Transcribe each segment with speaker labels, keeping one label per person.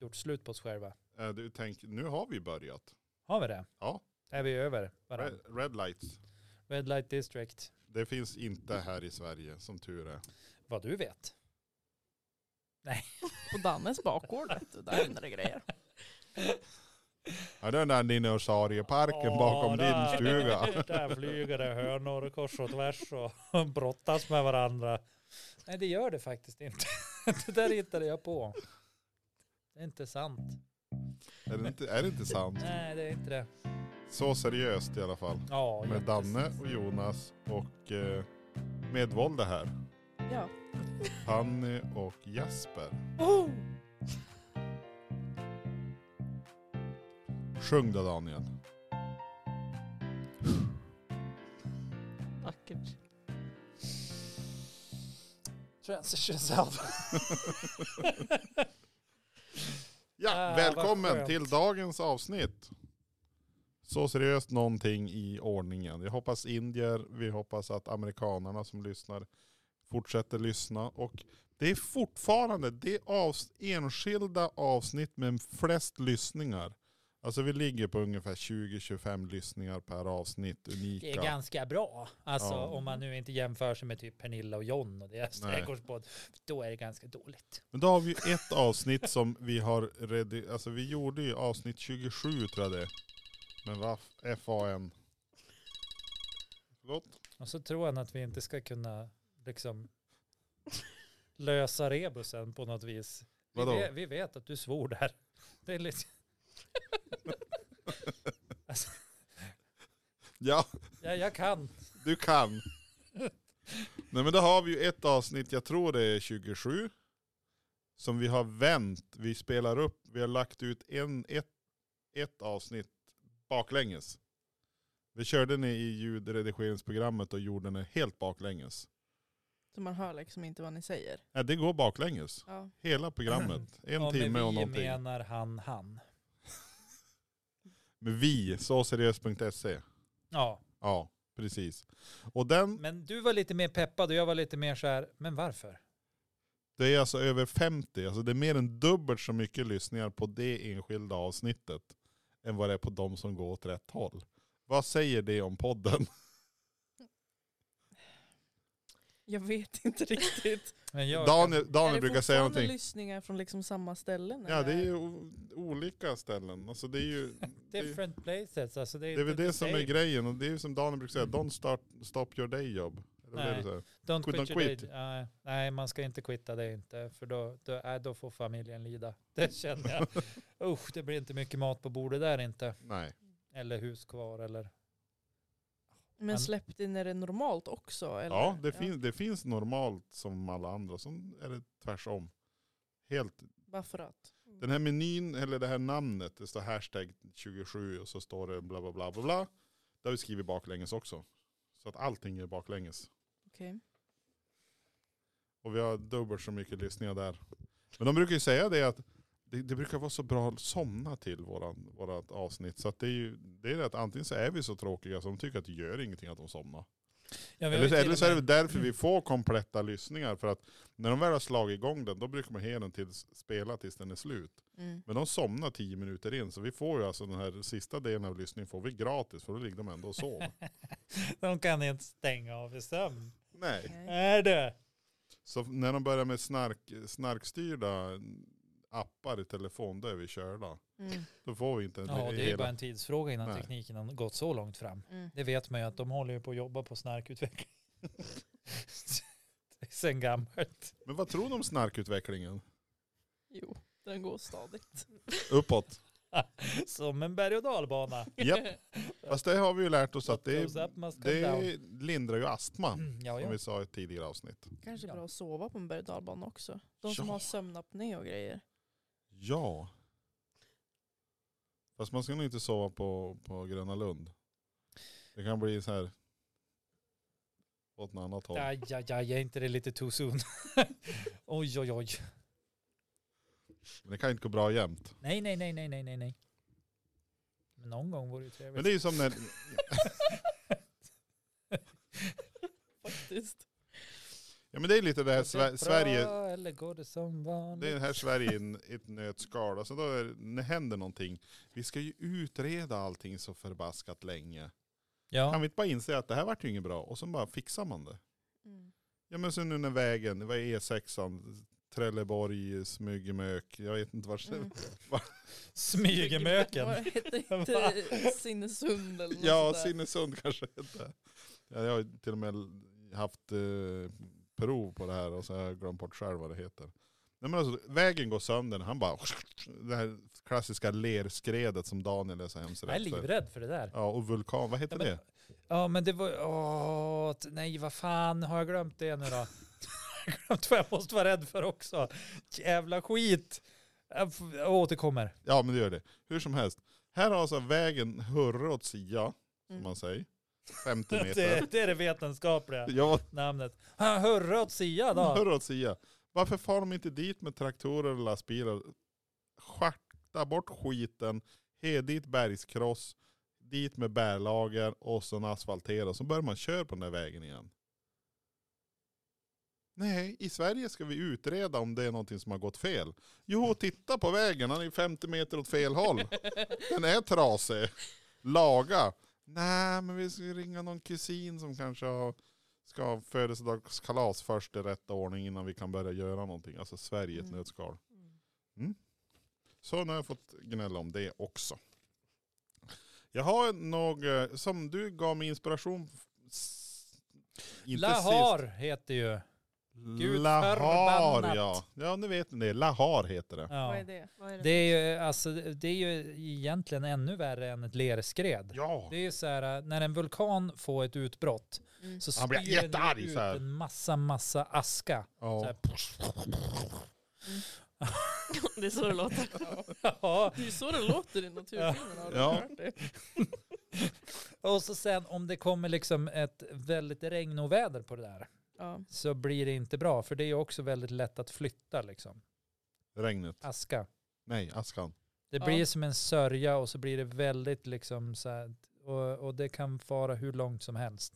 Speaker 1: gjort slut på oss själva.
Speaker 2: Eh, Du tänker, nu har vi börjat.
Speaker 1: Har vi det?
Speaker 2: Ja.
Speaker 1: Är vi över varandra?
Speaker 2: Red, red lights.
Speaker 1: Red Light District,
Speaker 2: Det finns inte här i Sverige, som tur är.
Speaker 1: vad du vet.
Speaker 3: På Dannes bakgård vet du, där händer det grejer.
Speaker 2: Ja, den där dinosaurieparken bakom
Speaker 1: Ja,
Speaker 2: din stuga.
Speaker 1: Där, där flyger det hönor kors och tvärs och brottas med varandra. Nej, det gör det faktiskt inte. Det där hittade jag på. Det är inte sant.
Speaker 2: Är det inte, är det inte sant?
Speaker 1: Nej, det är inte det.
Speaker 2: Så seriöst i alla fall.
Speaker 1: Ja,
Speaker 2: Med
Speaker 1: jättes-
Speaker 2: Danne och Jonas och eh, medvålde här.
Speaker 3: Ja.
Speaker 2: Panny och Jasper.
Speaker 3: Oh!
Speaker 2: Sjung då Daniel.
Speaker 3: Vackert.
Speaker 1: Transition self.
Speaker 2: Ja,
Speaker 1: Ah, vad
Speaker 2: välkommen
Speaker 1: skönt.
Speaker 2: till dagens avsnitt. Så seriöst någonting i ordningen. Jag hoppas indier, vi hoppas att amerikanarna som lyssnar fortsätter lyssna. Och det är fortfarande det avs enskilda avsnitt med flest lyssningar. Alltså vi ligger på ungefär 20-25 lyssningar per avsnitt,
Speaker 1: Det är
Speaker 2: unika.
Speaker 1: ganska bra. Alltså
Speaker 2: Ja.
Speaker 1: om man nu inte jämför sig med typ Pernilla och John och deras
Speaker 2: Nej.
Speaker 1: trädgårdspodd. Då är det ganska dåligt.
Speaker 2: Men då har vi ju ett avsnitt som vi har redi- Alltså vi gjorde ju avsnitt 27 tror jag det är. Men vad FAN. Förlåt?
Speaker 1: Och så tror han att vi inte ska kunna liksom lösa rebusen på något vis. Vi,
Speaker 2: Vadå?
Speaker 1: vet, vi vet att du svor där. Det är liksom,
Speaker 2: Ja,
Speaker 1: ja, jag kan.
Speaker 2: du kan. Nej men då har vi ju ett avsnitt, jag tror det är 27. Som vi har vänt, vi spelar upp, vi har lagt ut en, ett, ett avsnitt baklänges. Vi körde ni i ljudredigeringsprogrammet och gjorde den helt baklänges.
Speaker 3: Så man hör liksom inte vad ni säger.
Speaker 2: Nej, det går baklänges.
Speaker 3: Ja.
Speaker 2: Hela programmet. En
Speaker 1: Ja, men
Speaker 2: timme och
Speaker 1: vi
Speaker 2: någonting.
Speaker 1: menar han, han.
Speaker 2: Med vi, såseriöst.se.
Speaker 1: Ja,
Speaker 2: E. Ja, precis. Och den,
Speaker 1: men du var lite mer peppad och jag var lite mer så här, men varför?
Speaker 2: det är alltså över 50, alltså det är mer än dubbelt så mycket lyssningar på det enskilda avsnittet än vad det är på de som går åt rätt håll. Vad säger det om podden?
Speaker 3: Jag vet inte riktigt.
Speaker 1: Men
Speaker 2: Daniel,
Speaker 3: är det
Speaker 2: Daniel brukar säga
Speaker 3: fortfarande
Speaker 2: någonting.
Speaker 3: lyssningar från liksom samma ställen?
Speaker 2: Ja, det är
Speaker 3: eller?
Speaker 2: ju o- olika ställen. Alltså det är ju... det är-
Speaker 1: Different places. Alltså det,
Speaker 2: Det är väl
Speaker 1: inte
Speaker 2: det som är
Speaker 1: same.
Speaker 2: grejen och det är ju som Daniel brukar säga, don't start, stop your day job. Eller vad är det
Speaker 1: Nej.
Speaker 2: så här?
Speaker 1: Don't
Speaker 2: Quit,
Speaker 1: quit,
Speaker 2: don't
Speaker 1: your day.
Speaker 2: quit.
Speaker 1: Nej, nej, man ska inte quitta det inte, för då, då, nej, då får familjen lida. Det känner jag. Usch, det blir inte mycket mat på bordet där inte.
Speaker 2: Nej.
Speaker 1: Eller hus kvar eller.
Speaker 3: Men släpp in är det normalt också? Eller?
Speaker 2: Ja, det, Finns, det finns normalt som alla andra, som är det tvärsom. Helt,
Speaker 3: Bara för att.
Speaker 2: den här menyn, eller det här namnet, det står hashtag 27 och så står det bla bla bla bla bla. Där vi skriver baklänges också. Så att allting är baklänges.
Speaker 3: Okej.
Speaker 2: Och vi har dubbelt så mycket lyssningar där. Men de brukar ju säga det att det, det brukar vara så bra att somna till våran, vårat avsnitt. Så att det är ju det är det att antingen så är vi så tråkiga så de tycker att det gör ingenting att de somnar.
Speaker 1: Ja, vi har ju
Speaker 2: Eller,
Speaker 1: till
Speaker 2: eller
Speaker 1: och
Speaker 2: så är det
Speaker 1: med-
Speaker 2: väl därför vi får kompletta lyssningar. För att när de väl har slagit igång den, då brukar man hela den tills, spela tills den är slut.
Speaker 3: Mm.
Speaker 2: Men de somnar tio minuter in, så vi får ju alltså den här sista delen av lyssningen får vi gratis, för då ligger de ändå och sover.
Speaker 1: De kan inte stänga av i sömn.
Speaker 2: Nej.
Speaker 3: Nej.
Speaker 1: Är det?
Speaker 2: Så när de börjar med snark, snarkstyrda appar i telefon, då är vi körda.
Speaker 3: Mm.
Speaker 2: Då får vi inte en
Speaker 1: Ja, det är ju bara en tidsfråga innan
Speaker 2: Nej.
Speaker 1: tekniken har gått så långt fram.
Speaker 3: Mm.
Speaker 1: Det vet man ju att de håller ju på att jobba på snarkutveckling. Sen gammalt.
Speaker 2: Men vad tror du om snarkutvecklingen?
Speaker 3: Jo, den går stadigt.
Speaker 2: Uppåt.
Speaker 1: Som en berg och dalbana.
Speaker 2: Japp. Fast det har vi ju lärt oss att det,
Speaker 1: Goes up must come
Speaker 2: det
Speaker 1: down.
Speaker 2: lindrar ju astma.
Speaker 1: Mm, Ja,
Speaker 2: Som
Speaker 1: ja.
Speaker 2: vi sa i ett tidigare avsnitt.
Speaker 3: Kanske
Speaker 1: Ja.
Speaker 3: bra att sova på en berg och dalbana också. De som
Speaker 2: Ja.
Speaker 3: har sömnapné och grejer.
Speaker 2: Ja. Fast man ska nog inte sova på, på Gröna Lund. Det kan bli så här åt något annat håll.
Speaker 1: Aj, aj, aj, är inte det lite too soon? oj, oj, oj.
Speaker 2: Men det kan inte gå bra jämt.
Speaker 1: Nej, nej, nej, nej, nej, nej, nej. Men någon gång vore det trevligt.
Speaker 2: Men det är ju som när,
Speaker 3: Faktiskt.
Speaker 2: Ja men det är lite det här
Speaker 1: Går Alltså, det
Speaker 2: Sve-
Speaker 1: bra
Speaker 2: Sverige,
Speaker 1: Eller går Äh, det som
Speaker 2: Det är
Speaker 1: vanligt?
Speaker 2: det här Sverige i en- ett nötskal. Alltså då är, när händer någonting, vi ska ju utreda allting så förbaskat länge. Kan
Speaker 1: Ja,
Speaker 2: vi inte bara inse att det här vart ju inget bra och sen bara fixar man det?
Speaker 3: Mm.
Speaker 2: Ja men sen nu när vägen, det var E6an, Trelleborg, Smygemök, jag vet inte vart.
Speaker 3: Mm.
Speaker 1: smygemöken.
Speaker 3: Vad hette inte Sinnesund eller något
Speaker 2: Ja,
Speaker 3: sånt där?
Speaker 2: Sinnesund kanske heter. Ja, jag har ju till och med haft eh, prov på det här och så har jag glömt bort själv vad det heter. Nej, men alltså, vägen går sönder, han bara, det här klassiska lerskredet som Daniel är så hemskt
Speaker 1: Jag är
Speaker 2: rädd för.
Speaker 1: livrädd för det där.
Speaker 2: Ja, och vulkan, vad heter
Speaker 1: Ja, men-
Speaker 2: det?
Speaker 1: Ja men det var, åh, t- nej vad fan har jag glömt det nu då? Jag har glömt vad jag måste vara rädd för också. Jävla skit. Jag, f- jag återkommer.
Speaker 2: Ja, men det gör det. Hur som helst, här har alltså vägen hurra åt sia, som
Speaker 3: Mm.
Speaker 2: man säger. 50 meter.
Speaker 1: Det, det är det vetenskapliga
Speaker 2: Ja,
Speaker 1: namnet. Ha, Hurra åt Sia då.
Speaker 2: hurra åt sia. Varför far de inte dit med traktorer och lastbilar? Schakta bort skiten, he dit bergskross, dit med bärlager och sen asfaltera. Så börjar man köra på den där vägen igen. Nej, i Sverige ska vi utreda om det är någonting som har gått fel. Jo, titta på vägen, han är 50 meter åt fel håll. Den är trasig. Laga. Nej, men vi ska ju ringa någon kusin som kanske har, ska ha födelsedagskalas först i rätt ordning innan vi kan börja göra någonting. Alltså Sverige i ett
Speaker 3: Mm.
Speaker 2: nötskal.
Speaker 3: Mm.
Speaker 2: Så nu har jag fått gnälla om det också. Jag har något som du gav mig inspiration. f- s- Inte
Speaker 1: Lahar heter ju. Gud förbannat.
Speaker 2: ja. Ja, nu vet ni det. Lahar heter det.
Speaker 1: Ja.
Speaker 3: Vad är det? Vad är
Speaker 1: Det är, ju, alltså, det är ju egentligen ännu värre än ett lerskred.
Speaker 2: Ja.
Speaker 1: Det är ju så här, när en vulkan får ett utbrott
Speaker 3: Mm.
Speaker 1: så
Speaker 2: Han blir
Speaker 1: spyr den
Speaker 2: jättearg
Speaker 1: ut
Speaker 2: så här.
Speaker 1: en massa, massa aska. Så
Speaker 2: ja.
Speaker 1: här.
Speaker 3: Det är så det låter.
Speaker 1: Ja,
Speaker 3: Det är så det låter i naturfilmerna. Har du
Speaker 2: Ja.
Speaker 3: hört det?
Speaker 1: Och så sen om det kommer liksom ett väldigt regnoväder på det där
Speaker 3: Ja.
Speaker 1: så blir det inte bra för det är ju också väldigt lätt att flytta liksom.
Speaker 2: Regnet.
Speaker 1: Aska.
Speaker 2: Nej, askan.
Speaker 1: Det
Speaker 3: Ja.
Speaker 1: blir som en sörja och så blir det väldigt liksom så här och, och det kan fara hur långt som helst.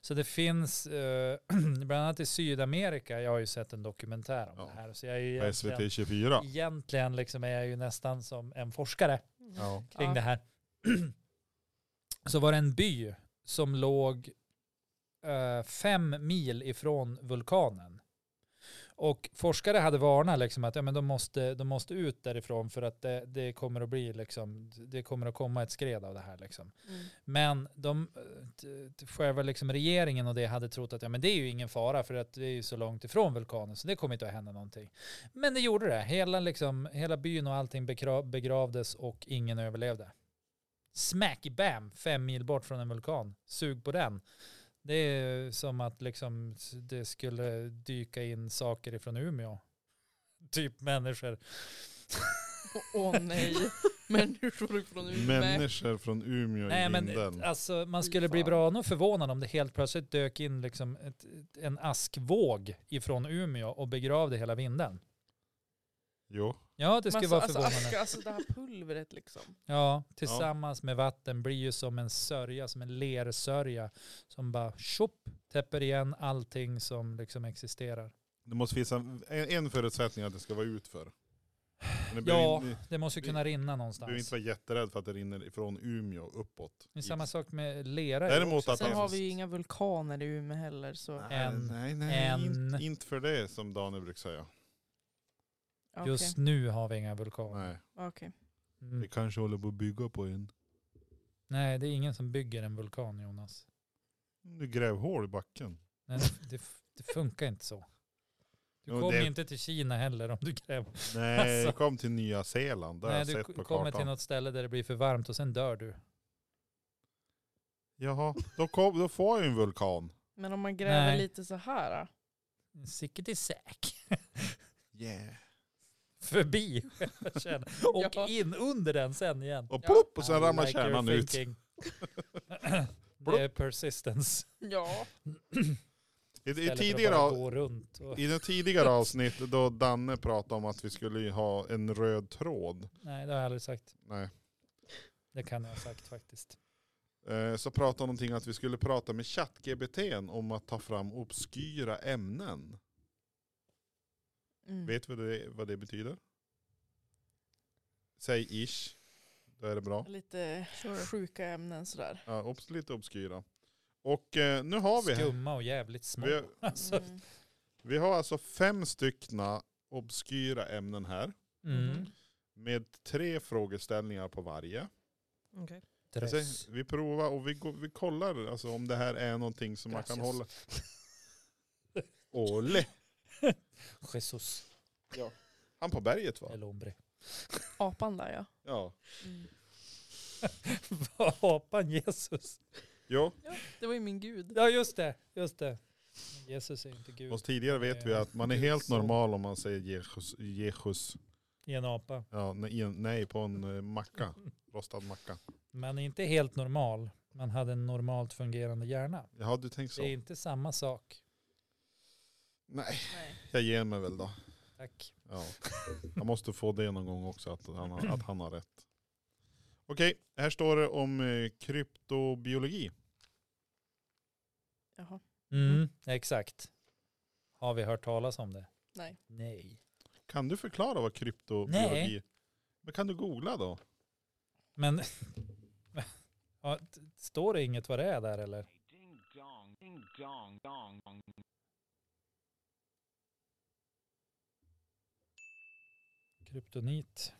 Speaker 1: Så det finns, eh, bland annat i Sydamerika, jag har ju sett en dokumentär om
Speaker 2: Ja.
Speaker 1: det här. Så jag är ju
Speaker 2: På
Speaker 1: egentligen,
Speaker 2: SVT 24.
Speaker 1: egentligen liksom är jag ju nästan som en forskare.
Speaker 2: Ja.
Speaker 1: kring det här. Så var det en by som låg eh, fem mil ifrån vulkanen. Och forskare hade varnat liksom att ja, men de, måste, de måste ut därifrån för att det, det kommer att bli liksom, det kommer att komma ett skred av det här liksom.
Speaker 3: Mm.
Speaker 1: Men de, eh, t- t- själva liksom regeringen och det hade trott att ja, men det är ju ingen fara för att det är ju så långt ifrån vulkanen så det kommer inte att hända någonting. Men det gjorde det. Hela, liksom, hela byn och allting bekra- begravdes och ingen överlevde. Smack bam, fem mil bort från en vulkan. Sug på den. Det är som att liksom s- det skulle dyka in saker ifrån Umeå. Typ människor.
Speaker 3: Åh nej, människor från Umeå.
Speaker 2: Människor från Umeå
Speaker 1: Nej
Speaker 2: i
Speaker 1: men
Speaker 2: vinden.
Speaker 1: alltså man
Speaker 3: Fy
Speaker 1: skulle bli
Speaker 3: fan.
Speaker 1: bra nog förvånad om det helt plötsligt dök in liksom ett, ett, en askvåg ifrån Umeå och begravde hela vinden.
Speaker 2: Jo.
Speaker 1: Ja det skulle
Speaker 3: Men
Speaker 1: vara
Speaker 3: alltså,
Speaker 1: förvånande.
Speaker 3: Alltså, aska, alltså det här pulvret liksom.
Speaker 1: Ja, tillsammans med vatten blir ju som en sörja, som en lersörja som bara tjopp täpper igen allting som liksom existerar.
Speaker 2: Det måste finnas en, en förutsättning att det ska vara utför. Men det
Speaker 1: Ja,
Speaker 2: behöver, inte-
Speaker 1: Det måste ju
Speaker 2: Vi-
Speaker 1: kunna rinna
Speaker 2: du behöver inte
Speaker 1: någonstans.
Speaker 2: vara jätterädd för att det rinner ifrån Umeå uppåt.
Speaker 1: Det är samma sak med lera.
Speaker 2: Däremot att
Speaker 3: Sen
Speaker 2: han-
Speaker 3: har vi ju inga vulkaner i Umeå heller så.
Speaker 2: Nej,
Speaker 1: En.
Speaker 2: Nej, nej,
Speaker 1: En.
Speaker 2: Inte, inte för det som Daniel brukar säga.
Speaker 3: Okej.
Speaker 1: Just nu har vi inga vulkaner.
Speaker 2: Nej.
Speaker 3: Okej.
Speaker 1: Mm.
Speaker 2: kanske håller på att bygga på en.
Speaker 1: Nej, det är ingen som bygger en vulkan Jonas.
Speaker 2: Du gräv hål i backen.
Speaker 1: Nej, det- det, f- det funkar inte så. Du
Speaker 2: Jo,
Speaker 1: kommer
Speaker 2: det-
Speaker 1: inte till Kina heller om du gräver.
Speaker 2: Nej,
Speaker 1: Alltså.
Speaker 2: kom till Nya Zeeland. Det har
Speaker 1: Nej,
Speaker 2: jag
Speaker 1: du
Speaker 2: sett
Speaker 1: k-
Speaker 2: på
Speaker 1: kommer till
Speaker 2: kartan.
Speaker 1: något ställe där det blir för varmt och sen dör du.
Speaker 2: Jaha, då, kom, då får jag ju en vulkan.
Speaker 3: Men om man gräver
Speaker 1: Nej.
Speaker 3: lite så här. då?
Speaker 1: Sicket säk.
Speaker 2: Yeah.
Speaker 1: Förbi själva kärnan. Och
Speaker 3: Ja.
Speaker 1: in under den sen igen.
Speaker 2: Och
Speaker 3: Ja.
Speaker 2: plopp, och sen
Speaker 1: I
Speaker 2: ramlar
Speaker 1: like
Speaker 2: kärnan
Speaker 1: your
Speaker 2: ut.
Speaker 1: thinking. det är persistence.
Speaker 3: Ja.
Speaker 2: I, i,
Speaker 1: Istället för att
Speaker 2: tidigare,
Speaker 1: bara
Speaker 2: av-
Speaker 1: gå runt. Och,
Speaker 2: I det tidigare avsnitt då Danne pratade om att vi skulle ju ha en röd tråd.
Speaker 1: nej, det har jag aldrig sagt.
Speaker 2: Nej.
Speaker 1: Det kan jag ha sagt faktiskt.
Speaker 2: Eh, så pratade han någonting att vi skulle prata med ChatGPT om att ta fram obskyra ämnen.
Speaker 3: Mm.
Speaker 2: Vet du vad det, vad det betyder? Säg ish. Då är det bra.
Speaker 3: Lite sjuka ämnen sådär.
Speaker 2: Ja, obs, lite obskyra. Och eh, nu har vi,
Speaker 1: Skumma och jävligt små.
Speaker 2: vi,
Speaker 1: Alltså.
Speaker 3: Mm.
Speaker 2: vi har alltså fem styckna obskyra ämnen här.
Speaker 1: Mm.
Speaker 3: Mhm.
Speaker 2: Med tre frågeställningar på varje.
Speaker 4: Okej.
Speaker 2: Jag
Speaker 1: Dress.
Speaker 2: säger, Alltså, Vi provar och vi, går, vi kollar alltså, om det här är någonting som man kan
Speaker 4: Gracias.
Speaker 2: hålla. Ole.
Speaker 1: Jesus.
Speaker 2: Han på berget va?
Speaker 1: El hombre.
Speaker 3: Apan där ja.
Speaker 2: Ja.
Speaker 3: Mm.
Speaker 1: Vad apan Jesus?
Speaker 2: Jo,
Speaker 3: Det var ju min gud.
Speaker 1: Ja just det, just det. Jesus är inte gud.
Speaker 2: och tidigare vet vi att man är helt
Speaker 1: Så.
Speaker 2: normal om man säger Jesus. Jesus.
Speaker 1: I en apa.
Speaker 2: Ja, nej, i en- nej, på en eh, macka. Rostad macka.
Speaker 1: Man är inte helt normal. Man hade en normalt fungerande hjärna.
Speaker 2: Jaha, du tänkt så?
Speaker 1: Det är inte samma sak.
Speaker 2: Nej,
Speaker 3: Nej.
Speaker 2: jag ger mig väl då.
Speaker 1: Tack.
Speaker 2: Ja. Jag måste få det någon gång också, att han har, att han har rätt. Okej, här står det om eh, kryptobiologi.
Speaker 3: Jaha.
Speaker 1: Mm, exakt. Har vi hört talas om det?
Speaker 3: Nej.
Speaker 1: Nej.
Speaker 2: Kan du förklara vad kryptobiologi
Speaker 1: Nej.
Speaker 2: Men kan du googla då?
Speaker 1: Men ja, t- står det inget vad det är där eller?
Speaker 5: Ding dong, ding dong, dong, dong.
Speaker 1: Kryptonit.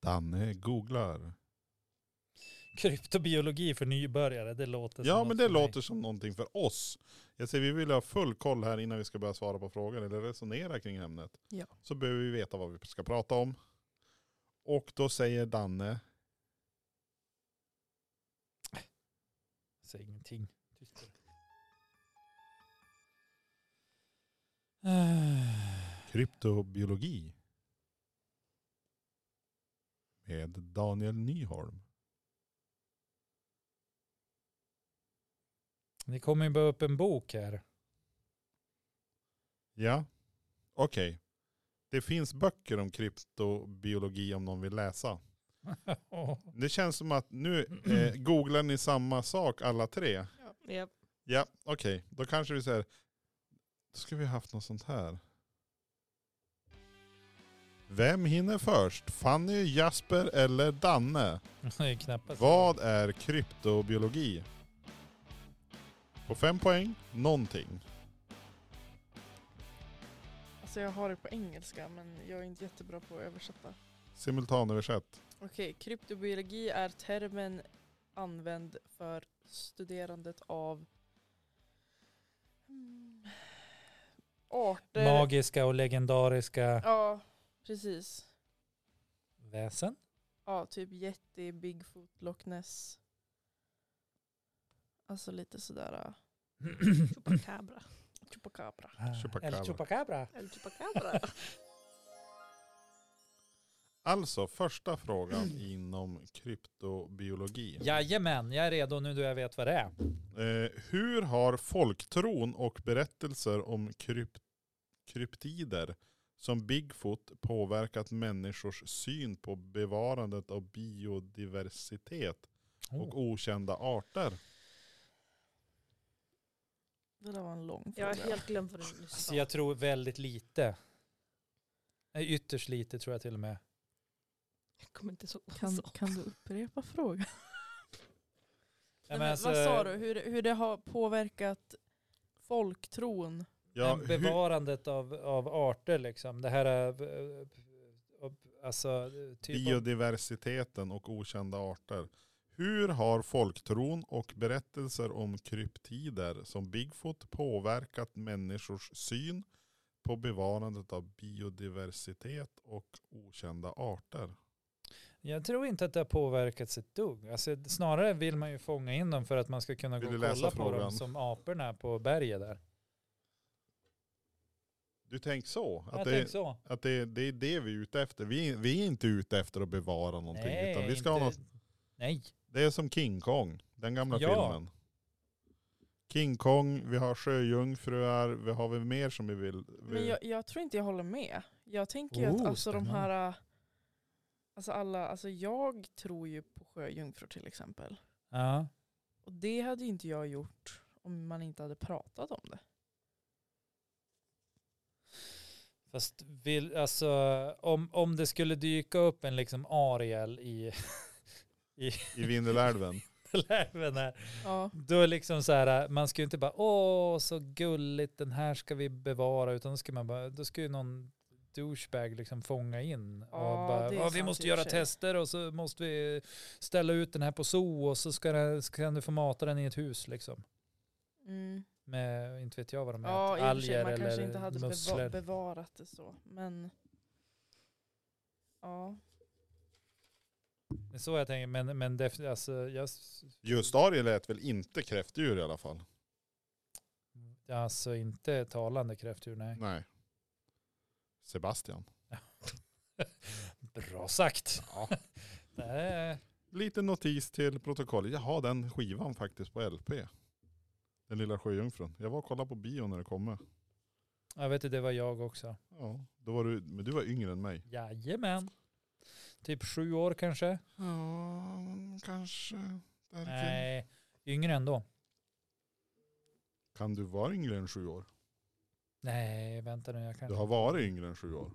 Speaker 2: Danne googlar.
Speaker 1: Kryptobiologi för nybörjare, det låter som
Speaker 2: Ja
Speaker 1: något
Speaker 2: men det
Speaker 1: för mig.
Speaker 2: låter som någonting för oss. Jag säger vi vill ha full koll här innan vi ska börja svara på frågor eller resonera kring ämnet.
Speaker 3: Ja.
Speaker 2: Så behöver vi veta vad vi ska prata om. Och då säger Danne,
Speaker 1: Säg ingenting. Tyst är det. Ah,
Speaker 2: kryptobiologi. Med Daniel Nyholm.
Speaker 1: Det kommer ju bara upp en bok här.
Speaker 2: Ja, okej. Det finns böcker om kryptobiologi om någon vill läsa. Det känns som att nu eh, googlar ni samma sak alla tre.
Speaker 4: Japp.
Speaker 2: Ja, okej. Då kanske vi säger, då ska vi ha haft något sånt här. Vem hinner först? Fanny, Jasper eller Danne?
Speaker 1: Det är knappast.
Speaker 2: Vad är kryptobiologi? På fem poäng, någonting.
Speaker 3: Alltså jag har det på engelska men jag är inte jättebra på att översätta.
Speaker 2: Simultanöversätt.
Speaker 3: Okej, kryptobiologi är termen använd för studerandet av mm, arter.
Speaker 1: Magiska och legendariska
Speaker 3: Ja, precis.
Speaker 1: väsen.
Speaker 3: Ja, typ jätte, Bigfoot, Loch Ness. Alltså lite sådär.
Speaker 4: Chupacabra.
Speaker 3: äh, Chupacabra.
Speaker 1: Ah,
Speaker 2: Chupacabra.
Speaker 1: Eller chupacabra.
Speaker 4: El chupacabra.
Speaker 2: Alltså första frågan inom kryptobiologi.
Speaker 1: Jajamän, jag är redo nu då jag vet vad det är.
Speaker 2: Eh, hur har folktron och berättelser om krypt kryptider som Bigfoot påverkat människors syn på bevarandet av biodiversitet och
Speaker 1: Oh.
Speaker 2: okända arter?
Speaker 3: Det där var en lång
Speaker 4: Jag har
Speaker 3: fråga.
Speaker 4: helt glömt vad du nyss
Speaker 1: Så
Speaker 2: Alltså,
Speaker 4: sa.
Speaker 1: jag tror väldigt lite. Nej, Ytterst lite tror jag till och med.
Speaker 4: Jag kommer inte så.
Speaker 3: kan, kan du upprepa frågan?
Speaker 1: Nej,
Speaker 3: Nej, men
Speaker 1: alltså,
Speaker 3: vad sa du? Hur, hur det har påverkat folktron?
Speaker 2: Ja,
Speaker 1: men
Speaker 2: hur,
Speaker 1: bevarandet av, av arter liksom. Det här är... eh, eh, Alltså, typ av-
Speaker 2: biodiversiteten och okända arter. Hur har folktron och berättelser om kryptider som Bigfoot påverkat människors syn på bevarandet av biodiversitet och okända arter?
Speaker 1: Jag tror inte att det har påverkats ett dugg. Alltså, snarare vill man ju fånga in dem för att man ska kunna
Speaker 2: Vill
Speaker 1: gå
Speaker 2: du
Speaker 1: och
Speaker 2: läsa
Speaker 1: kolla på dem
Speaker 2: frågan?
Speaker 1: som aporna på berget där.
Speaker 2: Du tänker så? Att,
Speaker 1: jag
Speaker 2: det,
Speaker 1: tänkte så.
Speaker 2: att det, det är det vi är ute efter. Vi, vi är inte ute efter att bevara någonting. utan vi ska ha
Speaker 1: inte-
Speaker 2: något,
Speaker 1: Nej,
Speaker 2: det är som King Kong, den gamla
Speaker 1: Ja.
Speaker 2: filmen. King Kong, vi har sjöjungfrur, vi har väl mer som vi vill. Vi,
Speaker 3: Men jag, jag tror inte jag håller med. Jag tänker ju att
Speaker 1: Mm. Oh,
Speaker 3: alltså de
Speaker 1: spännande.
Speaker 3: här äh, Alltså alla, alltså jag tror ju på sjöjungfrur till exempel.
Speaker 1: Ja.
Speaker 3: Och det hade ju inte jag gjort om man inte hade pratat om det.
Speaker 1: Fast vill, alltså, om, om det skulle dyka upp en liksom Ariel i
Speaker 2: i Vindelälven.
Speaker 1: läven här,
Speaker 3: Ja.
Speaker 1: då är liksom så här, man ska ju inte bara åh så gulligt, den här ska vi bevara, utan då ska man bara, då ska ju någon douchebag liksom fånga in och
Speaker 3: Ja,
Speaker 1: bara,
Speaker 3: det är
Speaker 1: "Ja, vi
Speaker 3: sant
Speaker 1: måste
Speaker 3: i och
Speaker 1: göra
Speaker 3: för sig."
Speaker 1: tester och så måste vi ställa ut den här på zoo och så ska, den, ska du få mata den i ett hus liksom.
Speaker 3: Mm.
Speaker 1: Med, inte vet jag vad de
Speaker 3: Ja, i
Speaker 1: äter,
Speaker 3: och för sig,
Speaker 1: alger
Speaker 3: man kanske
Speaker 1: eller
Speaker 3: inte hade beva-
Speaker 1: musslor.
Speaker 3: bevarat det så. Men ja.
Speaker 1: Det är Så jag tänker, men, men def, alltså, jag, s-
Speaker 2: Just Ariel lät väl inte kräftdjur i alla fall?
Speaker 1: alltså inte talande kräftdjur, nej.
Speaker 2: Nej. Sebastian.
Speaker 1: Bra sagt.
Speaker 2: Ja.
Speaker 1: Det är,
Speaker 2: Liten notis till protokollet. Jag har den skivan faktiskt på LP. Den lilla sjöjungfrun. Jag var och kollade på bio när det kom.
Speaker 1: jag vet inte, det var jag också.
Speaker 2: Ja, då var du, men du var yngre än mig.
Speaker 1: Jajamän. Typ sju år kanske?
Speaker 2: Ja, kanske.
Speaker 1: Nej, yngre ändå.
Speaker 2: Kan du vara yngre än sju år?
Speaker 1: Nej, vänta nu. Jag
Speaker 2: Du
Speaker 1: kanske,
Speaker 2: har varit yngre än sju år.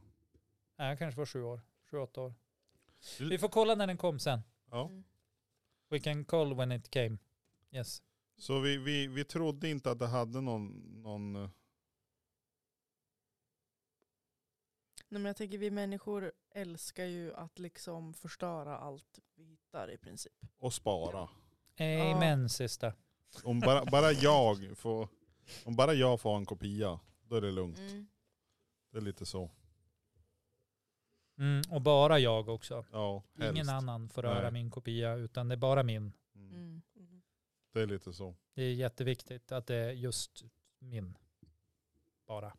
Speaker 1: nej, jag kanske var sju år. Sju, åtta år.
Speaker 2: Du-
Speaker 1: Vi får kolla när den kom sen.
Speaker 2: Ja.
Speaker 3: Mm.
Speaker 1: We can call when it came. Yes.
Speaker 2: Så vi, vi, vi trodde inte att det hade någon, någon eh,
Speaker 3: Nej, men jag tänker vi människor älskar ju att liksom förstöra allt vi hittar i princip.
Speaker 2: att spara.
Speaker 1: Amen, sista.
Speaker 2: Om bara, bara, jag får, om bara jag får ha en kopia, då är det lugnt.
Speaker 3: Mm.
Speaker 2: Det är lite så.
Speaker 1: Mm, och bara jag också.
Speaker 2: Ja,
Speaker 1: Ingen
Speaker 2: helst.
Speaker 1: annan får röra
Speaker 2: Nej.
Speaker 1: min kopia, utan det är bara min.
Speaker 2: Mm.
Speaker 3: Mm.
Speaker 4: Mm.
Speaker 2: Det är lite så.
Speaker 1: Det är jätteviktigt att det är just min. Bara.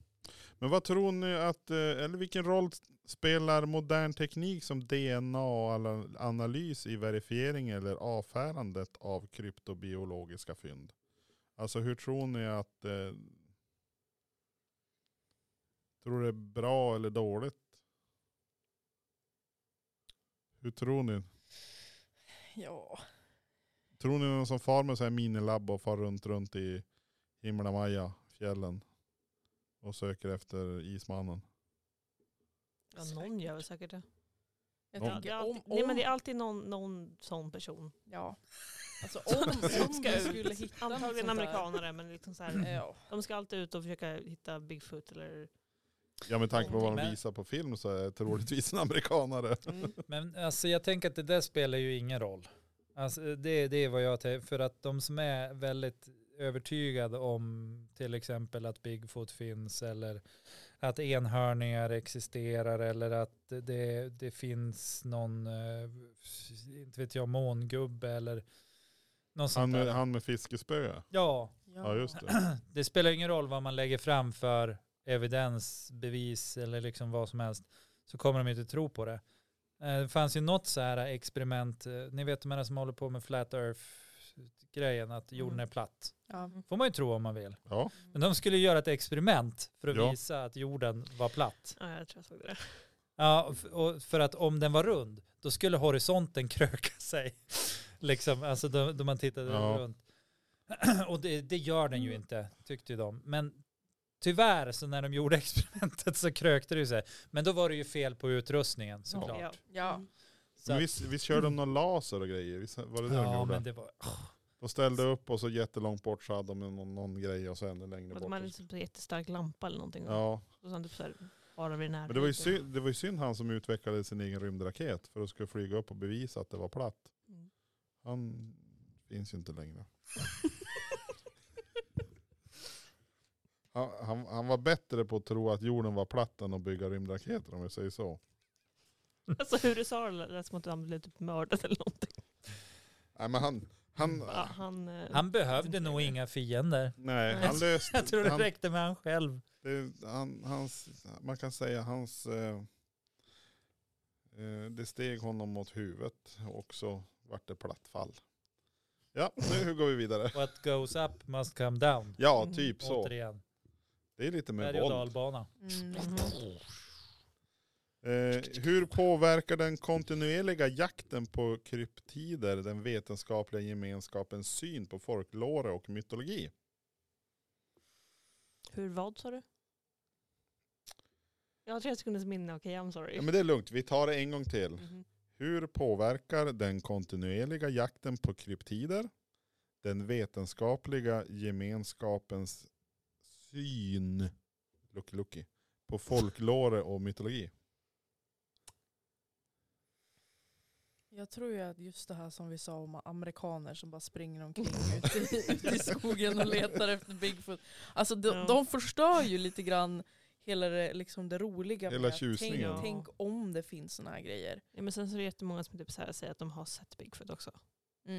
Speaker 2: Men vad tror ni att, eh, eller vilken roll spelar modern teknik som DNA-analys i verifiering eller avfärdandet av kryptobiologiska fynd? Alltså hur tror ni att, eh, tror det är bra eller dåligt? Hur tror ni?
Speaker 3: Ja.
Speaker 2: Tror ni någon som far med så här minilabb och far runt runt i Himmelamaja fjällen och söker efter ismannen?
Speaker 4: Ja, någon gör väl säkert det.
Speaker 3: Jag
Speaker 2: Någon-
Speaker 4: Det
Speaker 3: tänker
Speaker 4: är
Speaker 3: om,
Speaker 4: alltid,
Speaker 3: om,
Speaker 4: Nej men det är alltid någon, någon sån person.
Speaker 3: ja. Alltså om, om
Speaker 4: Ska
Speaker 3: vi
Speaker 4: ut.
Speaker 3: skulle hitta något
Speaker 4: Antagligen
Speaker 3: sånt där-
Speaker 4: amerikanare men liksom så här,
Speaker 2: Mm.
Speaker 3: Eh, Ja.
Speaker 4: de ska alltid ut och försöka hitta Bigfoot eller
Speaker 2: Ja med tanke på vad de
Speaker 1: Men-
Speaker 2: visar på film så är det troligtvis en amerikanare.
Speaker 3: Mm.
Speaker 1: Men alltså, jag tänker att det där spelar ju ingen roll. Alltså, det, det är vad jag tänker. För att de som är väldigt övertygade om till exempel att Bigfoot finns eller att enhörningar existerar eller att det, det finns någon, eh, inte vet jag, mångubbe eller något
Speaker 2: Han
Speaker 1: sånt
Speaker 2: med,
Speaker 1: där.
Speaker 2: han med fiskespö.
Speaker 1: Ja,
Speaker 2: Ja just det.
Speaker 1: det spelar ingen roll vad man lägger fram för evidens, bevis eller liksom vad som helst så kommer de inte tro på det. Eh, Det fanns ju något så här experiment, eh, ni vet de här som håller på med flat earth-grejen, att jorden
Speaker 3: Mm.
Speaker 1: är platt.
Speaker 3: Ja.
Speaker 1: får man ju tro om man vill.
Speaker 2: Ja.
Speaker 1: Men de skulle göra ett experiment för att
Speaker 2: Ja.
Speaker 1: visa att jorden var platt.
Speaker 4: Ja, jag tror jag såg det. där.
Speaker 1: Ja, och f- och för att om den var rund, då skulle horisonten kröka sig. liksom, alltså då, då man tittade
Speaker 2: Ja. Mm.
Speaker 1: runt. Och det, det gör den ju inte, tyckte ju de. Men tyvärr så när de gjorde experimentet så krökte det ju sig. Men då var det ju fel på utrustningen såklart.
Speaker 4: Ja.
Speaker 3: Ja.
Speaker 1: Så
Speaker 2: Men
Speaker 1: att-
Speaker 2: visst, visst körde de någon laser och grejer? Visst var det det de
Speaker 1: ja,
Speaker 2: gjorde?
Speaker 1: men det var...
Speaker 2: De ställde upp och så jättelångt bort så hade de någon, någon grej och så ännu längre
Speaker 4: Att
Speaker 2: bort.
Speaker 4: de hade typ en jättestark lampa eller någonting.
Speaker 2: Ja.
Speaker 4: Och sen typ så här, har de vid
Speaker 2: Men det var, ju synd, det var ju synd han som utvecklade sin egen rymdraket för att skulle flyga upp och bevisa att det var platt.
Speaker 4: Mm.
Speaker 2: Han finns ju inte längre. Han, han, han var bättre på att tro att jorden var platt än att bygga rymdraketer om vi säger så.
Speaker 4: Alltså hur du sa det lät som att han blev typ mördad eller någonting.
Speaker 2: Nej men han, han,
Speaker 1: Mm,
Speaker 4: Ja, han, eh,
Speaker 1: Han behövde nog inga fiender.
Speaker 2: nej, han löste,
Speaker 1: Jag tror det
Speaker 2: han,
Speaker 1: räckte med han själv.
Speaker 2: det, han, hans, man kan säga hans, eh, eh, det steg honom mot huvudet och så vart det platt fall. Ja, nu går vi vidare.
Speaker 1: What goes up must come down.
Speaker 2: Ja,
Speaker 4: Mm,
Speaker 2: typ så.
Speaker 1: Återigen,
Speaker 2: Det är lite med
Speaker 1: berg och
Speaker 2: våld.
Speaker 1: dalbana.
Speaker 3: Mm.
Speaker 4: mhm.
Speaker 2: Eh, hur påverkar den kontinuerliga jakten på kryptider den vetenskapliga gemenskapens syn på folklore och mytologi?
Speaker 4: Hur vad sa du? Jag har tre sekunders minne, okej I'm sorry.
Speaker 2: Ja, men det är lugnt, vi tar det en gång till.
Speaker 4: Mhm.
Speaker 2: Hur påverkar den kontinuerliga jakten på kryptider den vetenskapliga gemenskapens syn Lucky Lucky, på folklore och mytologi?
Speaker 3: Jag tror ju att just det här som vi sa om amerikaner som bara springer omkring ute, i- ute i skogen och letar efter Bigfoot. Alltså de,
Speaker 4: Ja.
Speaker 3: de förstör ju lite grann hela det, liksom det roliga
Speaker 2: Hela
Speaker 3: med att tänk,
Speaker 2: tjusningen.
Speaker 3: tänk om det finns sådana här grejer.
Speaker 4: Ja, men sen så är det jättemånga som typ så här säger att de har sett Bigfoot också. Och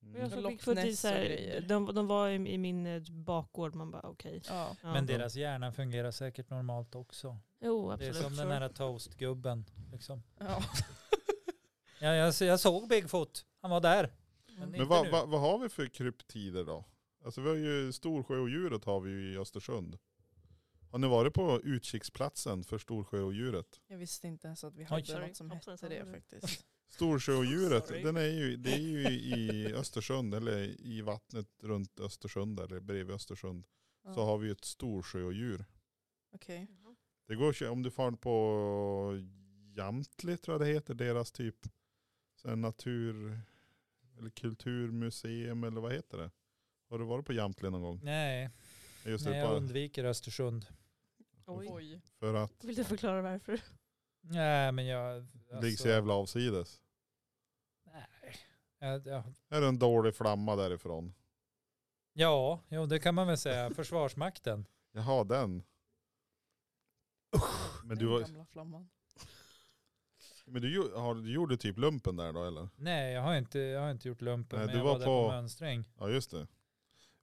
Speaker 4: Jag
Speaker 3: Mm.
Speaker 4: såg
Speaker 3: Loch
Speaker 4: Bigfoot i
Speaker 3: Ness
Speaker 4: så
Speaker 3: och
Speaker 4: här,
Speaker 3: grejer.
Speaker 4: de, de var i, i min eh, bakgård, man bara okej.
Speaker 3: Ja.
Speaker 4: Ja.
Speaker 1: Men deras hjärna fungerar säkert normalt också.
Speaker 4: Jo
Speaker 1: Det är
Speaker 4: absolut.
Speaker 1: som den här toastgubben. Liksom.
Speaker 3: Ja.
Speaker 1: Ja, jag, jag såg Bigfoot, han var där.
Speaker 3: Mm.
Speaker 1: Men
Speaker 2: Men
Speaker 1: Inte
Speaker 2: vad,
Speaker 1: nu.
Speaker 2: vad, vad har vi för kryptider då? Alltså vi har ju storsjöodjuret har vi ju i Östersund. Har ni varit på utkiksplatsen för storsjöodjuret?
Speaker 3: Jag visste inte ens att vi
Speaker 1: Oj.
Speaker 3: hade
Speaker 4: Sorry.
Speaker 3: något som
Speaker 4: Hoppsan,
Speaker 3: hette det
Speaker 4: sorry.
Speaker 3: faktiskt.
Speaker 2: Storsjöodjuret,
Speaker 4: Sorry.
Speaker 2: den är ju, det är ju i Östersund eller i vattnet runt Östersund eller bredvid Östersund. Så
Speaker 3: Ja.
Speaker 2: har vi ju ett storsjöodjur.
Speaker 3: Okej.
Speaker 4: Mhm.
Speaker 2: Det går, att kö- om du far på Jamtli tror jag det heter, deras typ så här natur eller kulturmuseum eller vad heter det? Har du varit på Jamtli någon gång?
Speaker 1: Nej,
Speaker 2: Just
Speaker 1: nej,
Speaker 2: det,
Speaker 1: jag
Speaker 2: bara
Speaker 1: undviker Östersund.
Speaker 4: Oj.
Speaker 3: Oj.
Speaker 2: för att
Speaker 4: Vill du förklara varför?
Speaker 1: Nej, men jag... alltså,
Speaker 2: Det ligger
Speaker 3: Alltså-
Speaker 2: så jävla avsides.
Speaker 1: nej. Jag, jag,
Speaker 2: Är det en dålig flamma därifrån?
Speaker 1: ja, jo, det kan man väl säga. Försvarsmakten.
Speaker 2: Jaha, den. Men du,
Speaker 3: Den
Speaker 2: var-
Speaker 3: gamla flamman.
Speaker 2: men du, gjo- har, du gjorde typ lumpen där då eller?
Speaker 1: Nej, jag har inte, jag har inte gjort lumpen,
Speaker 2: Nej,
Speaker 1: men
Speaker 2: du
Speaker 1: jag
Speaker 2: var
Speaker 1: var, där på,
Speaker 2: på-
Speaker 1: mönstring.
Speaker 2: Ja just det.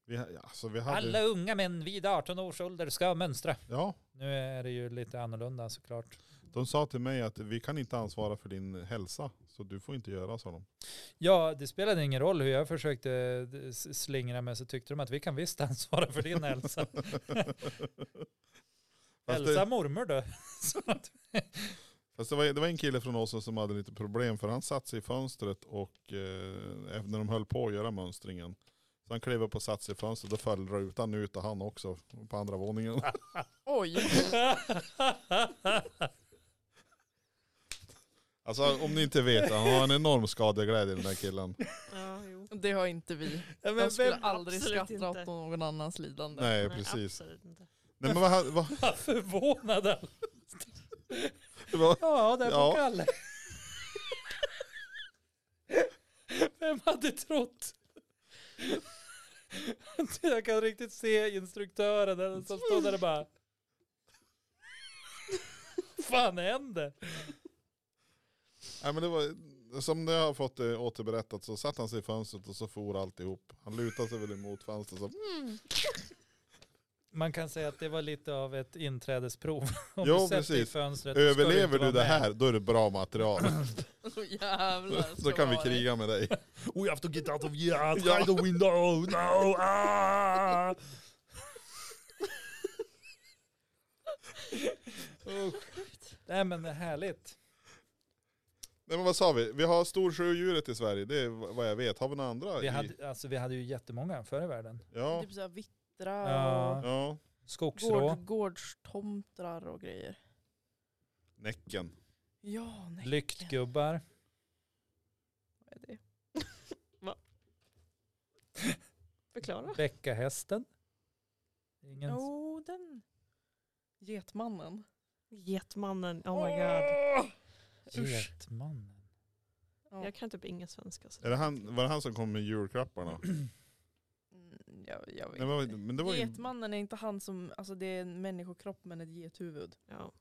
Speaker 2: Vi, ha- alltså, vi hade,
Speaker 1: Alla unga män vid 18 års ålder ska mönstra.
Speaker 2: Ja,
Speaker 1: Nu är det ju lite annorlunda såklart.
Speaker 2: de sa till mig att vi kan inte ansvara för din hälsa. Så du får inte göra sa de.
Speaker 1: Ja, det spelade ingen roll hur jag försökte eh, s- slingra mig så tyckte de att vi kan visst ansvara för din hälsa.
Speaker 2: Fast
Speaker 1: Hälsa
Speaker 2: det,
Speaker 1: mormor då. Så att-
Speaker 2: fast det, var, det var en kille från oss som hade lite problem för han satt sig i fönstret och eh, även när de höll på att göra mönstringen. Så han klev upp och satt sig i fönstret och föll rutan ut och han också på andra våningen.
Speaker 3: Oj.
Speaker 2: Alltså om ni inte vet, han har en enorm skadeglädje den där killen.
Speaker 4: Ja, jo.
Speaker 3: Det har inte vi.
Speaker 1: Ja, men
Speaker 3: Jag skulle
Speaker 1: vem-
Speaker 3: aldrig
Speaker 4: absolut
Speaker 3: skratta
Speaker 4: inte.
Speaker 3: åt någon annans lidande.
Speaker 2: Nej precis.
Speaker 4: Absolut inte.
Speaker 2: Nej, men vad, vad,
Speaker 1: Vad förvånad alla.
Speaker 2: vad,
Speaker 1: Ja, där
Speaker 2: Ja.
Speaker 1: på Kalle. Vem hade trott? Jag kan riktigt se instruktören där som står där och bara. fan hände?
Speaker 2: nej, men det var, som det har fått eh, återberättat så satt han sig i fönstret och så for alltihop. Han lutade sig väl emot fönstret. Så,
Speaker 1: Man kan säga att det var lite av ett inträdesprov. Om
Speaker 2: Jo,
Speaker 1: du sätter dig i
Speaker 2: precis.
Speaker 1: Fönstret, då ska
Speaker 2: Överlever
Speaker 1: inte vara
Speaker 2: du det
Speaker 1: med."
Speaker 2: här, då är det bra material.
Speaker 3: Så jävlar.
Speaker 2: Då kan vi kriga med dig.
Speaker 1: We have to get out of here,
Speaker 2: Ja.
Speaker 1: try the window, no, ah! Usch. Nej men det är härligt.
Speaker 2: Nej, men vad sa vi? Vi har storsjöodjuret i Sverige, det är v- vad jag vet. Har vi några andra?
Speaker 1: Vi
Speaker 2: i-
Speaker 1: hade, alltså, vi hade ju jättemånga förr i världen.
Speaker 2: Ja,
Speaker 3: Typ såhär vittra
Speaker 1: Ja.
Speaker 3: och
Speaker 2: ja,
Speaker 1: Skogsrå,
Speaker 3: gård, gårdstomtrar och grejer.
Speaker 2: Näcken.
Speaker 3: Ja, nej.
Speaker 1: lyktgubbar.
Speaker 3: vad är det?
Speaker 4: Förklara.
Speaker 1: Bäckahästen. Ingen...
Speaker 3: Jo, den. Getmannen.
Speaker 4: Getmannen, oh my god.
Speaker 3: usch.
Speaker 1: Getmannen.
Speaker 3: Ja.
Speaker 4: Jag kan typ inga svenska. Så.
Speaker 2: Är det han, var det han som kom med julklapparna?
Speaker 3: Mm, Jag, jag vet
Speaker 2: Nej, men,
Speaker 3: inte.
Speaker 2: vad- men det var ju...
Speaker 3: Getmannen är inte han som, alltså det är en människokropp men ett gethuvud.
Speaker 4: Ja.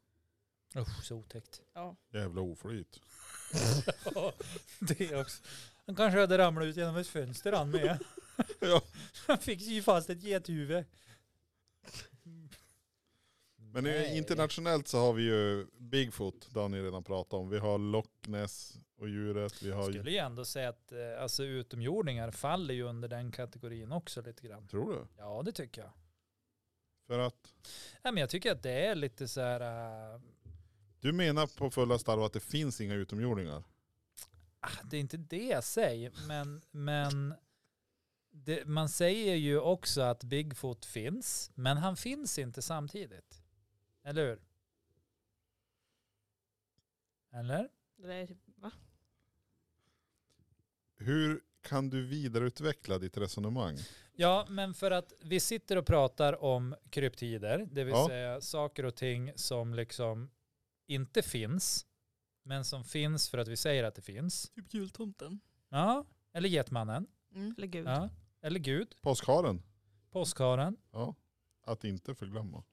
Speaker 1: Usch så otäckt.
Speaker 3: Ja.
Speaker 2: Jävla oflyt.
Speaker 1: Ja, det också. Han kanske hade ramlat ut genom ett fönster han med.
Speaker 2: Ja.
Speaker 1: Han fick ju fast ett gethuvud.
Speaker 2: Men eh, internationellt så har vi ju Bigfoot, det har ni redan pratat om. Vi har Loch Ness och djuret. Vi har
Speaker 1: Jag
Speaker 2: ju...
Speaker 1: skulle ju ändå säga att eh, alltså, utomjordingar faller ju under den kategorin också lite grann.
Speaker 2: Tror du?
Speaker 1: Ja, det tycker jag.
Speaker 2: För att
Speaker 1: Nej, men jag tycker att det är lite så här, eh,
Speaker 2: Du menar på fullaste allvar att det finns inga utomjordingar?
Speaker 1: Ah, Det är inte det jag säger, men, men det, man säger ju också att Bigfoot finns, men han finns inte samtidigt. Eller hur? Eller?
Speaker 4: Det där är typ, va?
Speaker 2: Hur kan du vidareutveckla ditt resonemang?
Speaker 1: Ja, men för att vi sitter och pratar om kryptider, det vill
Speaker 2: Ja.
Speaker 1: säga saker och ting som liksom inte finns, men som finns för att vi säger att det finns.
Speaker 3: Typ jultomten.
Speaker 1: Ja, eller Getmannen.
Speaker 3: Mm.
Speaker 4: Eller gud.
Speaker 1: Ja, eller Gud,
Speaker 2: Påskharen?
Speaker 1: Påskharen.
Speaker 2: Ja, att inte förglömma.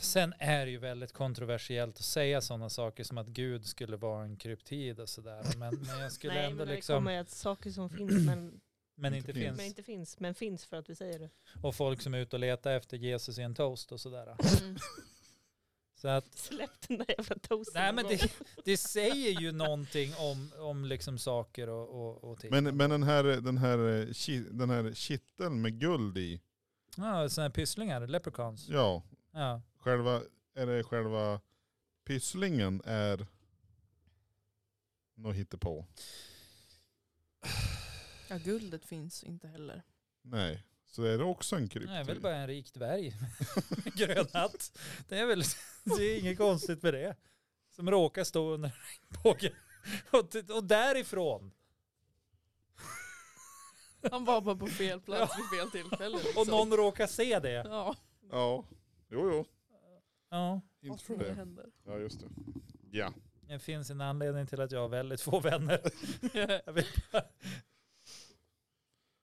Speaker 1: Sen är det ju väldigt kontroversiellt att säga sådana saker som att Gud skulle vara en kryptid och sådär. Men, men jag skulle
Speaker 4: Nej,
Speaker 1: ändå
Speaker 4: men det
Speaker 1: liksom,
Speaker 4: kommer ju att saker som finns men,
Speaker 1: men inte
Speaker 2: Inte finns.
Speaker 1: finns.
Speaker 4: men inte finns, men finns för att vi säger det.
Speaker 1: Och folk som är ute och letar efter Jesus i en toast och sådär.
Speaker 3: Mm.
Speaker 1: Så att,
Speaker 4: Släpp den där jävla toasten.
Speaker 1: nej
Speaker 4: någon
Speaker 1: men
Speaker 4: gång.
Speaker 1: det, det säger ju någonting om, om liksom saker och, och, och ting.
Speaker 2: Men, men den, här, den, här, eh, ki- den här kitteln med guld i,
Speaker 1: Ja, sådana här pysslingar, leprechauns.
Speaker 2: ja,
Speaker 1: Ja.
Speaker 2: själva, är det själva pysslingen är något hittepå?
Speaker 3: Ja, guldet finns inte heller.
Speaker 2: Nej, så är det också en kryptid.
Speaker 1: Nej, jag är väl bara en rik dvärg med grön hatt. Det är väl det är inget konstigt med det. Som råkar stå under en regnbåge. Och, t- och därifrån.
Speaker 3: Han var bara på fel plats vid fel tillfälle. Liksom.
Speaker 1: Och någon råkar se det.
Speaker 3: Ja,
Speaker 2: Ja, jo jo.
Speaker 1: Ja,
Speaker 2: Inte för
Speaker 3: vad
Speaker 2: det.
Speaker 3: som händer.
Speaker 2: Ja, just det. Ja.
Speaker 1: det finns en anledning till att jag har väldigt få vänner. Jag vill bara-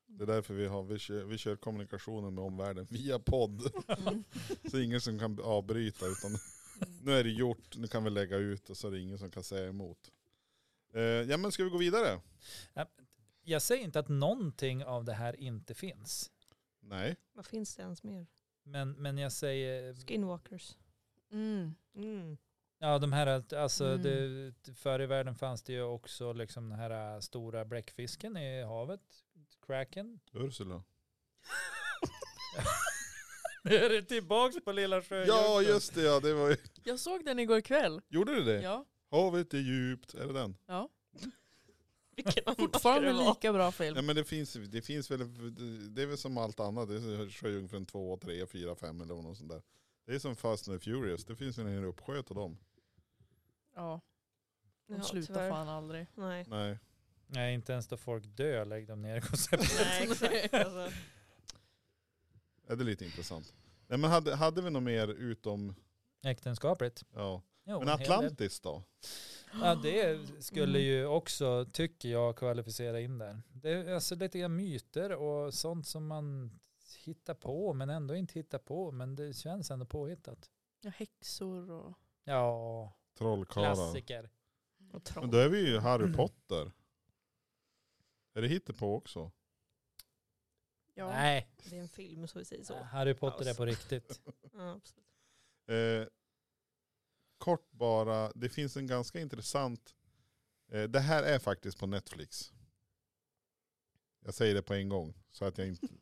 Speaker 2: Det är därför vi, har, vi, kör, vi kör kommunikationen med omvärlden via podd.
Speaker 3: Mm.
Speaker 2: Så ingen som kan avbryta utan nu är det gjort, nu kan vi lägga ut och så är det ingen som kan säga emot. Eh, ja men ska vi gå vidare?
Speaker 1: Jag säger inte att någonting av det här inte finns.
Speaker 2: Nej.
Speaker 4: Vad finns det ens mer?
Speaker 1: Men, men jag säger,
Speaker 4: Skinwalkers.
Speaker 3: Mm.
Speaker 4: Mm.
Speaker 1: ja de här, alltså
Speaker 3: Mm.
Speaker 1: det, förr i världen fanns det ju också liksom den här äh, stora bläckfisken i havet, kraken.
Speaker 2: Ursula.
Speaker 1: Nu är det tillbaks på lilla sjöjungfrun.
Speaker 2: Eh, Ja just det ja, det var ju.
Speaker 3: Jag såg den igår kväll.
Speaker 2: Gjorde du det?
Speaker 3: Ja,
Speaker 2: Havet är djupt, är det den?
Speaker 3: ja.
Speaker 4: Vilken annan
Speaker 3: Fortfarande
Speaker 4: det vara?
Speaker 3: lika bra film.
Speaker 2: Ja men det finns, det finns väl, det är väl som allt annat, det är Sjöjungfrun 2, 3, 4, 5 eller något sånt där. Det är som Fast and the Furious, det finns ju en hel uppsjö av dem.
Speaker 3: Ja, de
Speaker 4: Ja,
Speaker 3: slutar
Speaker 4: tyvärr.
Speaker 3: fan aldrig.
Speaker 4: Nej.
Speaker 2: Nej.
Speaker 1: Nej, inte ens då folk dör lägg dem ner i konceptet.
Speaker 4: Nej, exakt. Alltså.
Speaker 2: Ja, det är lite intressant. Nej men hade, hade vi något mer utom,
Speaker 1: Äktenskapligt.
Speaker 2: ja.
Speaker 1: Jo,
Speaker 2: Men
Speaker 1: Oh, en hel del.
Speaker 2: Atlantis då?
Speaker 1: Ja, det skulle
Speaker 3: Mm.
Speaker 1: ju också, tycker jag, kvalificera in där. Det är alltså lite grann myter och sånt som man hittar på, men ändå inte hittar på, men det känns ändå påhittat.
Speaker 3: Ja, häxor och...
Speaker 1: Ja,
Speaker 2: Trollkarlar.
Speaker 1: klassiker.
Speaker 4: Och
Speaker 2: Men
Speaker 4: troll.
Speaker 2: då är vi ju Harry Potter. Är det hittepå också?
Speaker 3: Ja.
Speaker 1: Nej,
Speaker 4: Det är en film så vi säger så.
Speaker 1: Harry Potter är
Speaker 4: Alltså.
Speaker 1: på riktigt.
Speaker 4: Ja, absolut.
Speaker 2: Eh, kort bara, det finns en ganska intressant, eh, det här är faktiskt på Netflix. Jag säger det på en gång så att jag inte...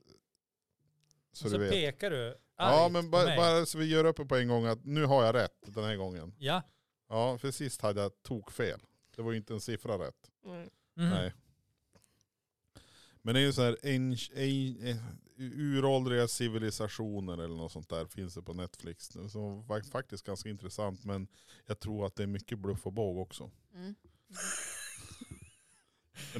Speaker 2: Så
Speaker 1: Så,
Speaker 2: du vet.
Speaker 1: pekar du
Speaker 2: Ja
Speaker 1: argt
Speaker 2: men
Speaker 1: Alltså, på
Speaker 2: bara,
Speaker 1: mig.
Speaker 2: bara så vi gör upp det på en gång att nu har jag rätt den här gången.
Speaker 1: Ja.
Speaker 2: Ja för sist hade jag tokfel. Det var ju inte en siffra rätt.
Speaker 4: Mm.
Speaker 1: Mhm.
Speaker 2: Nej. Men det är ju så här, en, en, eh, uråldriga civilisationer eller något sånt där finns det på Netflix. nu, Som var faktiskt ganska intressant men jag tror att det är mycket bluff och båg också.
Speaker 3: Mm.
Speaker 2: Men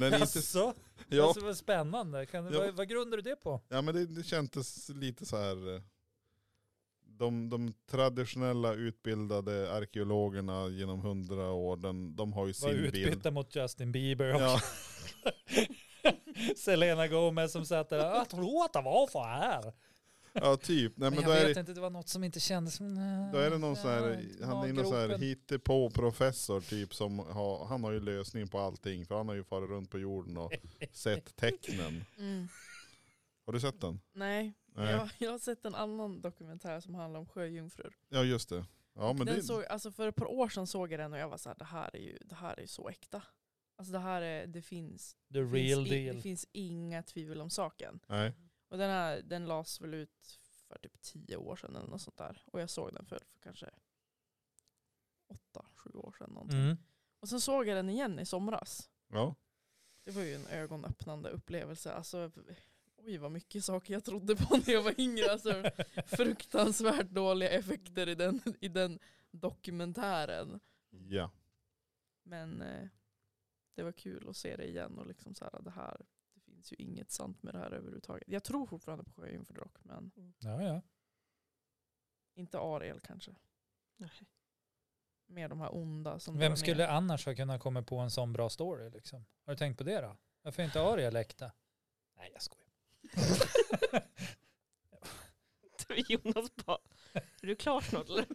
Speaker 2: den är inte,
Speaker 1: Jaså?
Speaker 2: ja,
Speaker 1: Alltså, vad spännande. Kan,
Speaker 2: Ja.
Speaker 1: vad, vad grundar du det på?
Speaker 2: ja men det, det kändes lite så här. eh, De, de traditionella utbildade arkeologerna genom hundra år, den, de har ju
Speaker 1: Var
Speaker 2: sin bild.
Speaker 1: utbytta mot Justin Bieber och
Speaker 2: Ja,
Speaker 1: Selena Gomez som satt där. Jag tror att det var så här.
Speaker 2: ja typ. Nej,
Speaker 1: Men
Speaker 2: men
Speaker 1: jag
Speaker 2: då är det-
Speaker 1: vet inte, det var något som inte kändes. eh,
Speaker 2: Då är det någon sån här,
Speaker 1: Mm.
Speaker 2: han är någon sån här hittepå-professor typ som har, han har ju lösning på allting för han har ju farit runt på jorden och sett tecknen.
Speaker 3: Mm.
Speaker 2: Har du sett den?
Speaker 3: Nej,
Speaker 2: Nej.
Speaker 3: Jag, jag har sett en annan dokumentär som handlar om sjöjungfrur.
Speaker 2: Ja just det. Ja men
Speaker 3: den
Speaker 2: det,
Speaker 3: såg, alltså för ett par år sedan såg jag den och jag var så här, det här är ju det här är ju så äkta. Alltså det här är, det finns,
Speaker 1: The real
Speaker 3: finns, i- det
Speaker 1: deal.
Speaker 3: finns inga tvivel om saken.
Speaker 2: nej.
Speaker 3: Och den här, den lades väl ut för typ tio år sedan eller något sånt där. Och jag såg den för, för kanske sju år sedan någonting.
Speaker 1: Mm.
Speaker 3: Och sen såg jag den igen i somras.
Speaker 2: Ja.
Speaker 3: Det var ju en ögonöppnande upplevelse. Alltså, oj vad mycket saker jag trodde på när jag var yngre. Alltså, fruktansvärt dåliga effekter i den, i den dokumentären.
Speaker 2: Ja.
Speaker 3: Men eh, det var kul att se det igen och liksom så här, det här, det finns ju inget sant med det här överhuvudtaget. Jag tror fortfarande på Sjöjungfru Dock, men
Speaker 1: Ja, ja.
Speaker 3: inte Ariel kanske.
Speaker 4: Nej.
Speaker 3: Mer de här onda som drar
Speaker 1: Vem
Speaker 3: ner.
Speaker 1: skulle annars ha kunnat komma på en sån bra story liksom? Har du tänkt på det då? Varför är inte Ariel äkta? Nej, jag skojar.
Speaker 4: Jonas bara, är du klar snart eller?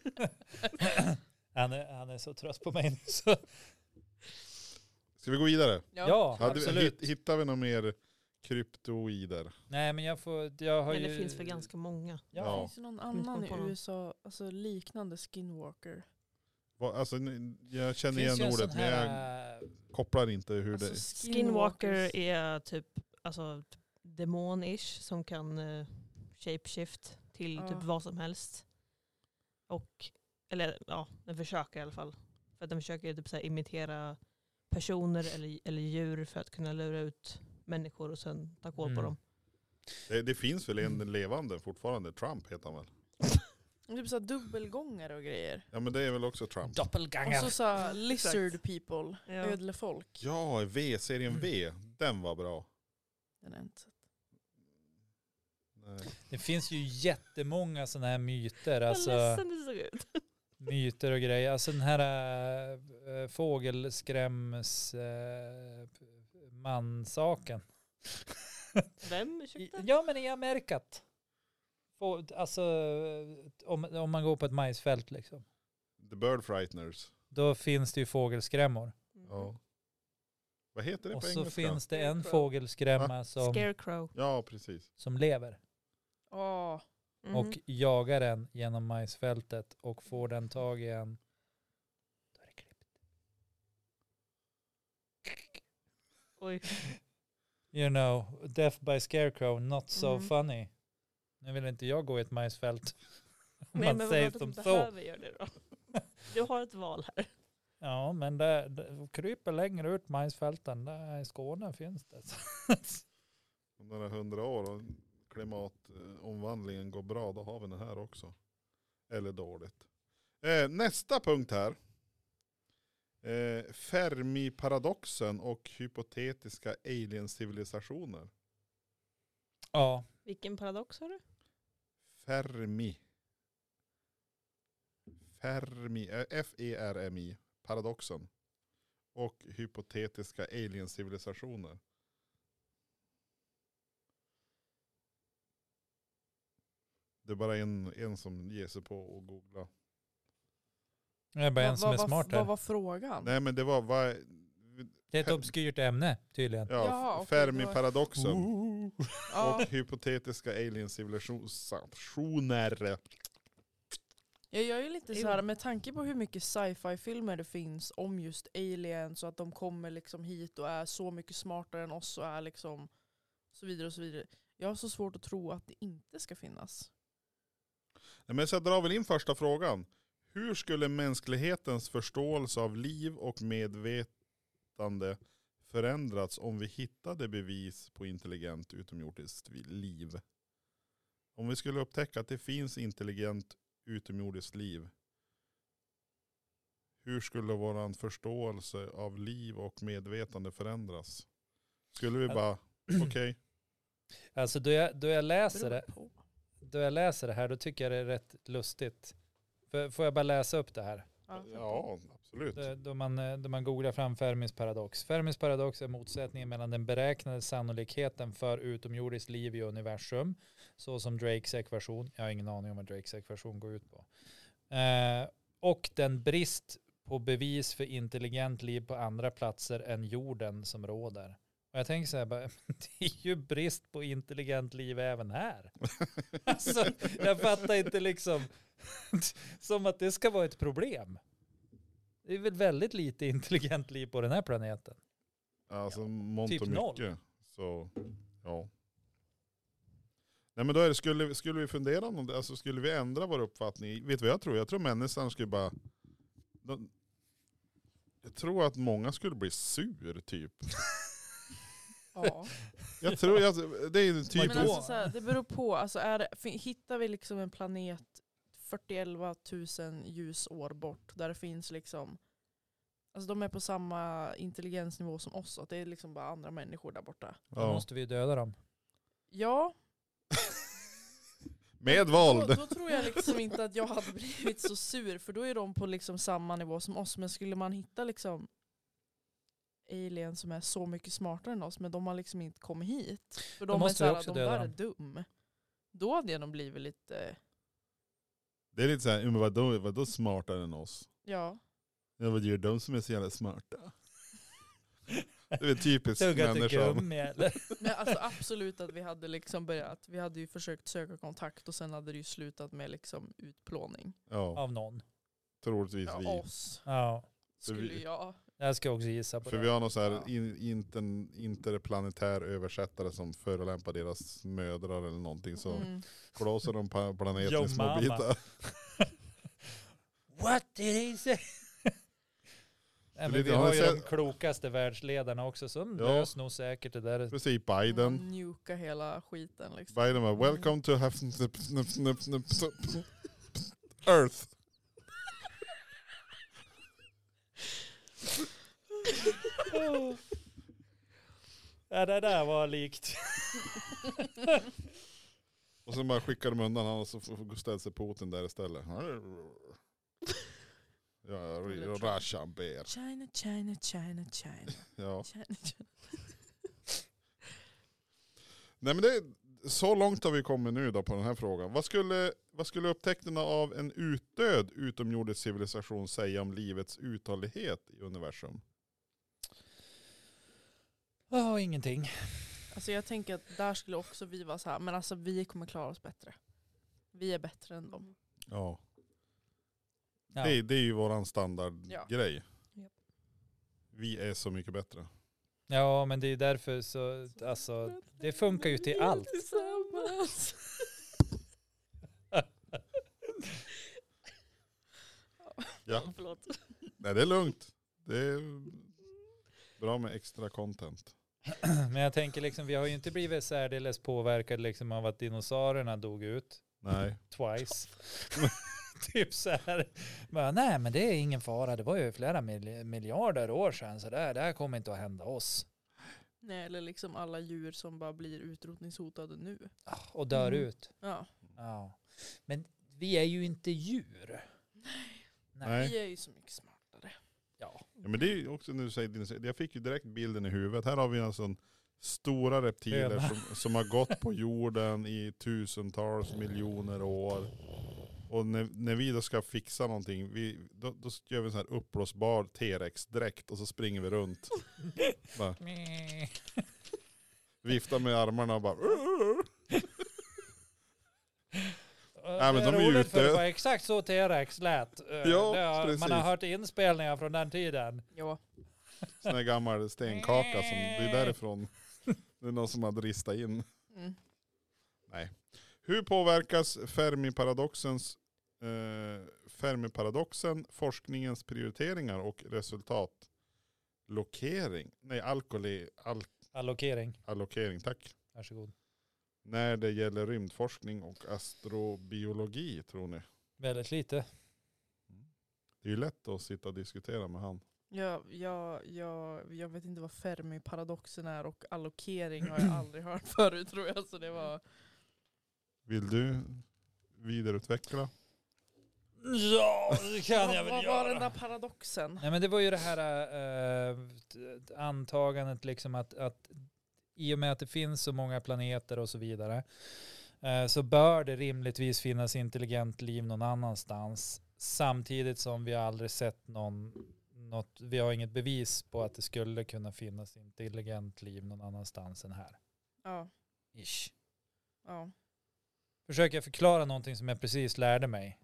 Speaker 1: Han är, han är så trött på mig nu så.
Speaker 2: Ska vi gå vidare?
Speaker 1: Ja,
Speaker 2: Hade vi,
Speaker 1: absolut.
Speaker 2: hitt, hittar vi några mer kryptoider?
Speaker 1: Nej, men jag får, jag har
Speaker 4: Men det
Speaker 1: ju...
Speaker 4: finns väl ganska många.
Speaker 1: Ja.
Speaker 3: Finns det någon
Speaker 4: inte
Speaker 3: annan
Speaker 4: komma
Speaker 3: i
Speaker 4: på någon.
Speaker 3: USA, alltså liknande skinwalker?
Speaker 2: Va- Alltså, nu- jag
Speaker 1: Det
Speaker 2: känner
Speaker 1: finns ju
Speaker 2: igen
Speaker 1: en sån
Speaker 2: ordet men jag
Speaker 1: här... äh,
Speaker 2: kopplar inte hur
Speaker 3: Alltså,
Speaker 2: det...
Speaker 4: Skinwalker
Speaker 3: skinwalkers.
Speaker 4: är typ alltså, typ demon-ish som kan eh, shapeshift till
Speaker 3: Ja.
Speaker 4: typ vad som helst. Och, eller ja, den försöker i alla fall. För att den försöker ju typ så här imitera personer eller, eller djur för att kunna lura ut människor och sen ta koll på
Speaker 1: Mm.
Speaker 4: dem.
Speaker 2: Det, det finns väl en levande fortfarande, Trump heter han väl?
Speaker 3: Typ så här dubbelgångare och grejer.
Speaker 2: Ja men det är väl också Trump?
Speaker 3: Och
Speaker 1: Doppelganger.
Speaker 3: så, så här
Speaker 4: Exakt.
Speaker 3: lizard people,
Speaker 4: Ja.
Speaker 3: ödlefolk.
Speaker 2: Ja, V-serien V, den var bra.
Speaker 3: Den är inte.
Speaker 2: Nej.
Speaker 1: Det finns ju jättemånga sådana här myter.
Speaker 4: Vad
Speaker 1: Alltså,
Speaker 4: ledsen du såg ut.
Speaker 1: myter och grejer. Alltså den här äh, fågelskräms äh, mansaken.
Speaker 4: Vem?
Speaker 1: I-
Speaker 4: Ursäkta?
Speaker 1: Ja, men i Amerikat. Få- Alltså, eh, om, om man går på ett majsfält liksom.
Speaker 2: The Bird Frighteners.
Speaker 1: Då finns det ju fågelskrämmor.
Speaker 4: Mm.
Speaker 2: Ja. Vad heter det
Speaker 1: Mm. Och
Speaker 2: på
Speaker 1: så
Speaker 2: engelska?
Speaker 1: finns det en
Speaker 4: Scarecrow.
Speaker 1: fågelskrämma som,
Speaker 4: Scarecrow.
Speaker 2: Ja, precis.
Speaker 1: som lever
Speaker 3: Åh,
Speaker 4: Mhm.
Speaker 1: och jagar den genom majsfältet och får den tag i en. Då är det klippt.
Speaker 4: Oj.
Speaker 1: You know, death by scarecrow, not so
Speaker 4: Mm.
Speaker 1: funny. Nu vill inte jag gå i ett majsfält. Om
Speaker 4: Nej,
Speaker 1: man
Speaker 4: men vad bra
Speaker 1: säger
Speaker 4: att du
Speaker 1: som
Speaker 4: inte
Speaker 1: så.
Speaker 4: behöver göra det då. Du har ett val här.
Speaker 1: Ja, men det, det kryper längre ut majsfälten. Där i Skåne finns det.
Speaker 2: Om några hundra år och klimatomvandlingen går bra, då har vi den här också. Eller dåligt. Eh, nästa punkt här. Eh, Fermi-paradoxen och hypotetiska alien-civilisationer.
Speaker 1: Ja,
Speaker 4: Vilken paradox har du?
Speaker 2: Fermi. Fermi, eh, F-E-R-M-I, paradoxen. Och hypotetiska alien-civilisationer. Det är bara en, en som ger sig på och googla.
Speaker 1: det är bara en
Speaker 3: vad-
Speaker 1: som är
Speaker 3: vad-
Speaker 1: smart
Speaker 3: Vad
Speaker 1: här.
Speaker 3: var frågan?
Speaker 2: Nej men det var, vad,
Speaker 1: Det är ett obskyrt ämne tydligen.
Speaker 2: ja,
Speaker 3: Jaha, okej, det var- Oh.
Speaker 2: Fermi-paradoxen
Speaker 3: Ja,
Speaker 2: och hypotetiska alien-civilisationer.
Speaker 3: jag gör ju lite
Speaker 4: Jo.
Speaker 3: så här, med tanke på hur mycket sci-fi filmer det finns om just aliens och att de kommer liksom hit och är så mycket smartare än oss och är liksom så vidare och så vidare. Jag har så svårt att tro att det inte ska finnas.
Speaker 2: Nej, Men så jag drar väl in första frågan. Hur skulle mänsklighetens förståelse av liv och medvetande förändrats om vi hittade bevis på intelligent utomjordiskt vi- liv? Om vi skulle upptäcka att det finns intelligent utomjordiskt liv. Hur skulle vår förståelse av liv och medvetande förändras? Skulle vi bara, okej,
Speaker 1: Alltså då jag, då, jag läser
Speaker 3: Beror
Speaker 1: det,
Speaker 3: på.
Speaker 1: då jag läser det här då tycker jag det är rätt lustigt. F- Får jag bara läsa upp det här?
Speaker 3: Ja,
Speaker 2: ja absolut.
Speaker 1: Då, då, man, eh, då man googlar fram Fermis paradox. Fermis paradox är motsättningen mellan den beräknade sannolikheten för utomjordiskt liv i universum, så som Drakes ekvation, jag har ingen aning om vad Drakes ekvation går ut på, eh, och den brist på bevis för intelligent liv på andra platser än jorden som råder. Och jag tänker så här, bara, det är ju brist på intelligent liv även här. Alltså, jag fattar inte liksom, som att det ska vara ett problem. Det är väl väldigt lite intelligent liv på den här planeten.
Speaker 2: Alltså mångt
Speaker 1: typ
Speaker 2: och
Speaker 1: noll.
Speaker 2: mycket. Så, ja. Nej men då är det, skulle, skulle vi fundera om det, alltså skulle vi ändra vår uppfattning? Vet du vad jag tror? Jag tror människan skulle bara, de, Jag tror att många skulle bli sur typ.
Speaker 3: Ja.
Speaker 2: Jag tror, jag, det är ju
Speaker 1: Men
Speaker 3: Men
Speaker 2: typiskt.
Speaker 3: alltså, så här, det beror på. Alltså, är det, fin- hittar vi liksom en planet 41 000 ljusår bort där det finns liksom Alltså de är på samma intelligensnivå som oss, att det är liksom bara andra människor där borta.
Speaker 1: Då
Speaker 2: ja.
Speaker 1: måste vi ju döda dem.
Speaker 3: Ja,
Speaker 2: Med
Speaker 3: då,
Speaker 2: våld.
Speaker 3: då tror jag liksom inte att jag hade blivit så sur, för då är de på liksom samma nivå som oss. Men skulle man hitta liksom aliens som är så mycket smartare än oss, men de har liksom inte kommit hit. För
Speaker 1: Då
Speaker 3: de
Speaker 1: måste vi
Speaker 3: är såhär,
Speaker 1: också
Speaker 3: de
Speaker 1: döda
Speaker 3: där är
Speaker 1: dem."
Speaker 3: dum. Då hade jag nog blivit lite,
Speaker 2: Det är lite såhär, men vadå, vadå smartare än oss?
Speaker 3: ja.
Speaker 2: Ja, vad gör de som är så jävla smarta? Det är väl typiskt
Speaker 1: Tugga till
Speaker 2: människan.
Speaker 1: gummi eller?
Speaker 3: Nej, alltså absolut att vi hade liksom börjat, vi hade ju försökt söka kontakt och sen hade det ju slutat med liksom utplåning.
Speaker 2: Ja,
Speaker 1: Av någon.
Speaker 2: troligtvis
Speaker 3: Ja,
Speaker 2: vi.
Speaker 3: oss
Speaker 1: Ja.
Speaker 2: För
Speaker 3: skulle
Speaker 2: vi-
Speaker 3: jag.
Speaker 1: Jag ska också gissa på
Speaker 2: För
Speaker 1: det.
Speaker 2: vi har någon så
Speaker 3: Ja.
Speaker 2: här in, inter, interplanetär översättare som förolämpar deras mödrar eller någonting. Så
Speaker 3: Mm.
Speaker 2: blåser de pa- planeten
Speaker 1: Yo,
Speaker 2: i små
Speaker 1: mama.
Speaker 2: bitar.
Speaker 1: What did he say? Nej, men
Speaker 2: lite-
Speaker 1: vi
Speaker 2: har
Speaker 1: har
Speaker 2: ni
Speaker 1: ju de
Speaker 2: sett-
Speaker 1: klokaste världsledarna också som
Speaker 2: Ja.
Speaker 1: löser nog säkert det där.
Speaker 2: Precis,
Speaker 3: Man
Speaker 2: Biden.
Speaker 3: Njuka hela skiten liksom.
Speaker 2: Biden bara, welcome to have Earth.
Speaker 1: Ja, det där var likt.
Speaker 2: Och sen bara skickar de undan honom och så får ställa sig Putin där istället. Ja, Russian bear.
Speaker 3: China, China, China, China,
Speaker 2: Ja.
Speaker 3: China, China.
Speaker 2: Nej men det, så långt har vi kommit nu då på den här frågan. Vad skulle, vad skulle upptäckterna av en utdöd utomjordisk civilisation säga om livets uthållighet i universum?
Speaker 1: Ja, ingenting.
Speaker 3: Alltså jag tänker att där skulle också vi vara så här, men alltså vi kommer klara oss bättre. Vi är bättre än dem.
Speaker 2: Ja.
Speaker 1: Ja.
Speaker 2: Det, det är ju våran standardgrej.
Speaker 4: Japp.
Speaker 2: Vi är så mycket bättre.
Speaker 1: Ja, men det är därför så, alltså, det funkar ju till
Speaker 3: Vi är
Speaker 1: allt.
Speaker 3: Tillsammans.
Speaker 2: Ja.
Speaker 4: Förlåt.
Speaker 2: Nej det är lugnt. Det är bra med extra content.
Speaker 1: Men jag tänker liksom, vi har ju inte blivit särdeles påverkade liksom av att dinosaurierna dog ut.
Speaker 2: Nej.
Speaker 1: Twice. typ så här. Bara, nej, men det är ingen fara. Det var ju flera mil- miljarder år sedan, så där, det här kommer inte att hända oss.
Speaker 3: Nej, eller liksom alla djur som bara blir utrotningshotade nu.
Speaker 1: Ah, Och dör
Speaker 4: Mm.
Speaker 1: ut.
Speaker 3: Ja.
Speaker 1: Ja. Men vi är ju inte djur. Nej.
Speaker 2: Nej.
Speaker 3: Vi är ju så mycket smartare.
Speaker 1: Ja.
Speaker 2: Ja, men det är ju också när du säger dinosaurier. Jag fick ju direkt bilden i huvudet. Här har vi alltså en stora reptiler
Speaker 1: Höna.
Speaker 2: som, som har gått på jorden i tusentals miljoner år. Och när, när vi då ska fixa någonting, vi, då, då gör vi en sån här uppblåsbar T-rex-dräkt och så springer vi runt. Bara viftar med armarna och bara...
Speaker 1: Nej,
Speaker 2: men de är ju
Speaker 1: för det
Speaker 2: utdö-
Speaker 1: var exakt så T-Rex lät. Eh,
Speaker 2: Ja,
Speaker 1: det har, man har
Speaker 2: precis.
Speaker 1: hört inspelningar från den tiden.
Speaker 3: Ja.
Speaker 2: Sån här gammal stenkaka som, det är därifrån. Det är någon som har dristat in.
Speaker 3: Mm.
Speaker 2: Hur påverkas Fermi-paradoxens eh, Fermi-paradoxen, forskningens prioriteringar och resultat? Lokering, nej alkohol, al-
Speaker 1: Allokering,
Speaker 2: allokering, tack.
Speaker 1: varsågod.
Speaker 2: När det gäller rymdforskning och astrobiologi tror ni?
Speaker 1: Väldigt lite.
Speaker 2: Det är ju lätt att sitta och diskutera med han.
Speaker 3: Jag, jag, jag, jag vet inte vad Fermi-paradoxen är och allokering har jag aldrig hört förut tror jag. Så det var...
Speaker 2: Vill du vidareutveckla?
Speaker 1: Ja, det kan
Speaker 3: Vad-
Speaker 1: jag väl
Speaker 3: Vad var den där
Speaker 1: göra.
Speaker 3: paradoxen?
Speaker 1: Nej, men det var ju det här eh, t- antagandet liksom att, att i och med att det finns så många planeter och så vidare eh, så bör det rimligtvis finnas intelligent liv någon annanstans samtidigt som vi har aldrig sett någon något, vi har inget bevis på att det skulle kunna finnas intelligent liv någon annanstans än här.
Speaker 3: Ja,
Speaker 1: Ish.
Speaker 3: ja.
Speaker 1: Försöker jag förklara någonting som jag precis lärde mig.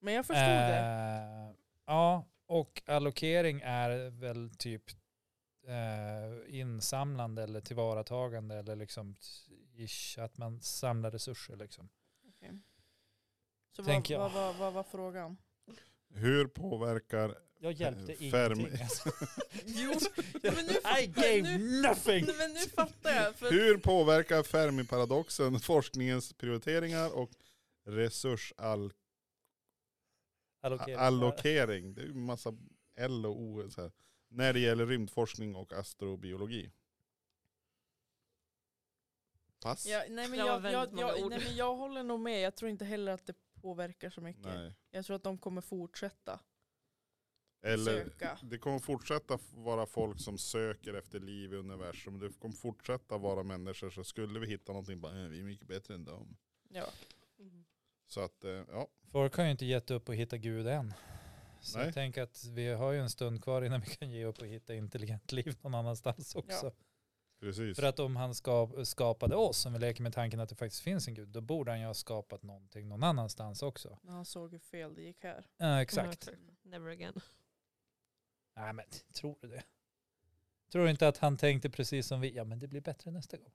Speaker 3: Men jag förstod det.
Speaker 1: Eh, Ja, och allokering är väl typ eh, insamlande eller tillvaratagande eller liksom ish, att man samlar resurser liksom.
Speaker 3: Så
Speaker 1: tänker
Speaker 3: vad,
Speaker 1: jag.
Speaker 3: vad, vad, vad var frågan?
Speaker 2: Hur påverkar
Speaker 1: Jag hjälpte
Speaker 2: Ferm-
Speaker 1: ingenting. Alltså.
Speaker 3: Jo, men nu
Speaker 1: I
Speaker 3: fattar
Speaker 1: gave
Speaker 3: jag. Nu,
Speaker 1: nothing!
Speaker 3: Nej, men nu fattar jag. För
Speaker 2: Hur påverkar Fermi-paradoxen forskningens prioriteringar och resursallokering?
Speaker 1: Allokering.
Speaker 2: Det är ju en massa L och O så här. När det gäller rymdforskning och astrobiologi. Pass?
Speaker 3: Ja, nej, men
Speaker 4: Det var
Speaker 3: jag, jag,
Speaker 4: väldigt
Speaker 3: jag,
Speaker 4: många ord.
Speaker 3: nej, men jag håller nog med. Jag tror inte heller att det påverkar så mycket.
Speaker 2: Nej.
Speaker 3: Jag tror att de kommer fortsätta
Speaker 2: Eller,
Speaker 3: söka.
Speaker 2: det kommer fortsätta f- vara folk som söker efter liv i universum. Det kommer fortsätta vara människor. Så skulle vi hitta någonting, bara, "Eh, vi är mycket bättre än dem.
Speaker 3: Ja.
Speaker 2: Så att, eh, ja.
Speaker 1: Folk har ju inte gett upp och hitta Gud än. Så
Speaker 2: Nej.
Speaker 1: jag tänker att vi har ju en stund kvar innan vi kan ge upp och hitta intelligent liv någon annanstans också.
Speaker 2: Precis.
Speaker 1: För att om han ska, skapade oss, om vi leker med tanken att det faktiskt finns en gud, då borde han ju ha skapat någonting någon annanstans också.
Speaker 3: När han såg hur fel det gick här. Mm.
Speaker 1: Ja,
Speaker 4: Mm.
Speaker 1: exakt.
Speaker 4: Never again.
Speaker 1: Nej men tror du det? Tror du inte att han tänkte precis som vi, ja men det blir bättre nästa gång.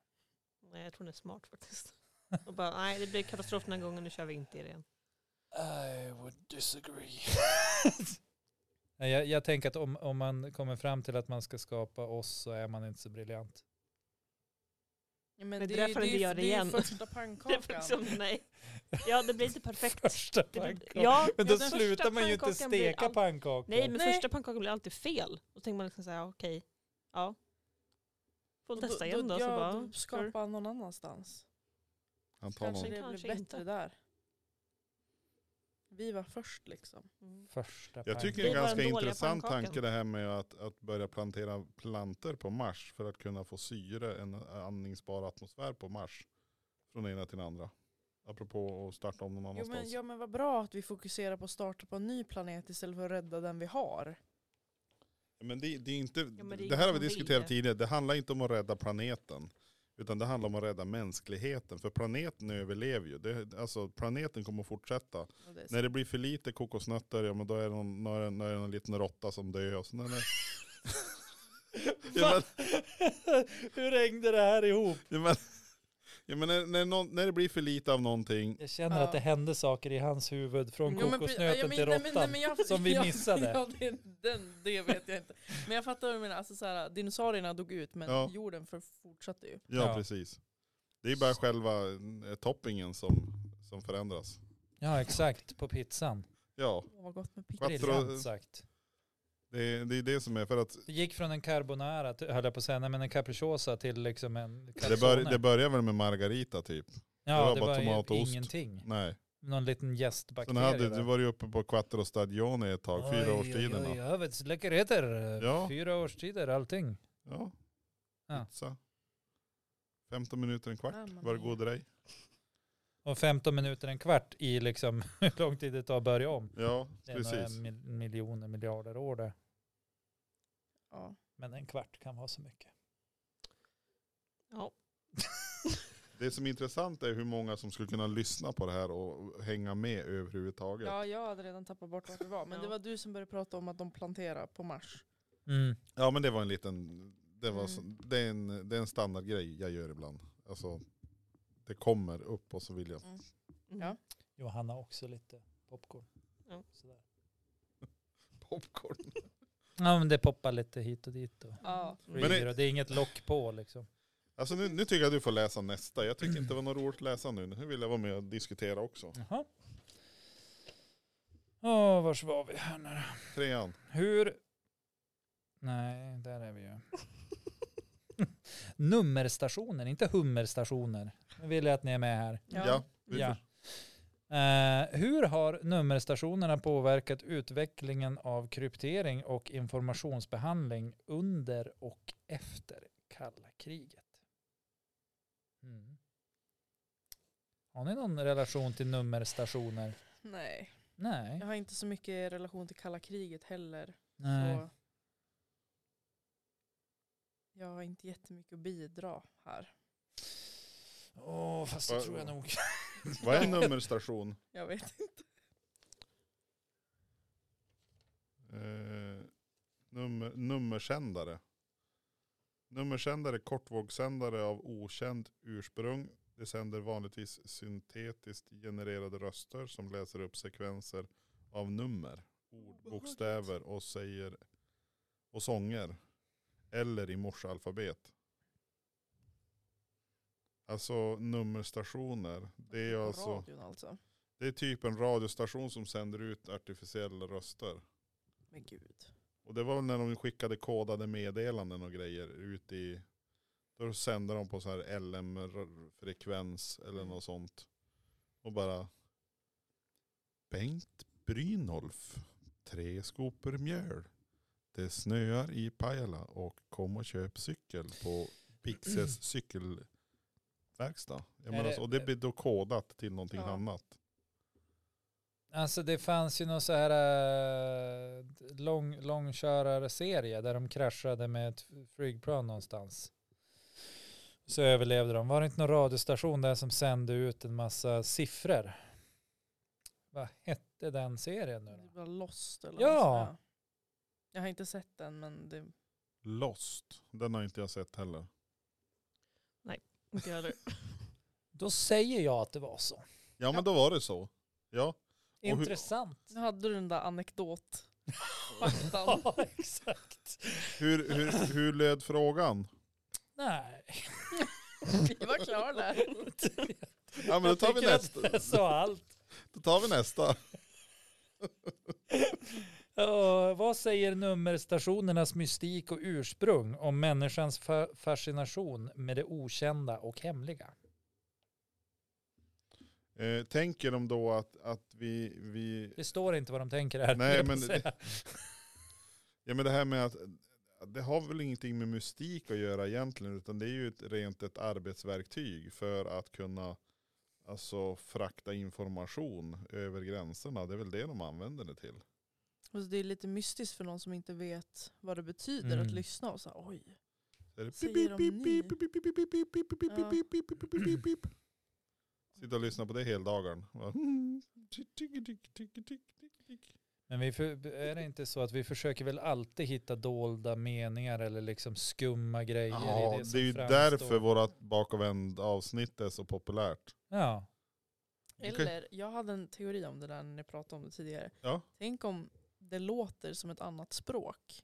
Speaker 4: Nej, jag tror den är smart faktiskt. Och bara, nej det blir katastrof den här gången, nu kör vi inte i det igen.
Speaker 1: I would disagree. Nej, jag, jag tänker att om, om man kommer fram till att man ska skapa oss så är man inte så briljant.
Speaker 3: Ja, men
Speaker 4: det är
Speaker 3: ju-
Speaker 4: därför
Speaker 3: ju-
Speaker 4: vi gör det
Speaker 3: ju
Speaker 4: igen.
Speaker 3: första
Speaker 4: Det är
Speaker 3: pannkakan.
Speaker 4: liksom, nej. Ja, det blir inte perfekt.
Speaker 1: Första
Speaker 4: Det blir-
Speaker 1: pannkakan.
Speaker 4: Ja,
Speaker 1: Men då
Speaker 4: den
Speaker 1: slutar
Speaker 4: första
Speaker 1: man ju inte
Speaker 4: pannkakan blir
Speaker 1: steka
Speaker 4: all-
Speaker 1: pannkakor.
Speaker 4: Nej, men
Speaker 3: Nej.
Speaker 4: första pannkakan blir alltid fel. Då tänker man liksom såhär, okej, ja. Får
Speaker 3: Och
Speaker 4: testa igen då. så
Speaker 3: ja,
Speaker 4: bara, "Mm,
Speaker 3: då
Speaker 4: sure.
Speaker 3: skapar han någon annanstans.
Speaker 2: Han tar
Speaker 3: Kanske
Speaker 2: någon.
Speaker 3: det
Speaker 4: Kanske
Speaker 3: blir bättre
Speaker 4: inte.
Speaker 3: där. Vi var först liksom.
Speaker 4: Mm.
Speaker 1: Första
Speaker 2: Jag tycker det
Speaker 1: pannkakan.
Speaker 2: är
Speaker 4: Det
Speaker 2: en
Speaker 4: var
Speaker 2: ganska
Speaker 4: den dåliga
Speaker 2: intressant
Speaker 4: pannkakan.
Speaker 2: tanke det här med att, att börja plantera planter på Mars för att kunna få syre, en andningsbar atmosfär på Mars. Från ena till den andra. Apropå att starta om någon
Speaker 3: Jo
Speaker 2: annanstans.
Speaker 3: men, ja men vad bra att vi fokuserar på att starta på en ny planet istället för att rädda den vi har.
Speaker 2: Men det, det är inte,
Speaker 4: men det är
Speaker 2: det,
Speaker 4: ingen
Speaker 2: här har vi
Speaker 4: som vill
Speaker 2: diskuterat
Speaker 4: det.
Speaker 2: tidigare, det handlar inte om att rädda planeten. Utan det handlar om att rädda mänskligheten. För planeten överlever ju. Det, alltså planeten kommer att fortsätta.
Speaker 3: Och det är så-
Speaker 2: När det blir för lite kokosnötter, ja men då är det någon, när det, när det är någon liten råtta som dör. Och så, nej, nej. ja,
Speaker 1: Hur hängde det här ihop?
Speaker 2: men, ja, men, ja, men när, när, någon, när det blir för lite av någonting,
Speaker 1: Jag känner
Speaker 3: Ja.
Speaker 1: att det hände saker i hans huvud från
Speaker 3: Jo, men pre-
Speaker 1: kokosnöten
Speaker 3: ja, men-
Speaker 1: till
Speaker 3: nej,
Speaker 1: råttan.
Speaker 3: men- nej, men jag-
Speaker 1: som vi
Speaker 3: ja,
Speaker 1: missade.
Speaker 3: Ja, det, den, det vet jag inte. Men jag fattar vad du menar. Alltså, så här, dinosaurierna dog ut men
Speaker 2: Ja.
Speaker 3: jorden för fortsatte ju.
Speaker 2: ja,
Speaker 1: Ja.
Speaker 2: precis. Det är bara själva eh, toppingen som, som förändras.
Speaker 1: Ja, exakt. På pizzan.
Speaker 2: Ja,
Speaker 3: Åh vad gott med
Speaker 2: Vad
Speaker 3: pizza.
Speaker 2: tror-
Speaker 1: Briljant sagt.
Speaker 2: det, är- det är det som är för att
Speaker 1: Det gick från en carbonara, till, höll jag på att säga, nej men en capricciosa till liksom en
Speaker 2: det, bör,
Speaker 1: calzone.
Speaker 2: det börjar väl med Margarita typ. det
Speaker 1: Ja,
Speaker 2: var
Speaker 1: det
Speaker 2: bara
Speaker 1: var
Speaker 2: tomat och
Speaker 1: ju
Speaker 2: ost.
Speaker 1: ingenting.
Speaker 2: Nej.
Speaker 1: Någon liten
Speaker 2: Sen
Speaker 1: gästbakterie
Speaker 2: hade,
Speaker 1: där.
Speaker 2: du var ju uppe på Quattro Stagione ett tag, fyra årstiderna.
Speaker 1: Oj, oj, oj, oj, läckerheter.
Speaker 2: Ja.
Speaker 1: Fyra årstider, allting.
Speaker 2: Ja.
Speaker 1: Ja.
Speaker 2: Pizza. 15 minuter, en
Speaker 3: Ja,
Speaker 2: kvart.
Speaker 3: man
Speaker 2: Var det god dig?
Speaker 1: Och 15 minuter, en kvart i liksom hur lång tid det tar att börja om.
Speaker 2: Ja,
Speaker 1: Det är några
Speaker 2: precis.
Speaker 1: mil- miljoner, miljarder år där.
Speaker 3: Ja.
Speaker 1: Men en kvart kan vara så mycket.
Speaker 4: Ja.
Speaker 2: Det som är intressant är hur många som skulle kunna lyssna på det här och hänga med överhuvudtaget.
Speaker 3: ja, jag hade redan tappat bort vart vi var. Men
Speaker 4: Ja.
Speaker 3: det var du som började prata om att de planterar på Mars.
Speaker 1: Mm.
Speaker 2: Ja men det var en liten, det, var
Speaker 3: Mm.
Speaker 2: så, det, är en, det är en standardgrej jag gör ibland. Alltså, det kommer upp och så vill jag.
Speaker 4: Mm.
Speaker 3: Ja.
Speaker 1: Johanna också lite popcorn.
Speaker 4: Ja.
Speaker 1: Sådär.
Speaker 2: Popcorn.
Speaker 1: Ja men det poppar lite hit och dit och
Speaker 3: Ja.
Speaker 2: Men
Speaker 4: Mm.
Speaker 2: det-
Speaker 1: flyger och det är inget lock på liksom.
Speaker 2: Alltså nu, nu tycker jag du får läsa nästa. Jag tycker inte det var något roligt att läsa nu. Nu vill jag vara med och diskutera också.
Speaker 1: Jaha. Åh, vars var vi här nu då?
Speaker 2: Trean.
Speaker 1: Hur... Nej, där är vi ju. Nummerstationer, inte hummerstationer. Nu vill jag att ni är med här.
Speaker 2: Ja. vi
Speaker 1: Ja.
Speaker 2: får-
Speaker 1: Eh, hur har nummerstationerna påverkat utvecklingen av kryptering och informationsbehandling under och efter kalla kriget? Mm. Har ni någon relation till nummerstationer?
Speaker 3: Nej,
Speaker 1: Nej.
Speaker 3: jag har inte så mycket relation till kalla kriget heller.
Speaker 1: Nej.
Speaker 3: Så jag har inte jättemycket att bidra här.
Speaker 1: Åh, fast det
Speaker 2: Va-
Speaker 1: tror jag nog.
Speaker 2: Vad är en nummerstation?
Speaker 3: Jag vet inte.
Speaker 2: Eh, nummer, nummersändare. Nummersändare är kortvågssändare av okänd ursprung. Det sänder vanligtvis syntetiskt genererade röster som läser upp sekvenser av nummer. ord, bokstäver och säger och sånger. Eller i morsealfabet. Alltså nummerstationer. Det är
Speaker 3: På
Speaker 2: alltså
Speaker 3: Radion alltså.
Speaker 2: det är typ en radiostation som sänder ut artificiella röster.
Speaker 3: Men gud.
Speaker 2: Och det var väl när de skickade kodade meddelanden och grejer ut i då sände de på så här LM-frekvens eller
Speaker 3: Mm.
Speaker 2: något sånt. Och bara Bengt Brynolf, tre skopor mjöl. Det snöar i Pajala och kom och köp cykel på Pixes cykelverkstad. Jag
Speaker 1: Är
Speaker 2: menar,
Speaker 1: det-
Speaker 2: så- och det blir då kodat till någonting
Speaker 3: Ja.
Speaker 2: annat.
Speaker 1: Alltså det fanns ju någon så här eh, lång, långkörarserie där de kraschade med ett flygplan någonstans. Så överlevde de. Var det inte någon radiostation där som sände ut en massa siffror? Vad hette den serien nu
Speaker 3: Det
Speaker 1: då?
Speaker 3: var Lost eller
Speaker 1: Ja.
Speaker 3: något sånt där. Jag har inte sett den men det...
Speaker 2: Lost, den har inte jag sett heller.
Speaker 4: Inte jag heller.
Speaker 1: Då säger jag att det var så.
Speaker 2: Ja men då var det så. Ja. hur-
Speaker 1: Intressant.
Speaker 3: Nu hade du den där anekdot. Faktan.
Speaker 1: ja, exakt.
Speaker 2: Hur, hur, hur löd frågan?
Speaker 1: Nej.
Speaker 3: Vi var klara där.
Speaker 2: Ja men då tar vi
Speaker 1: Jag tycker
Speaker 2: nästa.
Speaker 1: att det sa allt.
Speaker 2: Då tar vi nästa.
Speaker 1: Ja, vad säger nummerstationernas mystik och ursprung om människans fa- fascination med det okända och hemliga?
Speaker 2: Eh, tänker de då att, att vi, vi,
Speaker 1: Det står inte vad de tänker här.
Speaker 2: Nej,
Speaker 1: jag
Speaker 2: men
Speaker 1: säga.
Speaker 2: ja men det här med att det har väl ingenting med mystik att göra egentligen utan det är ju ett, rent ett arbetsverktyg för att kunna alltså, frakta information över gränserna. Det är väl det de använder det till.
Speaker 3: Och så Alltså, det är lite mystiskt för någon som inte vet vad det betyder
Speaker 1: Mm.
Speaker 3: att lyssna och så här, oj.
Speaker 2: Så är det
Speaker 3: Säger
Speaker 2: pip,
Speaker 3: de
Speaker 2: pip,
Speaker 3: ni?
Speaker 2: pip, pip, pip, pip, pip, pip, pip, pip,
Speaker 3: Ja.
Speaker 2: pip, pip, pip, pip, pip, pip. Sitta och lyssna på det heldagen. Va? Mm. Tick, tick, tick, tick, tick, tick, tick.
Speaker 1: Men vi för, är det inte så att vi försöker väl alltid hitta dolda meningar eller liksom skumma grejer? i
Speaker 2: Ja,
Speaker 1: det,
Speaker 2: det
Speaker 1: som
Speaker 2: är ju
Speaker 1: framstår?
Speaker 2: därför vårat bak och vänd avsnitt är så populärt.
Speaker 1: Ja,
Speaker 2: Du kan-
Speaker 3: Eller, jag hade en teori om det där när ni pratade om det tidigare.
Speaker 2: Ja.
Speaker 3: Tänk om det låter som ett annat språk.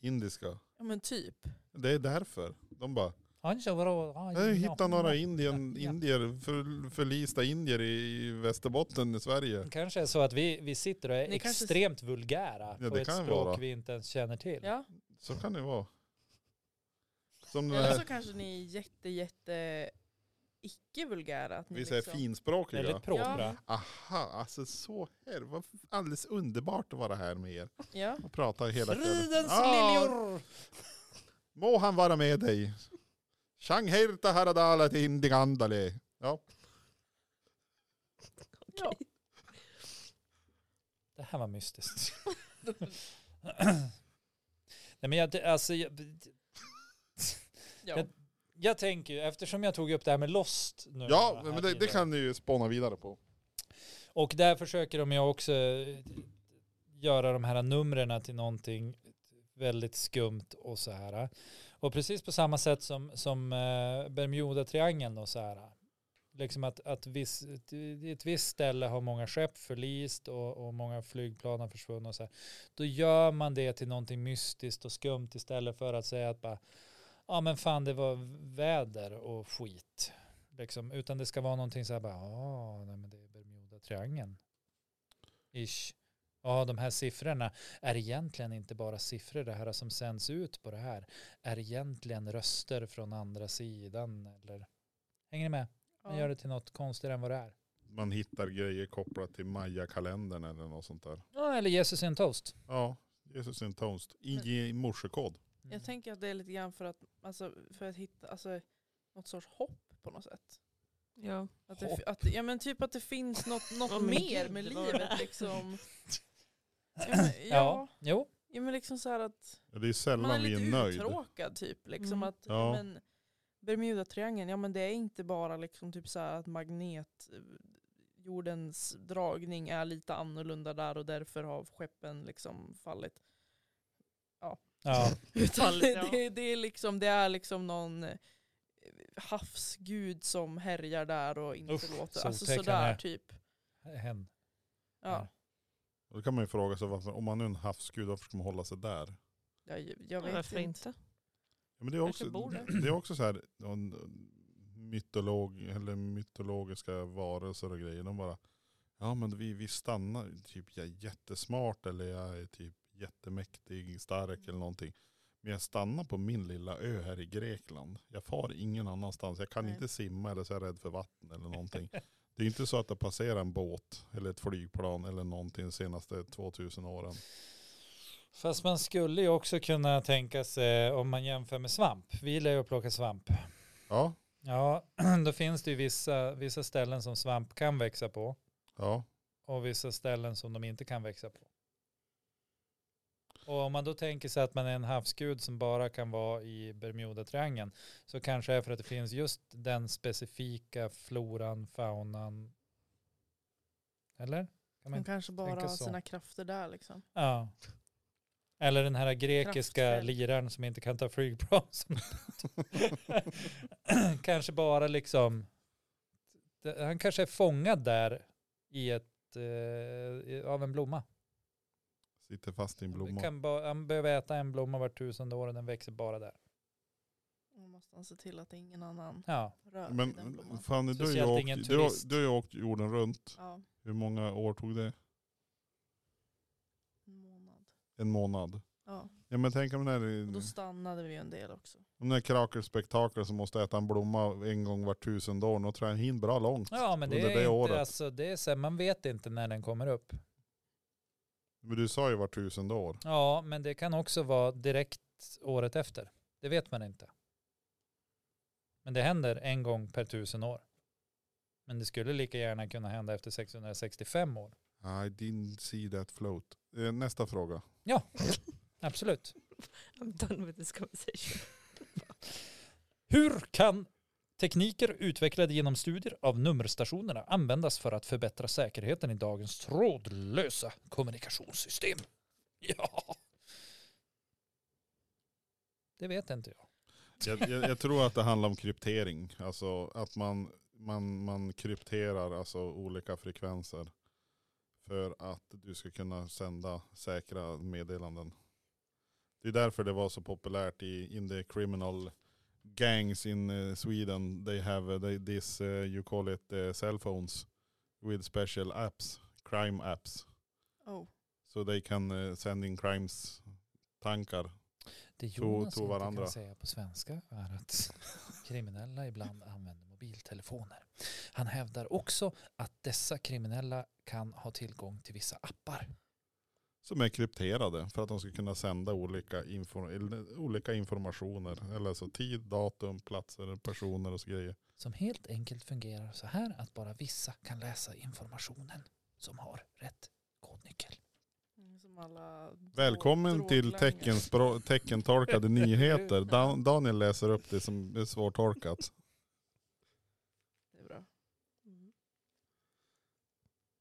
Speaker 2: Indiska.
Speaker 3: Ja men typ.
Speaker 2: Det är därför. De bara,
Speaker 1: han kör bra. Han
Speaker 2: jag hittar några
Speaker 1: ja.
Speaker 2: indien,
Speaker 1: Ja.
Speaker 2: indier, för, förlista indier i i Västerbotten i Sverige.
Speaker 1: Kanske är så att vi, vi sitter och är
Speaker 3: Ni kanske-
Speaker 1: extremt vulgära
Speaker 2: Ja,
Speaker 1: på
Speaker 2: det
Speaker 1: ett
Speaker 2: kan
Speaker 1: språk
Speaker 2: vara.
Speaker 1: vi inte ens känner till.
Speaker 3: Ja.
Speaker 2: Så kan det vara. Som den
Speaker 3: Eller så
Speaker 2: här,
Speaker 3: kanske ni är jätte jätte icke-vulgära. att ni
Speaker 2: vi säger
Speaker 3: liksom-
Speaker 2: finspråkiga.
Speaker 1: Väldigt propra.
Speaker 3: Ja.
Speaker 2: Aha, alltså så här. Vad alldeles underbart att vara här med er
Speaker 3: Ja.
Speaker 2: och prata hela kvällen.
Speaker 1: Fridens
Speaker 2: Ah,
Speaker 1: liljor!
Speaker 2: må han vara med dig. Shanghirta haradala till indigandale.
Speaker 3: ja.
Speaker 1: Det här var mystiskt. Nej, men jag, alltså, jag,
Speaker 3: ja.
Speaker 1: jag tänker ju, eftersom jag tog upp det här med Lost nu.
Speaker 2: Ja,
Speaker 1: här
Speaker 2: men det, det
Speaker 1: tidigare,
Speaker 2: kan du ju spåna vidare på.
Speaker 1: Och där försöker de ju också eh, göra de här numren till någonting väldigt skumt och så här. Och precis på samma sätt som, som eh, Bermuda-triangeln och så här. Liksom att, att viss, i ett visst ställe har många skepp förlist och, och många flygplan har försvunnit och så här. Då gör man det till någonting mystiskt och skumt istället för att säga att bara, ja men fan det var väder och skit. Liksom, utan det ska vara någonting så här bara, ja nej men det är Bermuda-triangeln. Ish. Ja, de här siffrorna är egentligen inte bara siffror. Det här som sänds ut på det här är egentligen röster från andra sidan. Eller... Hänger ni med? Man gör det till något konstigare än vad det är.
Speaker 2: Man hittar grejer kopplat till Maya-kalendern eller något sånt där.
Speaker 1: Ja, eller Jesus i en toast.
Speaker 2: Ja, Jesus in toast. I morsekod.
Speaker 1: Mm.
Speaker 3: Jag tänker att det är lite grann för att, alltså, för att hitta alltså, något sorts hopp på något sätt.
Speaker 4: Ja.
Speaker 3: Att det,
Speaker 1: Hopp?
Speaker 3: att, ja men typ att det finns något, något
Speaker 4: Ja, men
Speaker 3: mer
Speaker 4: gud,
Speaker 3: med
Speaker 4: det var det
Speaker 3: livet
Speaker 4: här.
Speaker 3: liksom. Ja, men,
Speaker 1: Ja,
Speaker 3: ja,
Speaker 1: jo.
Speaker 3: ja men liksom så här att
Speaker 2: Ja, Det är
Speaker 3: man är
Speaker 2: sällan vi är
Speaker 3: lite
Speaker 2: nöjd.
Speaker 3: uttråkad typ. Liksom
Speaker 4: Mm.
Speaker 3: att,
Speaker 2: Ja.
Speaker 3: ja. men, Bermuda-triangeln, ja men det är inte bara liksom typ så här att magnet eh, jordens dragning är lite annorlunda där och därför har skeppen liksom fallit.
Speaker 1: Ja.
Speaker 3: Utan
Speaker 4: Fallet,
Speaker 3: det,
Speaker 4: ja.
Speaker 3: det, det, är liksom, det är liksom någon eh, havsgud som härjar där och inte
Speaker 1: Uff,
Speaker 3: låter. Alltså
Speaker 1: soltecken
Speaker 3: sådär
Speaker 1: är.
Speaker 3: typ.
Speaker 1: Hen.
Speaker 3: Ja.
Speaker 1: Ja.
Speaker 2: Och Då kan man ju fråga sig varför, om man nu är en havsgud, varför ska man hålla sig där?
Speaker 3: Jag, jag vet
Speaker 4: Varför
Speaker 3: inte.
Speaker 4: inte?
Speaker 2: Ja, men det, är
Speaker 4: Kanske
Speaker 2: också,
Speaker 4: bor
Speaker 2: det är också så här, en mytolog, eller mytologiska varelser och grejer. De bara, ja men vi, vi stannar, typ jag är jättesmart eller jag är typ jättemäktig, stark eller någonting. Men jag stannar på min lilla ö här i Grekland. Jag far ingen annanstans. Jag kan
Speaker 3: Nej.
Speaker 2: inte simma eller så är jag rädd för vatten eller någonting. Det är inte så att det passerar en båt eller ett flygplan eller någonting de senaste 2000 åren.
Speaker 1: Fast man skulle ju också kunna tänka sig om man jämför med svamp. Vi gillar ju att plocka svamp.
Speaker 2: Ja,
Speaker 1: Ja, då finns det ju vissa, vissa ställen som svamp kan växa på
Speaker 2: ja.
Speaker 1: och vissa ställen som de inte kan växa på. Och om man då tänker sig att man är en havsgud som bara kan vara i Bermudatriangeln så kanske är för att det finns just den specifika floran, faunan. Eller? Kan man
Speaker 3: De kanske bara
Speaker 1: tänka
Speaker 3: har
Speaker 1: så.
Speaker 3: sina krafter där liksom.
Speaker 1: Ja. Eller den här grekiska
Speaker 3: Kraftfält.
Speaker 1: liraren som inte kan ta flygplan. Som kanske bara liksom, han kanske är fångad där i ett, eh, i- av en blomma.
Speaker 2: Sitter fast i en
Speaker 1: Han,
Speaker 2: blomma.
Speaker 1: kan bara, han behöver äta en blomma vart tusende år och den växer bara där.
Speaker 3: Då måste han se till att det är ingen annan
Speaker 1: Ja,
Speaker 3: rör vid den
Speaker 2: Men
Speaker 3: blomman.
Speaker 2: Fanny, du har ju
Speaker 1: Speciellt ingen
Speaker 2: åkt, du har,
Speaker 1: turist.
Speaker 2: du har ju åkt jorden runt.
Speaker 3: Ja,
Speaker 2: Hur många år tog det?
Speaker 3: en månad.
Speaker 2: En månad.
Speaker 3: Ja,
Speaker 2: Ja men tänk om den
Speaker 3: och då
Speaker 2: här,
Speaker 3: stannade vi ju en del också.
Speaker 2: om den här krakelspektaklet som måste äta en blomma en gång var tusende år. Då tror jag den hinner bra långt.
Speaker 1: ja men det
Speaker 2: Under
Speaker 1: är
Speaker 2: det
Speaker 1: inte,
Speaker 2: året.
Speaker 1: alltså, det är så här, man vet inte när den kommer upp.
Speaker 2: Men du sa ju var tusende år.
Speaker 1: Ja, men det kan också vara direkt året efter. Det vet man inte. Men det händer en gång per tusen år. Men det skulle lika gärna kunna hända efter 665 år.
Speaker 2: I didn't see that float. Eh, Nästa fråga.
Speaker 1: Absolut.
Speaker 4: I'm done with this conversation.
Speaker 1: Hur kan tekniker utvecklade genom studier av nummerstationerna användas för att förbättra säkerheten i dagens trådlösa kommunikationssystem? Ja. Det vet inte jag.
Speaker 2: Jag, jag, jag tror att det handlar om kryptering. Alltså att man, man, man krypterar alltså olika frekvenser. För att du ska kunna sända säkra meddelanden. Det är därför det var så populärt i in the criminal gangs in eh, Sweden. They have eh, they, this, eh, you call it eh, cell phones with special apps, crime apps.
Speaker 3: Oh,
Speaker 2: So they can eh, send in crimes tankar.
Speaker 1: Det
Speaker 2: To-
Speaker 1: Jonas
Speaker 2: to
Speaker 1: inte
Speaker 2: varandra.
Speaker 1: kan säga på svenska är att kriminella ibland använder mobiltelefoner. Han hävdar också att dessa kriminella kan ha tillgång till vissa appar.
Speaker 2: som är krypterade för att de ska kunna sända olika, info, eller olika informationer. Eller alltså tid, datum, platser, personer och så grejer.
Speaker 1: Som helt enkelt fungerar så här att bara vissa kan läsa informationen som har rätt kodnyckel.
Speaker 3: mm, som alla drog-
Speaker 2: Välkommen till
Speaker 3: droglangare.
Speaker 2: teckenspro- teckentolkade nyheter. Dan, Daniel läser upp det som är svårtolkat.
Speaker 3: Det är bra. Mm.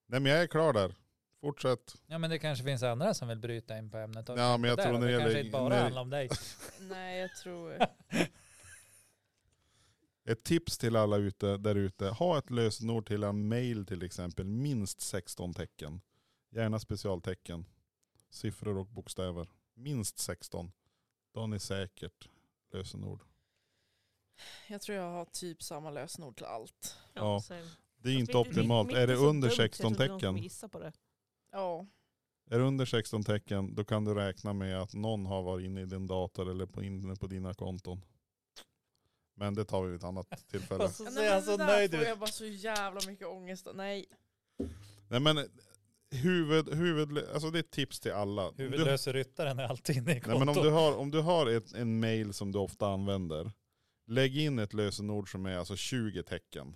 Speaker 2: Nej men jag är klar där. Fortsätt.
Speaker 1: Ja men det kanske finns andra som vill bryta in på ämnet. också.
Speaker 2: Ja, men jag
Speaker 1: Där,
Speaker 2: tror när det
Speaker 1: kanske inte bara
Speaker 2: gäller,
Speaker 1: handlar om dig.
Speaker 3: Nej, jag tror...
Speaker 2: ett tips till alla ute, där ute. Ha ett lösenord till en mail till exempel. Minst 16 tecken. Gärna specialtecken. Siffror och bokstäver. Minst 16. Då har ni säkert lösenord.
Speaker 3: Jag tror jag har typ samma lösenord till allt.
Speaker 2: Ja.
Speaker 4: same. Fast
Speaker 2: Det är
Speaker 4: mitt-
Speaker 2: inte optimalt.
Speaker 4: mitt
Speaker 2: Är det
Speaker 4: så
Speaker 2: under
Speaker 4: dumt, så jag
Speaker 2: 16
Speaker 4: trodde någon kommer
Speaker 2: tecken?
Speaker 4: gissa på det.
Speaker 3: Ja,
Speaker 2: Är det under 16 tecken då kan du räkna med att någon har varit inne i din dator eller på, inne på dina konton. Men det tar vi vid ett annat tillfälle.
Speaker 1: så
Speaker 3: Nej,
Speaker 1: ser han
Speaker 3: men
Speaker 1: så
Speaker 3: det där
Speaker 1: nöjd
Speaker 3: får
Speaker 1: ut.
Speaker 3: jag bara så jävla mycket ångest av. Nej,
Speaker 2: Nej men huvud, huvud, alltså det är ett tips till alla. Du-
Speaker 1: Huvudlöse ryttaren är alltid inne i
Speaker 2: Nej, men om
Speaker 1: kontot.
Speaker 2: du har, om du har ett, en mail som du ofta använder, lägg in ett lösenord som är alltså 20 tecken.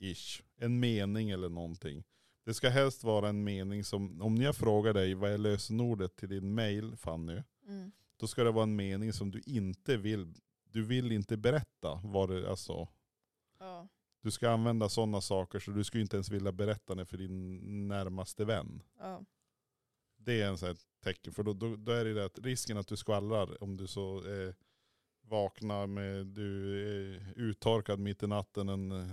Speaker 2: Ish. En mening eller någonting. Det ska helst vara en mening som, om jag frågar dig vad är lösenordet till din mail Fanny,
Speaker 3: mm.
Speaker 2: då ska det vara en mening som du inte vill, du vill inte berätta vad det, alltså.
Speaker 3: ja.
Speaker 2: Du ska använda sådana saker så du skulle inte ens vilja berätta det för din närmaste vän.
Speaker 3: ja.
Speaker 2: Det är en sån här tecken. För då, då, då är det det att risken att du skvallrar om du så eh, vaknar med du är uttorkad mitt i natten en eh,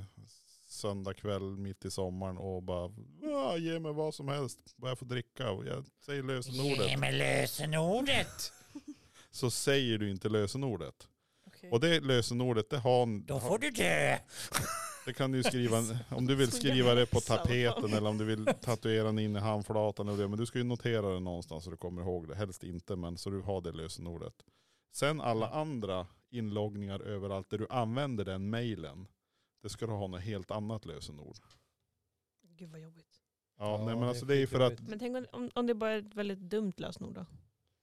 Speaker 2: söndag kväll mitt i sommaren och bara "Ah, ge mig vad som helst vad jag får dricka. Och jag säger lösenordet.
Speaker 1: mig lösenordet.
Speaker 2: Så säger du inte lösenordet.
Speaker 3: Okej.
Speaker 2: Och det lösenordet det har... har-
Speaker 1: du dö.
Speaker 2: Det kan du ju skriva, om du vill
Speaker 4: Så
Speaker 2: skriva
Speaker 4: jävla
Speaker 2: det på
Speaker 4: ledsamt.
Speaker 2: tapeten eller om du vill tatuera den in i handflatan eller det. Men du ska ju notera det någonstans så du kommer ihåg det. Helst inte, men så du har det lösenordet. Sen alla
Speaker 1: Mm.
Speaker 2: andra inloggningar överallt där du använder den mejlen. Det ska du ha något helt annat lösenord.
Speaker 4: Gud vad jobbigt.
Speaker 2: Ja,
Speaker 1: Ja,
Speaker 2: nej,
Speaker 1: det
Speaker 2: men
Speaker 1: är
Speaker 2: alltså det är ju för att
Speaker 1: skitjobbigt.
Speaker 4: Men tänk om- om, om det bara är ett väldigt dumt lösenord då?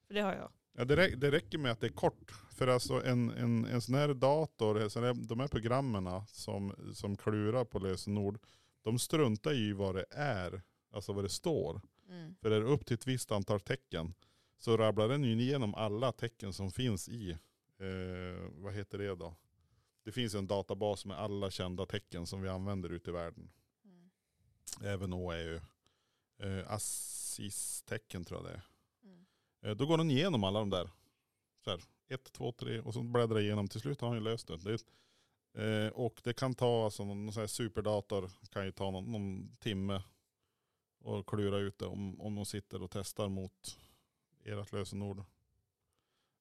Speaker 4: För det har jag.
Speaker 2: ja, det, rä- det räcker med att det är kort. För alltså en, en, en sån här dator, en sån här, de här programmen som, som klurar på lösenord, de struntar ju i vad det är, alltså vad det står.
Speaker 3: Mm.
Speaker 2: För är det upp till ett visst antal tecken så rabblar den ju igenom alla tecken som finns i, eh, vad heter det då? Det finns en databas med alla kända tecken som vi använder ute i världen.
Speaker 3: Mm.
Speaker 2: Även OEU. Eh, Assis-tecken tror jag det
Speaker 3: Mm.
Speaker 2: är. Eh, då går den igenom alla de där. Så här, ett, två, tre och så bläddrar jag igenom. Till slut har han ju löst det. det är- eh, och det kan ta, alltså någon någon sån här superdator kan ju ta någon, någon timme och klura ut det om, om de sitter och testar mot ert lösenord.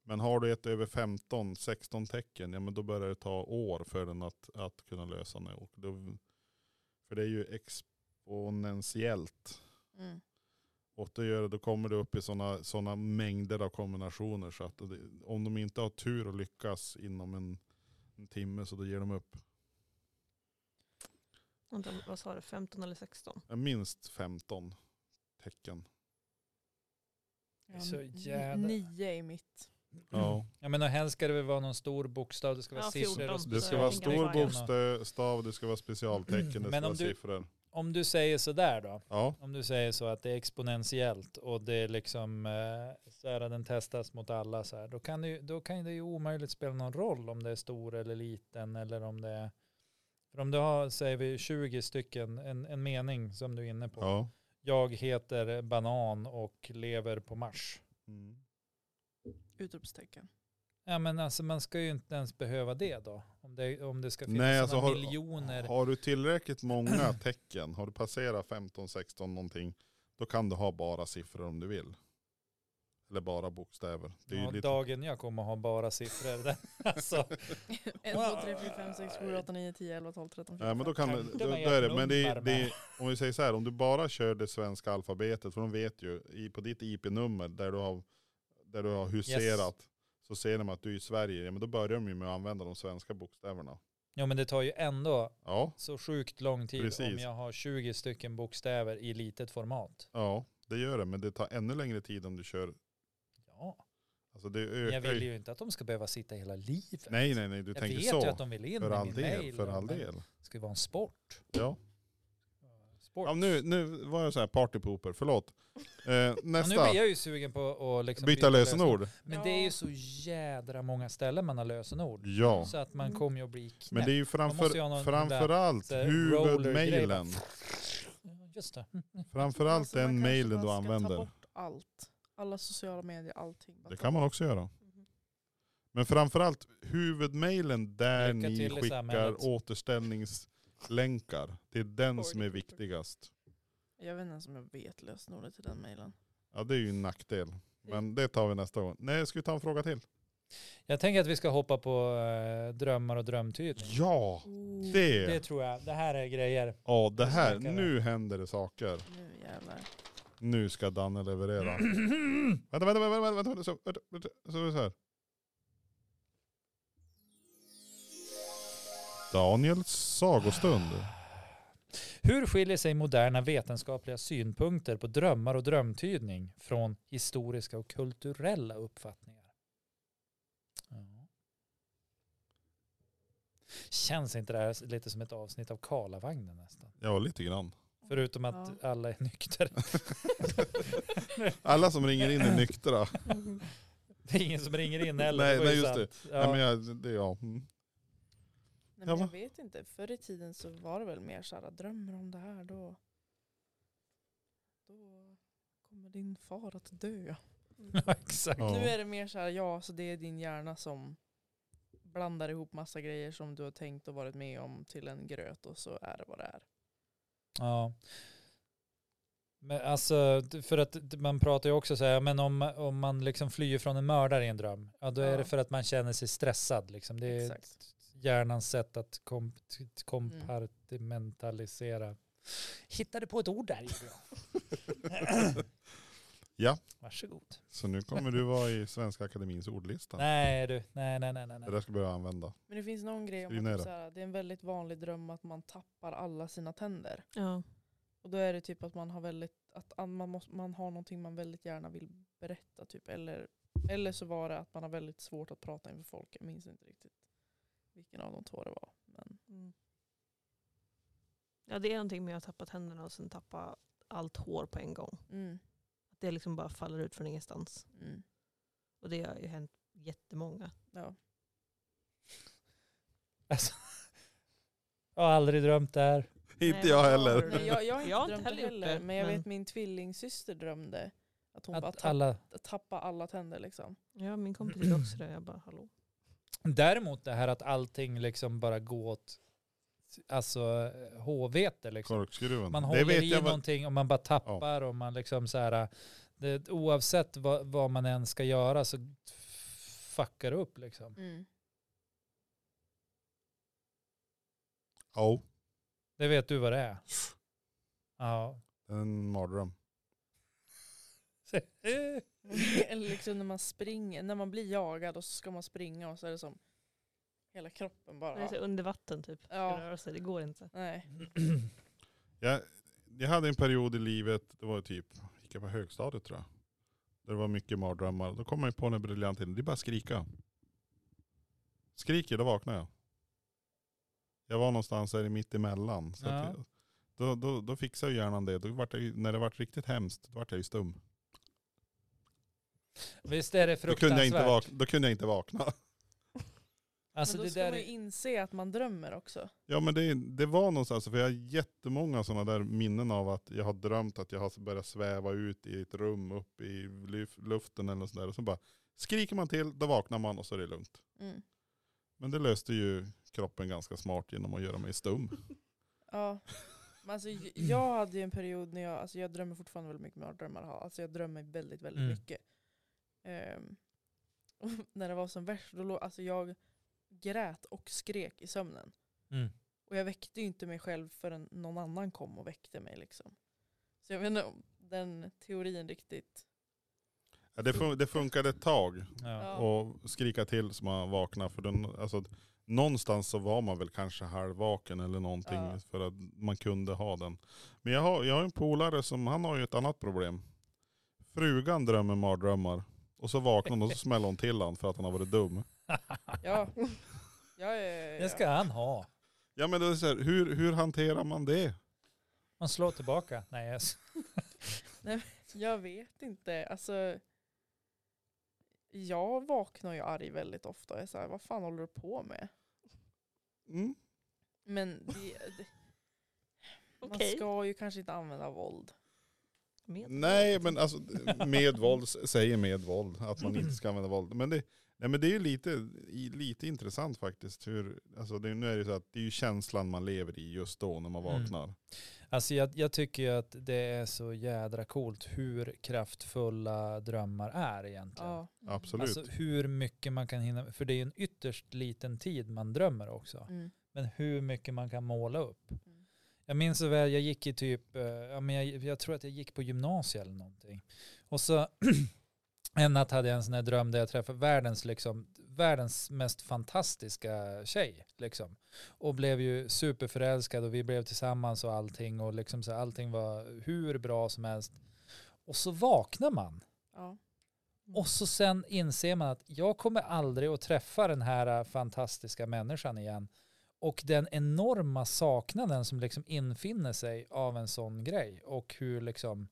Speaker 2: Men har du ett över 15-16 tecken, ja men då börjar det ta år för den att, att kunna lösa det. Och då, för det är ju exponentiellt.
Speaker 3: Mm.
Speaker 2: Och det gör, det- då kommer du upp i sådana såna mängder av kombinationer. Så att det, om de inte har tur och lyckas inom en, en timme så då ger de upp.
Speaker 4: Undrar om- Vad sa du, 15 eller 16?
Speaker 2: Ja, Minst 15 tecken.
Speaker 1: är så
Speaker 3: n-
Speaker 1: jävla-
Speaker 3: Nio i mitt.
Speaker 2: Ja.
Speaker 1: Ja men och helst ska det väl vara någon stor bokstav, det ska vara
Speaker 4: Ja,
Speaker 1: siffror
Speaker 4: 14.
Speaker 1: och
Speaker 2: Det ska
Speaker 4: Så
Speaker 2: vara
Speaker 4: jag tänker
Speaker 2: stor
Speaker 4: att det är
Speaker 2: bokstav, det ska vara specialtecken, det
Speaker 1: Mm. Men
Speaker 2: ska
Speaker 1: om
Speaker 2: vara
Speaker 1: du-
Speaker 2: siffror.
Speaker 1: Om du säger sådär då,
Speaker 2: Ja,
Speaker 1: om du säger så att det är exponentiellt och det är liksom eh, så här, den testas mot alla så här, då kan, det ju, då kan det ju omöjligt spela någon roll om det är stor eller liten eller om det är, för om du har, säger vi 20 stycken, en, en mening som du är inne på,
Speaker 2: ja.
Speaker 1: jag heter banan och lever på Mars.
Speaker 2: Mm.
Speaker 3: Utropstecken.
Speaker 1: Ja men alltså man ska ju inte ens behöva det då, om det, om det ska finnas
Speaker 2: Nej,
Speaker 1: såna
Speaker 2: alltså har-
Speaker 1: miljoner.
Speaker 2: Har du tillräckligt många tecken, har du passerat 15, 16 någonting, då kan du ha bara siffror om du vill. Eller bara bokstäver. Det är ju
Speaker 1: Ja,
Speaker 2: lite...
Speaker 1: Dagen jag kommer ha bara siffror. Den- alltså,
Speaker 3: En,
Speaker 1: Wow.
Speaker 3: två, tre, fyra, fem, sex, sju, åtta, nio, tio, elva, tolv, tretton,
Speaker 2: Nej,
Speaker 3: fjorton.
Speaker 2: men då kan
Speaker 1: Tankarna
Speaker 2: då, då
Speaker 1: är
Speaker 2: är det, men det,
Speaker 1: nummer
Speaker 2: det,
Speaker 1: med.
Speaker 2: om vi säger så här, om du bara kör det svenska alfabetet, för de vet ju i, på ditt IP-nummer där du har, där du har huserat, så ser de att du är i Sverige, ja, men då börjar de ju med att använda de svenska bokstäverna.
Speaker 1: ja men det tar ju ändå
Speaker 2: Ja,
Speaker 1: så sjukt lång tid om
Speaker 2: Precis.
Speaker 1: jag har 20 stycken bokstäver i litet format.
Speaker 2: ja, det gör det, men det tar ännu längre tid om du kör,
Speaker 1: Ja,
Speaker 2: alltså det
Speaker 1: men jag
Speaker 2: ökar
Speaker 1: vill ju inte att de ska behöva sitta hela livet.
Speaker 2: Nej, nej, nej, du
Speaker 1: jag
Speaker 2: tänker
Speaker 1: vet
Speaker 2: så.
Speaker 1: ju att de vill in
Speaker 2: för
Speaker 1: i
Speaker 2: all
Speaker 1: min
Speaker 2: del,
Speaker 1: mail,
Speaker 2: för all
Speaker 1: men
Speaker 2: del.
Speaker 1: Det ska ju vara en sport.
Speaker 2: Ja.
Speaker 1: sport.
Speaker 2: Ja, nu, nu var jag så här partypooper, förlåt. Eh,
Speaker 1: Ja, nu
Speaker 2: nästa,
Speaker 1: blir jag ju sugen på att liksom
Speaker 2: byta lösenord.
Speaker 1: Men
Speaker 3: Ja.
Speaker 1: det är ju så jädra många ställen man har lösenord.
Speaker 2: Ja,
Speaker 1: Så att man
Speaker 4: Mm.
Speaker 1: kommer ju att bli knäpp.
Speaker 2: men det är ju
Speaker 1: Man måste ju ha
Speaker 2: framför,
Speaker 1: någon
Speaker 2: framförallt
Speaker 1: sån där roller-grej,
Speaker 2: huvudmailen.
Speaker 1: va? Just det.
Speaker 2: Framförallt
Speaker 3: Alltså, man
Speaker 2: den
Speaker 3: kanske
Speaker 2: mailen
Speaker 3: bara
Speaker 2: du
Speaker 3: ska Ta
Speaker 2: använder.
Speaker 3: bort allt. Alla sociala medier, allting. Bara
Speaker 2: Det
Speaker 3: ta
Speaker 2: kan man
Speaker 3: bort.
Speaker 2: också göra.
Speaker 3: Mm-hmm.
Speaker 2: Men framförallt huvudmailen där
Speaker 1: Lycka
Speaker 2: ni
Speaker 1: till i
Speaker 2: skickar
Speaker 1: samhället.
Speaker 2: återställningslänkar. Det är den som är viktigast.
Speaker 3: Jag vet inte ens om jag vet lösenordet till den mailen.
Speaker 2: Ja, det är ju en nackdel. Men det tar vi nästa gång. Nej, ska vi ta en fråga till?
Speaker 1: Jag tänker att vi ska hoppa på eh, drömmar och drömtydning.
Speaker 2: Ja,
Speaker 3: Mm.
Speaker 1: Det
Speaker 2: det.
Speaker 1: tror jag. Det här är grejer.
Speaker 2: Ja, det här.
Speaker 1: Snackar vi.
Speaker 2: Nu händer det saker.
Speaker 3: Nu jävlar.
Speaker 2: Nu ska Danne leverera. vänta, vänta, vänta, vänta, vänta, vänta, så, vänta, vänta, så är det så här. Daniels sagostund.
Speaker 1: Hur skiljer sig moderna vetenskapliga synpunkter på drömmar och drömtydning från historiska och kulturella uppfattningar? Ja. Känns inte det här lite som ett avsnitt av Karlavagnen nästan?
Speaker 2: Ja, lite grann.
Speaker 1: Förutom att
Speaker 3: Ja.
Speaker 1: alla är nykter.
Speaker 2: Alla som ringer in är nyktra.
Speaker 1: Det är ingen som ringer in heller.
Speaker 2: Nej,
Speaker 1: det var
Speaker 2: nej,
Speaker 1: ju
Speaker 2: just
Speaker 1: sant. Ja.
Speaker 2: Nej, men jag, det, ja. mm.
Speaker 3: Nej, men
Speaker 2: Ja,
Speaker 3: jag
Speaker 2: va?
Speaker 3: vet inte. Förr i tiden så var det väl mer så här, drömmer om det här då. Då kommer din far att dö.
Speaker 1: ja, exakt.
Speaker 2: Ja.
Speaker 3: Nu är det mer så här, ja, så det är din hjärna som blandar ihop massa grejer som du har tänkt och varit med om till en gröt och så är det vad det är.
Speaker 1: Ja. Men alltså, för att man pratar ju också så här, men om, om man liksom flyr från en mördare i en dröm, ja då är
Speaker 3: Ja.
Speaker 1: det för att man känner sig stressad liksom. Det är
Speaker 3: Exakt. Mm.
Speaker 1: hjärnans sätt att komp- kompartimentalisera. Hittade på ett ord där, gjorde jag.
Speaker 2: Ja.
Speaker 1: Varsågod.
Speaker 2: Så nu kommer du vara i Svenska Akademins ordlista.
Speaker 1: Nej du, nej nej nej nej.
Speaker 2: Det
Speaker 1: nej.
Speaker 2: där ska jag börja använda.
Speaker 3: Men det finns någon grej om
Speaker 2: Skriv ner
Speaker 3: att
Speaker 2: det.
Speaker 3: typ så här, det är en väldigt vanlig dröm att man tappar alla sina tänder.
Speaker 4: Ja.
Speaker 3: Och då är det typ att man har väldigt, att an- man, måste, man har någonting man väldigt gärna vill berätta typ. Eller, eller så var det att man har väldigt svårt att prata inför folk. Jag minns inte riktigt vilken av de två det var. Men
Speaker 4: Mm. ja, det är någonting med att tappa tänderna och sen tappa allt hår på en gång.
Speaker 3: mm,
Speaker 4: Att det liksom bara faller ut från ingenstans.
Speaker 3: mm,
Speaker 4: Och det har ju hänt jättemånga.
Speaker 3: ja.
Speaker 1: Alltså, jag har aldrig drömt det här.
Speaker 2: Inte
Speaker 4: men
Speaker 2: jag
Speaker 4: jag-
Speaker 2: heller.
Speaker 3: Nej, jag, jag har inte
Speaker 4: Mm. Jag har inte
Speaker 3: drömt
Speaker 4: heller
Speaker 3: det
Speaker 4: gjort
Speaker 3: heller.
Speaker 4: det,
Speaker 3: Men jag
Speaker 4: men-
Speaker 3: vet min tvillingsyster drömde att hon bara
Speaker 1: Att
Speaker 3: tapp,
Speaker 1: alla
Speaker 3: tappade alla tänder liksom.
Speaker 4: Ja, min kompis gjorde också det. Jag bara, hallå.
Speaker 1: Däremot det här att allting liksom bara går åt alltså eh, håvete liksom.
Speaker 2: Korkskruven.
Speaker 1: Man
Speaker 2: det
Speaker 1: håller
Speaker 2: vet
Speaker 1: i
Speaker 2: jag vad...
Speaker 1: någonting och man bara tappar och man liksom så här, det, oavsett vad, vad man än ska göra så fuckar det upp liksom.
Speaker 3: Mm.
Speaker 2: Ja,
Speaker 1: Det vet du vad det är. Ja.
Speaker 2: en mardröm.
Speaker 3: Eller liksom när man springer, när man blir jagad och så ska man springa och så är det som hela kroppen bara.
Speaker 4: Det är så under vatten typ. Ska
Speaker 3: Ja.
Speaker 4: Röra sig. Det går inte.
Speaker 3: Nej.
Speaker 2: Jag, jag hade en period i livet, det var typ, gick jag på högstadiet tror jag. Där det var mycket mardrömmar. Då kom jag på den briljanta idén, det är bara att skrika. Skriker, då vaknar jag. Jag var någonstans här i mitt emellan. Så att
Speaker 1: Ja.
Speaker 2: jag, då, då, då fixade ju hjärnan det. Då vart jag, ju- när det vart riktigt hemskt, då vart jag ju stum.
Speaker 1: Visst är det
Speaker 2: Då kunde, jag inte
Speaker 1: fruktansvärt.
Speaker 2: vakna, då kunde jag inte vakna.
Speaker 1: Alltså
Speaker 3: men då
Speaker 1: det
Speaker 3: ska
Speaker 1: där
Speaker 3: man ju
Speaker 1: är,
Speaker 3: inse att man drömmer också.
Speaker 2: Ja men det, det var någonstans, för jag har jättemånga sådana där minnen av att jag har drömt att jag har börjat sväva ut i ett rum upp i lyf- luften eller sådär. Och så bara skriker man till, då vaknar man och så är det lugnt.
Speaker 3: Mm.
Speaker 2: Men det löste ju kroppen ganska smart genom att göra mig stum.
Speaker 3: Ja. Men alltså, j- jag hade ju en period när jag, alltså jag drömmer fortfarande väldigt mycket mardrömmar. har. Alltså jag drömmer väldigt, väldigt
Speaker 1: Mm.
Speaker 3: mycket. Ehm, och när det var som värst, då låg, alltså jag grät och skrek i sömnen.
Speaker 1: mm.
Speaker 3: Och jag väckte ju inte mig själv förrän någon annan kom och väckte mig liksom. Så jag vet inte om den teorin riktigt.
Speaker 2: Ja, det, fun- det funkade ett tag
Speaker 1: ja.
Speaker 3: Ja.
Speaker 2: och skrika till så man vaknar. För den, alltså, någonstans så var man väl kanske halvvaken eller någonting
Speaker 3: Ja.
Speaker 2: för att man kunde ha den. Men jag har, jag har en polare som han har ju ett annat problem. Frugan drömmer mardrömmar och så vaknar hon och så smäller hon till han för att han har varit dum.
Speaker 3: Ja. ja, ja, ja, ja.
Speaker 1: Det ska han ha.
Speaker 2: Ja men det är så här, hur, hur hanterar man det?
Speaker 1: Man slår tillbaka. Nej, jag s-
Speaker 3: Jag vet inte. Alltså, jag vaknar ju arg väldigt ofta. Jag är så här, vad fan håller du på med?
Speaker 2: Mm.
Speaker 3: Men det, det, man
Speaker 4: Okej.
Speaker 3: ska ju kanske inte använda våld. typ.
Speaker 4: Med.
Speaker 2: Nej men alltså med våld, s- säger med våld att man inte ska använda våld. Men det, nej, men det är ju lite, i- lite intressant faktiskt. Hur, alltså det, nu är det ju så att det är ju känslan man lever i just då när man
Speaker 1: Mm.
Speaker 2: vaknar.
Speaker 1: Alltså jag, jag tycker ju att det är så jädra coolt hur kraftfulla drömmar är egentligen.
Speaker 3: Ja.
Speaker 2: Absolut.
Speaker 1: Alltså hur mycket man kan hinna, för det är ju en ytterst liten tid man drömmer också.
Speaker 3: Mm.
Speaker 1: Men hur mycket man kan måla upp.
Speaker 3: Mm.
Speaker 1: Jag minns så väl, jag gick i typ, eh, ja, men jag, jag tror att jag gick på gymnasiet eller någonting. Och så en natt hade jag en sån här dröm där jag träffade världens, liksom, världens mest fantastiska tjej. Liksom. Och blev ju superförälskad och vi blev tillsammans och allting. Och liksom så här, allting var hur bra som helst. Och så vaknar man.
Speaker 3: Ja.
Speaker 1: Och så sen inser man att jag kommer aldrig att träffa den här äh, fantastiska människan igen. Och den enorma saknaden som liksom infinner sig av en sån grej och hur liksom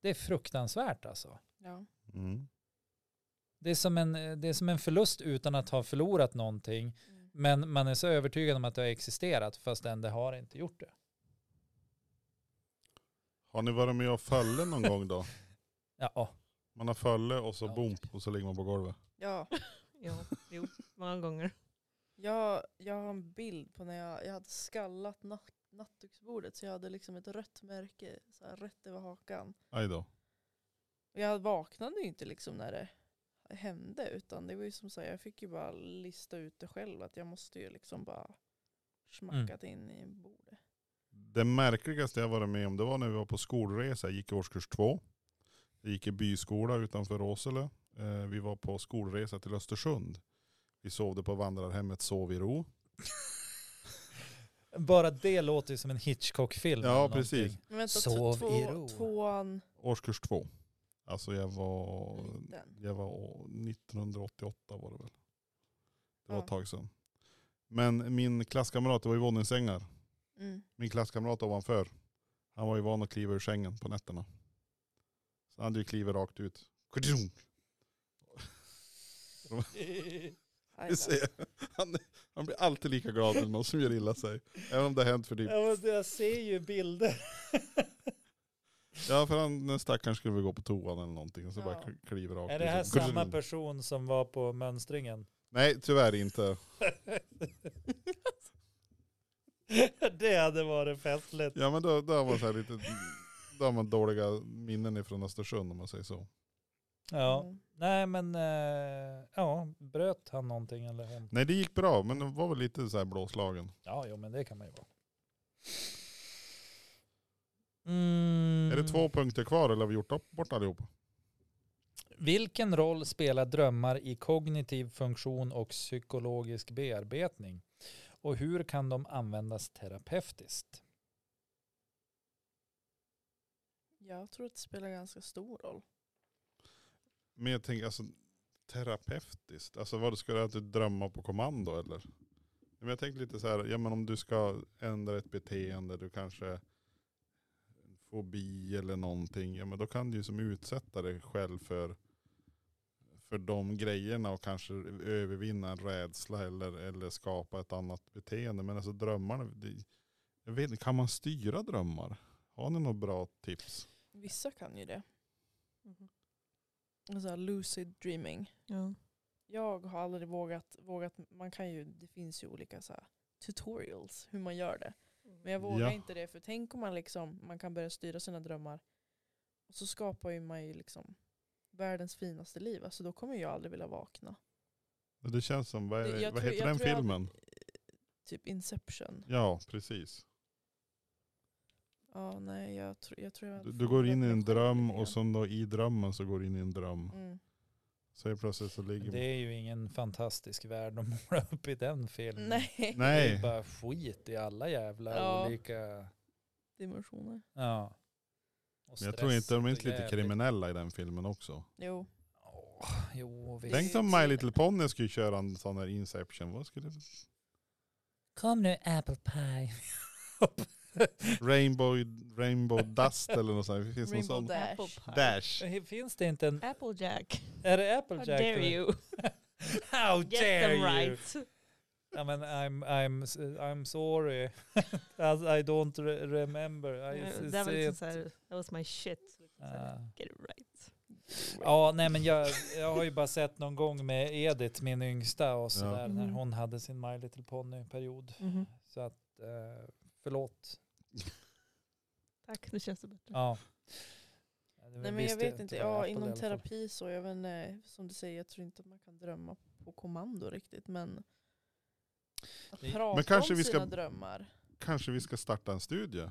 Speaker 1: det är fruktansvärt alltså.
Speaker 3: Ja.
Speaker 2: Mm.
Speaker 1: Det är, som en, eh, det är som en förlust utan att ha förlorat någonting.
Speaker 3: Mm.
Speaker 1: Men man är så övertygad om att det har existerat fastän det har inte gjort det.
Speaker 2: Har ni varit med och fölle någon gång då?
Speaker 1: Ja,
Speaker 2: Man har fölle och så
Speaker 1: Ja.
Speaker 2: bom och så ligger man på golvet.
Speaker 3: ja.
Speaker 4: Ja, jo, många gånger.
Speaker 3: Jag, jag har en bild på när jag, jag hade skallat natt, nattduksbordet så jag hade liksom ett rött märke så här, rätt över hakan.
Speaker 2: Aj då.
Speaker 3: Och jag vaknade ju inte liksom när det hände utan det var ju som så här, jag fick ju bara lista ut det själv att jag måste ju liksom bara smackat
Speaker 1: Mm.
Speaker 3: in i bordet.
Speaker 2: Det märkligaste jag varit med om det var när vi var på skolresa. Jag gick i årskurs två. Jag gick i byskola utanför Åsele. Eh, vi var på skolresa till Östersund. Vi sovde på vandrarhemmet Sov i ro.
Speaker 1: Bara det låter ju som en Hitchcock-film.
Speaker 2: Ja,
Speaker 1: eller någonting.
Speaker 2: precis.
Speaker 3: Men vänta,
Speaker 1: Sov i
Speaker 3: t- två,
Speaker 1: ro.
Speaker 3: tvåan
Speaker 2: Årskurs två. Alltså jag var,
Speaker 3: liten.
Speaker 2: jag var å- 1988 var det väl. Det var
Speaker 3: Ja.
Speaker 2: ett tag sedan. Men min klasskamrat, det var ju våningssängar.
Speaker 3: Mm.
Speaker 2: min klasskamrat ovanför, han var ju van att kliva ur sängen på nätterna. Så han hade ju klivit rakt ut. Kudjung!
Speaker 3: Aj
Speaker 2: Vi
Speaker 3: då.
Speaker 2: ser. Han, han blir alltid lika glad när någon som gör illa sig. Även om det har hänt för typ.
Speaker 1: Ja, men jag ser ju bilder.
Speaker 2: Ja för han, den stackaren skulle väl gå på toan eller någonting. Och liksom så
Speaker 3: Ja.
Speaker 2: bara kl- kliver rakt
Speaker 1: Är det
Speaker 2: ut.
Speaker 1: här samma
Speaker 2: Kudjung!
Speaker 1: person som var på mönstringen?
Speaker 2: Nej tyvärr inte.
Speaker 1: det hade varit festligt.
Speaker 2: Ja men då, då har man så här lite, då har man dåliga minnen ifrån Östersund om man säger så.
Speaker 1: Ja,
Speaker 3: Mm.
Speaker 1: nej men eh, ja, bröt han någonting eller hon?
Speaker 2: Nej det gick bra men det var väl lite så här blåslagen.
Speaker 1: Ja, jo men det kan man ju vara. Mm.
Speaker 2: Är det två punkter kvar eller har vi gjort upp, bort allihop?
Speaker 1: Vilken roll spelar drömmar i kognitiv funktion och psykologisk bearbetning? Och hur kan de användas terapeutiskt?
Speaker 3: Jag tror att det spelar ganska stor roll.
Speaker 2: Men jag tänker alltså terapeutiskt. Alltså vad ska du att du drömma på kommando eller? Ja, Men jag tänker lite så här, ja men om du ska ändra ett beteende, du kanske fobi eller någonting, ja men då kan du ju som utsätta dig själv för, för de grejerna och kanske övervinna en rädsla eller, eller skapa ett annat beteende. Men alltså drömmarna, det, jag vet inte, kan man styra drömmar? Har ni något bra tips?
Speaker 3: Vissa kan ju det.
Speaker 4: Mhm.
Speaker 3: Så här lucid dreaming.
Speaker 4: Ja.
Speaker 3: Jag har aldrig vågat, vågat man kan ju, det finns ju olika så här tutorials hur man gör det. Men jag vågar
Speaker 2: Ja.
Speaker 3: inte det för tänk om man liksom, man kan börja styra sina drömmar. Och så skapar ju man ju liksom världens finaste liv. Alltså då kommer jag aldrig vilja vakna.
Speaker 2: Det känns som, vad, är,
Speaker 3: Det- jag
Speaker 2: vad
Speaker 3: tror-
Speaker 2: heter
Speaker 3: jag
Speaker 2: den
Speaker 3: tror jag-
Speaker 2: filmen?
Speaker 3: Typ Inception.
Speaker 2: Ja, precis.
Speaker 3: Ja nej jag, tror jag tror jag
Speaker 2: Du,
Speaker 3: hade
Speaker 2: du går in i
Speaker 3: förlorat
Speaker 2: en
Speaker 3: mig
Speaker 2: dröm
Speaker 3: själv lite grann.
Speaker 2: och sen då i drömmen så går du in i en dröm.
Speaker 3: Mm.
Speaker 2: Så helt plötsligt så ligger
Speaker 1: Det är ju ingen fantastisk värld att måla upp i den filmen.
Speaker 3: Nej.
Speaker 1: Det är ju
Speaker 2: Mm. Nej,
Speaker 1: bara skit i alla jävla
Speaker 3: Ja.
Speaker 1: olika...
Speaker 3: Dimensioner.
Speaker 1: Ja. Och
Speaker 2: men jag tror
Speaker 1: stress
Speaker 2: inte de är
Speaker 1: och
Speaker 2: inte lite
Speaker 1: jävligt-
Speaker 2: kriminella i den filmen också.
Speaker 3: Jo.
Speaker 1: Åh, jo, visst.
Speaker 2: Tänk om My Little Pony skulle köra en sån här Inception. Vad skulle
Speaker 1: Kom nu Apple Pie.
Speaker 2: Rainbow, Rainbow Dust eller något sånt. här. Det finns någon
Speaker 3: Rainbow
Speaker 2: sån
Speaker 3: Dash.
Speaker 4: Apple pie.
Speaker 2: Dash.
Speaker 1: Finns det inte en...
Speaker 4: Applejack.
Speaker 1: Är det Apple
Speaker 4: How
Speaker 1: Jack?
Speaker 4: dare you.
Speaker 1: How
Speaker 4: Get
Speaker 1: dare
Speaker 4: them
Speaker 1: you?
Speaker 4: right.
Speaker 1: I mean, I'm, I'm, s- I'm sorry. As I don't re- remember. I
Speaker 4: Eh,
Speaker 1: s-
Speaker 4: Det var
Speaker 1: see
Speaker 4: liksom
Speaker 1: it.
Speaker 4: så här, that was my shit. Liksom så här,
Speaker 1: Ah.
Speaker 4: Get it right.
Speaker 1: Ja, nej men jag, jag har ju bara sett någon gång med Edith, min yngsta och sådär,
Speaker 2: Ja.
Speaker 1: när
Speaker 3: Mm.
Speaker 4: Mhm.
Speaker 1: hon hade sin My Little Pony-period.
Speaker 4: Mm-hmm.
Speaker 1: Så att, eh, förlåt.
Speaker 4: Tack, nu känns det bättre.
Speaker 1: Ja. Ja, det var
Speaker 3: Nej men
Speaker 1: visst
Speaker 3: jag
Speaker 1: det, typ
Speaker 3: vet inte,
Speaker 1: det var
Speaker 3: ja,
Speaker 1: Apple i
Speaker 3: inom
Speaker 1: alla fall.
Speaker 3: terapi så, jag vet inte, som du säger, jag tror inte man kan drömma på kommando riktigt men att
Speaker 1: Nej.
Speaker 3: prata
Speaker 2: Men kanske
Speaker 3: om
Speaker 2: vi
Speaker 3: sina
Speaker 2: ska-
Speaker 3: drömmar.
Speaker 2: Kanske vi ska starta en studie.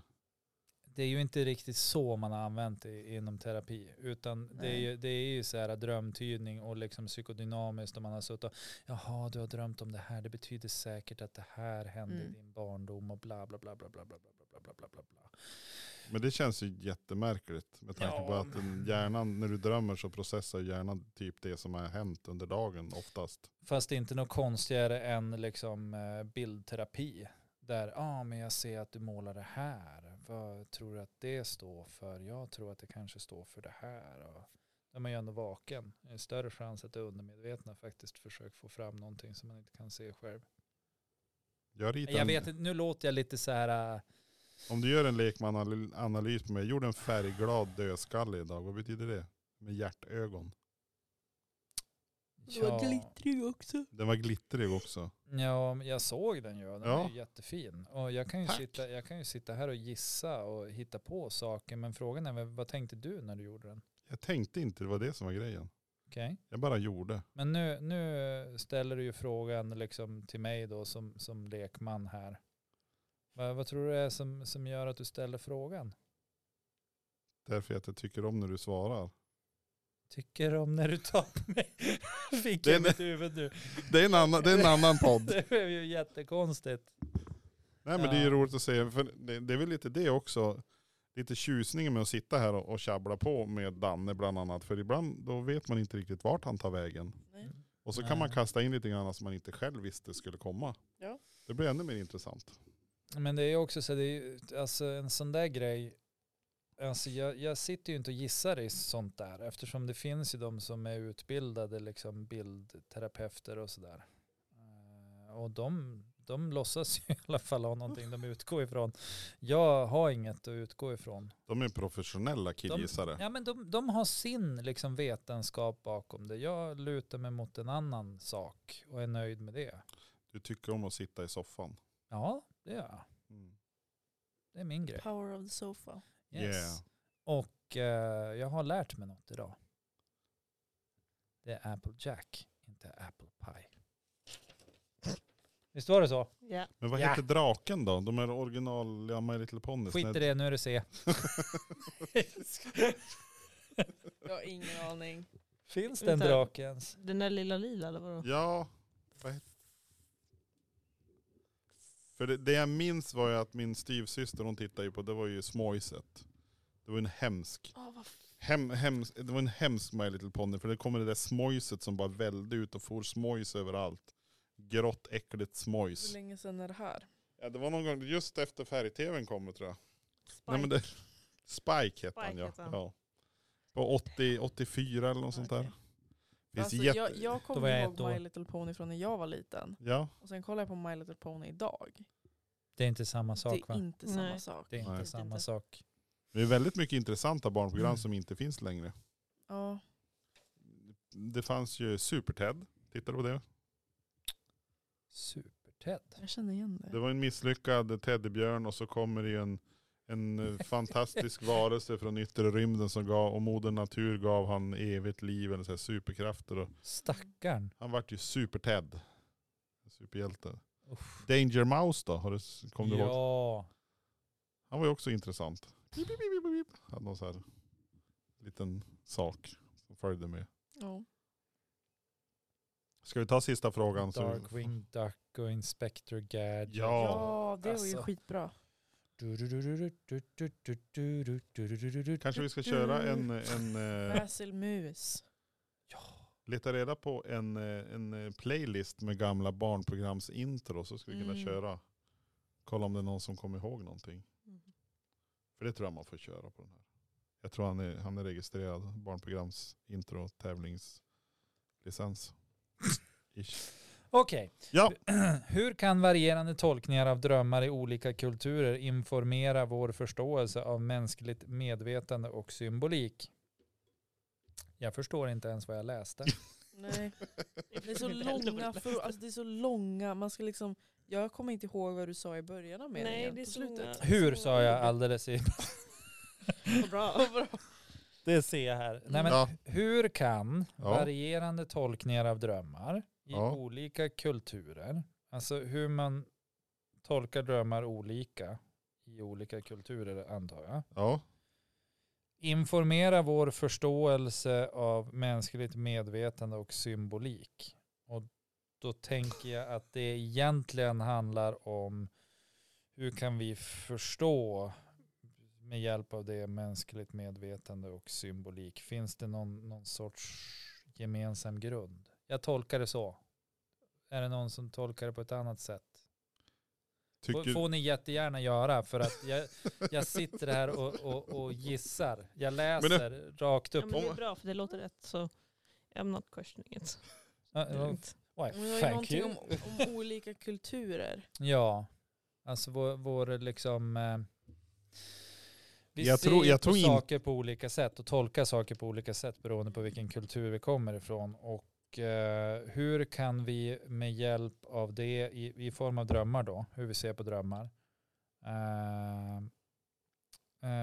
Speaker 1: Det är ju inte riktigt så man har använt det inom terapi, utan det är,
Speaker 3: Nej.
Speaker 1: ju, det är ju så här drömtydning och liksom psykodynamiskt och man har suttit och jaha, du har drömt om det här, det betyder säkert att det här hände i
Speaker 3: Mm.
Speaker 1: din barndom och bla bla bla bla bla bla bla bla bla bla bla bla.
Speaker 2: Men det känns ju jättemärkligt med tanke på
Speaker 1: Ja.
Speaker 2: att en hjärnan, när du drömmer så processar hjärnan typ det som har hänt under dagen oftast.
Speaker 1: Fast det är inte något konstigare än liksom eh, bildterapi. Där, ja ah, men jag ser att du målar det här. Vad tror du att det står för? Jag tror att det kanske står för det här. Och när man är ju ändå vaken. Det är större chans att det undermedvetna faktiskt försöker få fram någonting som man inte kan se själv.
Speaker 2: Jag, ritar
Speaker 1: Jag
Speaker 2: en-
Speaker 1: vet inte, nu låter jag lite så här. eh,
Speaker 2: Om du gör en lekmananalys på mig, jag gjorde en färgglad dödskalle idag, vad betyder det? Med hjärtögon.
Speaker 3: Det var
Speaker 1: Ja.
Speaker 3: glittrig också.
Speaker 2: Den var glittrig också.
Speaker 1: Ja, men jag såg den ju. Den
Speaker 2: Ja.
Speaker 1: är ju jättefin. Och jag kan ju,
Speaker 2: Tack.
Speaker 1: sitta, jag kan ju sitta här och gissa och hitta på saker. Men frågan är, väl, vad tänkte du när du gjorde den?
Speaker 2: Jag tänkte inte det var det som var grejen.
Speaker 1: Okej.
Speaker 2: Jag bara gjorde.
Speaker 1: Men nu, nu ställer du ju frågan liksom till mig då som, som lekman här. Vad, vad tror du det är som, som gör att du ställer frågan?
Speaker 2: Därför jag inte tycker om när du svarar.
Speaker 1: Tycker om när du tar på mig. Fick
Speaker 2: Det är
Speaker 1: jag i mitt huvud nu.
Speaker 2: Det är en annan, det är en annan podd.
Speaker 1: Det blev ju jättekonstigt.
Speaker 2: Nej men det är ju
Speaker 1: Ja.
Speaker 2: roligt att se. För det, det är väl lite det också. Lite tjusningen med att sitta här och, och tjabbla på med Danne bland annat. För ibland då vet man inte riktigt vart han tar vägen.
Speaker 3: Nej.
Speaker 2: Och så
Speaker 1: Nej.
Speaker 2: kan man kasta in lite grann som man inte själv visste skulle komma.
Speaker 3: Ja.
Speaker 2: Det blir ännu mer intressant.
Speaker 1: Men det är ju också så, det är ju, alltså en sån där grej, alltså jag, jag sitter ju inte och gissar i sånt där eftersom det finns ju de som är utbildade liksom bildterapeuter och sådär. Eh, Och de, de låtsas ju i alla fall ha någonting de utgår ifrån. Jag har inget att utgå ifrån.
Speaker 2: De är professionella killgissare.
Speaker 1: Ja men de, de har sin liksom vetenskap bakom det. Jag lutar mig mot en annan sak och är nöjd med det.
Speaker 2: Du tycker om att sitta i soffan.
Speaker 1: Ja, det gör jag.
Speaker 2: Mm.
Speaker 1: Det är min grej.
Speaker 3: Power of the sofa.
Speaker 1: Yes.
Speaker 2: Yeah.
Speaker 1: Och eh, jag har lärt mig något idag. Det är Applejack, inte Apple Pie. Visst var det så?
Speaker 4: Ja.
Speaker 2: Men vad
Speaker 1: Ja.
Speaker 2: heter draken då? De är original ja, My Little Ponies.
Speaker 1: Skit i det, nu är det C.
Speaker 3: Jag har ingen aning.
Speaker 1: Finns den
Speaker 4: Vänta.
Speaker 1: drakens?
Speaker 4: Den där lilla lila eller vadå?
Speaker 2: Ja. vad het- För det, det jag minns var ju att min styvsyster hon tittade ju på, det var ju Småiset. Det var en hemsk,
Speaker 3: Ah, vad f-
Speaker 2: hem, hems, det var en hemsk My Little Pony för det kommer det där Småiset som bara välde ut och for Småis överallt. Grått äckligt
Speaker 3: hur
Speaker 2: Småis.
Speaker 3: länge sedan är det här?
Speaker 2: Ja, det var någon gång just efter färg-tvn kom tror jag.
Speaker 4: Spike.
Speaker 2: Nej, men det, Spike hette han
Speaker 4: Spike
Speaker 2: ja.
Speaker 4: hette han.
Speaker 2: ja. På 80, 84 eller något sånt där.
Speaker 3: Okej.
Speaker 2: Finns
Speaker 3: Alltså,
Speaker 2: det jätte...
Speaker 3: jag, jag
Speaker 1: Då var
Speaker 3: kommer
Speaker 1: jag
Speaker 3: ihåg
Speaker 1: ett år.
Speaker 3: My Little Pony från när jag var liten.
Speaker 2: Ja,
Speaker 3: Och sen kollar jag på My Little Pony idag.
Speaker 1: Det är inte samma
Speaker 3: det
Speaker 1: sak
Speaker 3: är
Speaker 1: va?
Speaker 3: inte samma
Speaker 4: Nej.
Speaker 3: sak.
Speaker 1: Det är inte
Speaker 2: Nej.
Speaker 1: samma
Speaker 4: Inte.
Speaker 1: sak.
Speaker 2: det är väldigt mycket intressanta barnprogram
Speaker 1: Mm.
Speaker 2: som inte finns längre.
Speaker 3: Ja.
Speaker 2: Det fanns ju Super-Ted, tittar du på det?
Speaker 1: Super-Ted.
Speaker 3: Jag känner igen
Speaker 2: Det
Speaker 3: det.
Speaker 2: var en misslyckad teddybjörn och så kommer det ju en, en eh, fantastisk varelse från yttre rymden som gav, och moder natur gav han evigt liv eller så här superkrafter. Och
Speaker 1: Stackarn.
Speaker 2: han vart ju Super-Ted. Superhjälte.
Speaker 1: Usch.
Speaker 2: Danger Mouse då, har du, s- kom du ihåg?
Speaker 1: ja.
Speaker 2: Han var ju också intressant. Bip, bip, bip, bip, bip. Hade någon så här liten sak som följde med.
Speaker 3: Ja.
Speaker 2: Ska vi ta sista frågan? så vi-
Speaker 1: Darkwing Duck och Inspector Gadget.
Speaker 2: Ja.
Speaker 3: ja, det var
Speaker 1: Alltså.
Speaker 3: ju skitbra.
Speaker 2: Kanske vi ska köra en, en eh,
Speaker 3: Basil Mus.
Speaker 2: leta reda på en, eh, en eh, playlist med gamla barnprogramsintro så ska vi kunna
Speaker 3: Mm.
Speaker 2: köra. Kolla om det är någon som kommer ihåg någonting.
Speaker 4: Mm.
Speaker 2: För det tror jag man får köra på den här. Jag tror han är, han är registrerad barnprogramsintro tävlingslicens. Ish.
Speaker 1: Okej.
Speaker 2: Ja.
Speaker 1: Hur kan varierande tolkningar av drömmar i olika kulturer informera vår förståelse av mänskligt medvetande och symbolik? Jag förstår inte ens vad jag läste.
Speaker 3: Nej. Det är så
Speaker 4: Inte heller vad
Speaker 3: långa
Speaker 4: det
Speaker 3: frågor. Alltså det är så långa. Man ska liksom, jag kommer inte ihåg vad du sa i början av meningen.
Speaker 4: Nej, det är
Speaker 3: på
Speaker 4: så långa.
Speaker 3: slutet.
Speaker 1: Hur sa jag alldeles i...
Speaker 4: Vad bra.
Speaker 1: Det ser jag här. Nej, men
Speaker 2: Ja.
Speaker 1: Hur kan
Speaker 2: Ja.
Speaker 1: varierande tolkningar av drömmar i
Speaker 2: Ja.
Speaker 1: olika kulturer, alltså hur man tolkar drömmar olika i olika kulturer antar jag,
Speaker 2: Ja.
Speaker 1: informera vår förståelse av mänskligt medvetande och symbolik. Och då tänker jag att det egentligen handlar om hur kan vi förstå med hjälp av det mänskligt medvetande och symbolik. Finns det någon, någon sorts gemensam grund? Jag tolkar det så. Är det någon som tolkar det på ett annat sätt? Får,
Speaker 2: Tycker,
Speaker 1: får ni jättegärna göra för att jag, jag sitter här och, och, och gissar. Jag läser rakt
Speaker 4: Ja,
Speaker 1: upp.
Speaker 4: men det är bra för det låter rätt så I'm not questioning it.
Speaker 1: Ja,
Speaker 4: Det är lugnt.
Speaker 1: why,
Speaker 3: Mm. Men det var ju
Speaker 1: thank
Speaker 3: någonting
Speaker 1: you.
Speaker 3: om, om olika kulturer.
Speaker 1: Ja, alltså vår, vår liksom... Eh, vi
Speaker 2: Jag
Speaker 1: ser
Speaker 2: tror- jag
Speaker 1: på
Speaker 2: tror in-
Speaker 1: saker på olika sätt och tolkar saker på olika sätt beroende på vilken kultur vi kommer ifrån. Och Och eh, hur kan vi med hjälp av det i, i form av drömmar då, hur vi ser på drömmar, eh,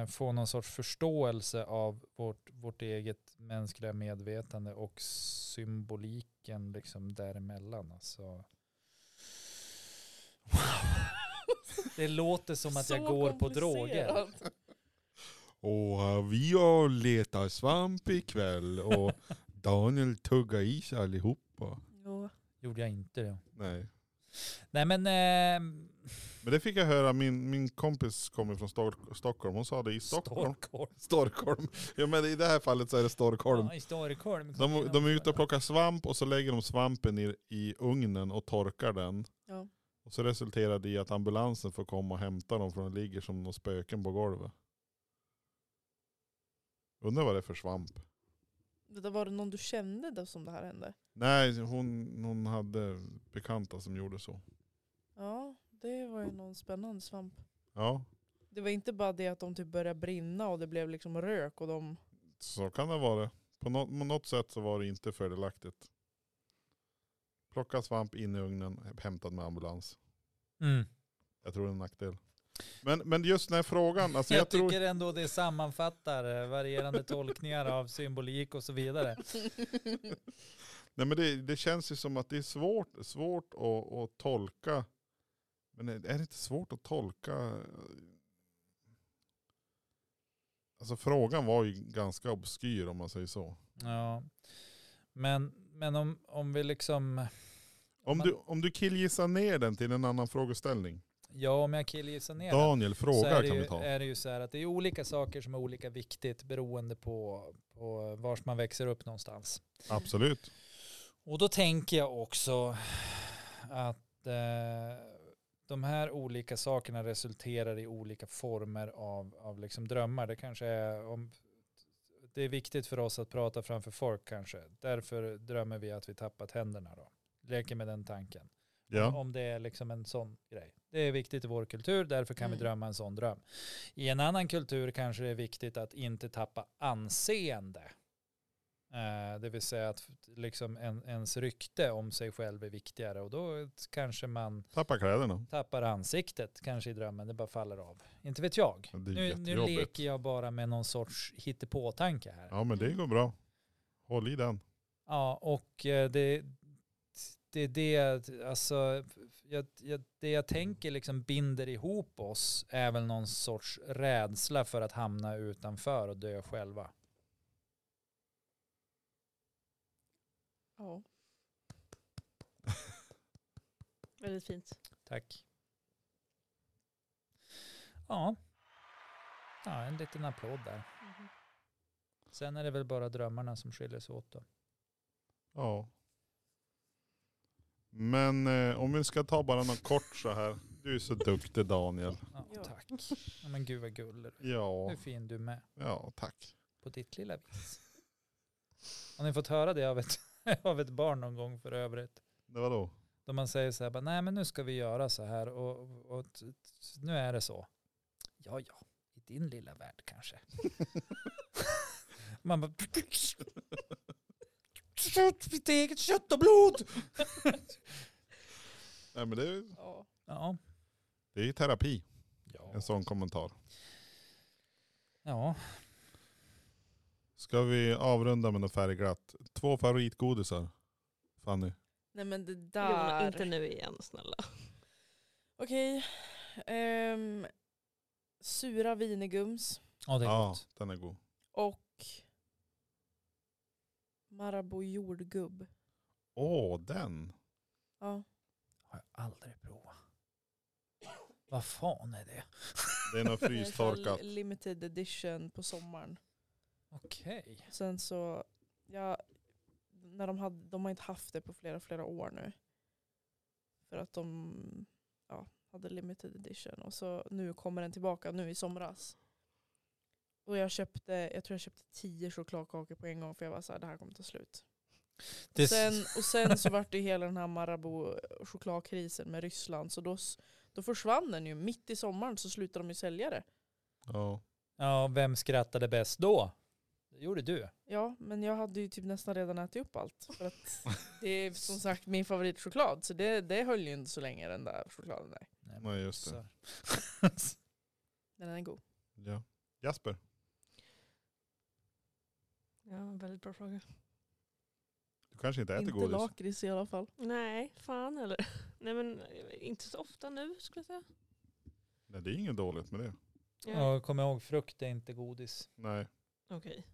Speaker 1: eh, få någon sorts förståelse av vårt, vårt eget mänskliga medvetande och symboliken liksom däremellan. Alltså. Det låter som att jag
Speaker 3: Så
Speaker 1: går på droger.
Speaker 3: komplicerat.
Speaker 2: Och eh, vi har letat svamp ikväll och Daniel tuggar i sig allihopa.
Speaker 3: Ja.
Speaker 1: Gjorde jag inte det.
Speaker 2: Nej.
Speaker 1: Nej men, eh,
Speaker 2: Men det fick jag höra, min, min kompis kommer från Stor- Stockholm, hon sa det i Stockholm.
Speaker 1: Storkholm.
Speaker 2: Storkholm. Ja men i det här fallet så är det Storkholm.
Speaker 1: Ja, i Storkholm.
Speaker 2: De, de är ute och plockar svamp och så lägger de svampen i, i ugnen och torkar den.
Speaker 3: Ja.
Speaker 2: Och så resulterar det i att ambulansen får komma och hämta dem för de ligger som några spöken på golvet. Undrar vad det är för svamp.
Speaker 3: Vänta, Var det någon du kände då som det här hände?
Speaker 2: Nej, hon, hon hade bekanta som gjorde så.
Speaker 3: Ja, det var ju någon spännande svamp.
Speaker 2: Ja,
Speaker 3: Det var inte bara det att de typ började brinna och det blev liksom rök och de...
Speaker 2: så kan det vara. På något, på något sätt så var det inte fördelaktigt. Plocka svamp in i ugnen, hämtad med ambulans.
Speaker 1: Mm.
Speaker 2: Jag tror det är en nackdel. Men, men just den här frågan, alltså
Speaker 1: Jag,
Speaker 2: jag, tror...
Speaker 1: tycker ändå det sammanfattar eh, varierande tolkningar av symbolik och så vidare.
Speaker 2: Nej, men det, det känns ju som att det är svårt, svårt att, att tolka. Men är är det inte svårt att tolka? Alltså frågan var ju ganska obskyr om man säger så.
Speaker 1: Ja. Men, men om, om vi liksom,
Speaker 2: Om
Speaker 1: Man-
Speaker 2: du, om du killgissar ner den till en annan frågeställning.
Speaker 1: ja om jag killgissar ner det,
Speaker 2: Daniel,
Speaker 1: så är
Speaker 2: fråga
Speaker 1: det ju,
Speaker 2: kan
Speaker 1: eh,
Speaker 2: vi ta.
Speaker 1: är det ju så här att det är olika saker som är olika viktigt beroende på, på vars man växer upp någonstans.
Speaker 2: Absolut.
Speaker 1: Och då tänker jag också att eh, de här olika sakerna resulterar i olika former av, av liksom drömmar. Det kanske är om det är viktigt för oss att prata framför folk kanske. Därför drömmer vi att vi tappat händerna då. Leker med den tanken.
Speaker 2: Ja.
Speaker 1: Om det är liksom en sån grej. Det är viktigt i vår kultur, därför kan
Speaker 3: Mm.
Speaker 1: vi drömma en sån dröm. I en annan kultur kanske det är viktigt att inte tappa anseende. Eh, det vill säga att f- liksom en, ens rykte om sig själv är viktigare och då kanske man
Speaker 2: Tappa kläderna.
Speaker 1: tappar ansiktet kanske i drömmen, det bara faller av. Inte vet jag.
Speaker 2: Det är
Speaker 1: Nu, nu
Speaker 2: jättejobbigt.
Speaker 1: leker jag bara med någon sorts hittepåtanke här.
Speaker 2: Ja men det går bra. Håll i den.
Speaker 1: Ja, och eh, det, det är det, alltså, jag, jag, det jag tänker liksom binder ihop oss är väl någon sorts rädsla för att hamna utanför och dö själva.
Speaker 3: Ja.
Speaker 4: Väldigt fint.
Speaker 1: Tack. Ja. ja, en liten applåd där.
Speaker 4: Mm-hmm.
Speaker 1: Sen är det väl bara drömmarna som skiljer sig åt då.
Speaker 2: Ja. Men eh, om vi ska ta bara något kort så här. Du är så duktig Daniel.
Speaker 1: Ja,
Speaker 3: Ja.
Speaker 1: Tack. Ja, men gud vad gullig du är.
Speaker 2: Ja,
Speaker 1: Hur fin du är med
Speaker 2: ja tack.
Speaker 1: på ditt lilla vis. Har ni fått höra det av ett, av ett barn någon gång för övrigt?
Speaker 2: Det var då.
Speaker 1: Då man säger så här, bara, nej men nu ska vi göra så här och, och, och t- t- nu är det så. Ja, ja, i din lilla värld kanske. man bara... Kött, mitt eget kött och blod!
Speaker 2: Nej, men det, är-
Speaker 3: ja.
Speaker 1: Ja.
Speaker 2: det är terapi,
Speaker 1: Ja.
Speaker 2: en sån kommentar.
Speaker 1: ja.
Speaker 2: Ska vi avrunda med något färgglatt? Två favoritgodisar, Fanny.
Speaker 3: Nej men det
Speaker 4: Jonas,
Speaker 3: där.
Speaker 4: inte nu igen snälla.
Speaker 3: Okej. Ehm, sura vinegums
Speaker 1: ja, det är
Speaker 2: Ja,
Speaker 1: gott.
Speaker 2: den är god.
Speaker 3: och Marabou jordgubb.
Speaker 2: Åh, den.
Speaker 3: Ja.
Speaker 1: Har jag aldrig provat. Vad fan är det?
Speaker 2: Det är något
Speaker 3: det är i alla fall
Speaker 2: frystorkat.
Speaker 3: Limited edition på sommaren.
Speaker 1: Okej.
Speaker 3: Sen så, ja, när de, hade, de har inte haft det på flera, flera år nu. För att de ja, hade limited edition. Och så nu kommer den tillbaka nu i somras. Och jag köpte, jag tror jag köpte tio chokladkakor på en gång för jag var såhär, det här kommer ta slut.
Speaker 1: Det-
Speaker 3: Sen, och sen så vart det ju hela den här Marabou chokladkrisen med Ryssland. Så då, s- då försvann den ju. Mitt i sommaren så slutade de ju sälja det.
Speaker 2: Ja.
Speaker 1: Ja, vem skrattade bäst då? Det gjorde du.
Speaker 3: Ja, men jag hade ju typ nästan redan ätit upp allt. För att det är som sagt min favoritchoklad, så det, det höll ju inte så länge den där chokladen där.
Speaker 2: Nej, just det.
Speaker 1: Så.
Speaker 3: Men den är god.
Speaker 2: Ja. Jasper,
Speaker 4: Ja, väldigt bra fråga.
Speaker 2: du kanske inte äter
Speaker 3: inte
Speaker 2: godis?
Speaker 3: lakrits i alla fall.
Speaker 4: Nej, fan eller? Nej men inte så ofta nu skulle jag säga.
Speaker 2: Nej, det är inget dåligt med det.
Speaker 1: Ja, kom ihåg, frukt är inte godis.
Speaker 2: Nej.
Speaker 4: Okej,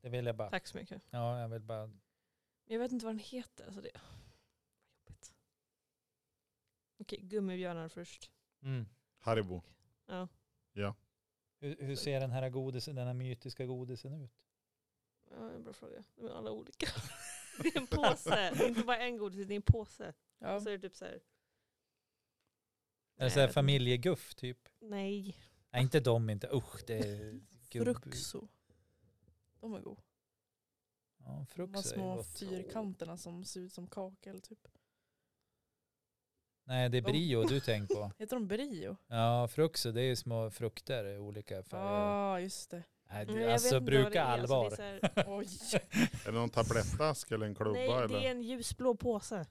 Speaker 1: Det vill jag bara.
Speaker 4: tack så mycket.
Speaker 1: Ja, jag vill bara.
Speaker 4: Men Jag vet inte vad den heter. Så det... Vad jobbigt. Okej, gummibjörnar först.
Speaker 1: Mm.
Speaker 2: Haribo.
Speaker 4: Ja.
Speaker 1: Hur, hur ser den här godisen, den här mytiska godisen ut?
Speaker 4: Ja, en bra fråga. De är alla olika. Det är en påse. Det är inte bara en godis, det är en påse.
Speaker 3: Ja.
Speaker 4: Och så är det typ så här.
Speaker 1: Är det
Speaker 4: Nej,
Speaker 1: så
Speaker 4: jag
Speaker 1: här
Speaker 4: vet
Speaker 1: familjeguff typ?
Speaker 4: Nej.
Speaker 1: Nej, inte de inte. Usch, det är gubb.
Speaker 3: Fruxo. De är god.
Speaker 1: Ja,
Speaker 3: De här
Speaker 1: frux är ju
Speaker 3: små
Speaker 1: gott.
Speaker 3: fyrkanterna som ser ut som kakel typ.
Speaker 1: Nej, det är
Speaker 3: De-
Speaker 1: brio du tänker på.
Speaker 3: Heter de Brio?
Speaker 1: Ja, fruxo, det är ju små frukter i olika
Speaker 3: Ja,
Speaker 1: färger.
Speaker 3: ah, just det.
Speaker 1: Nej,
Speaker 4: Nej,
Speaker 1: det,
Speaker 4: jag vet
Speaker 1: alltså
Speaker 4: inte vad det
Speaker 1: bruka
Speaker 4: är. Alltså, det är
Speaker 1: allvar.
Speaker 4: så här-
Speaker 3: Oj.
Speaker 2: Är det någon tablettask eller en klubba?
Speaker 4: Nej,
Speaker 2: eller?
Speaker 4: det är en ljusblå påse.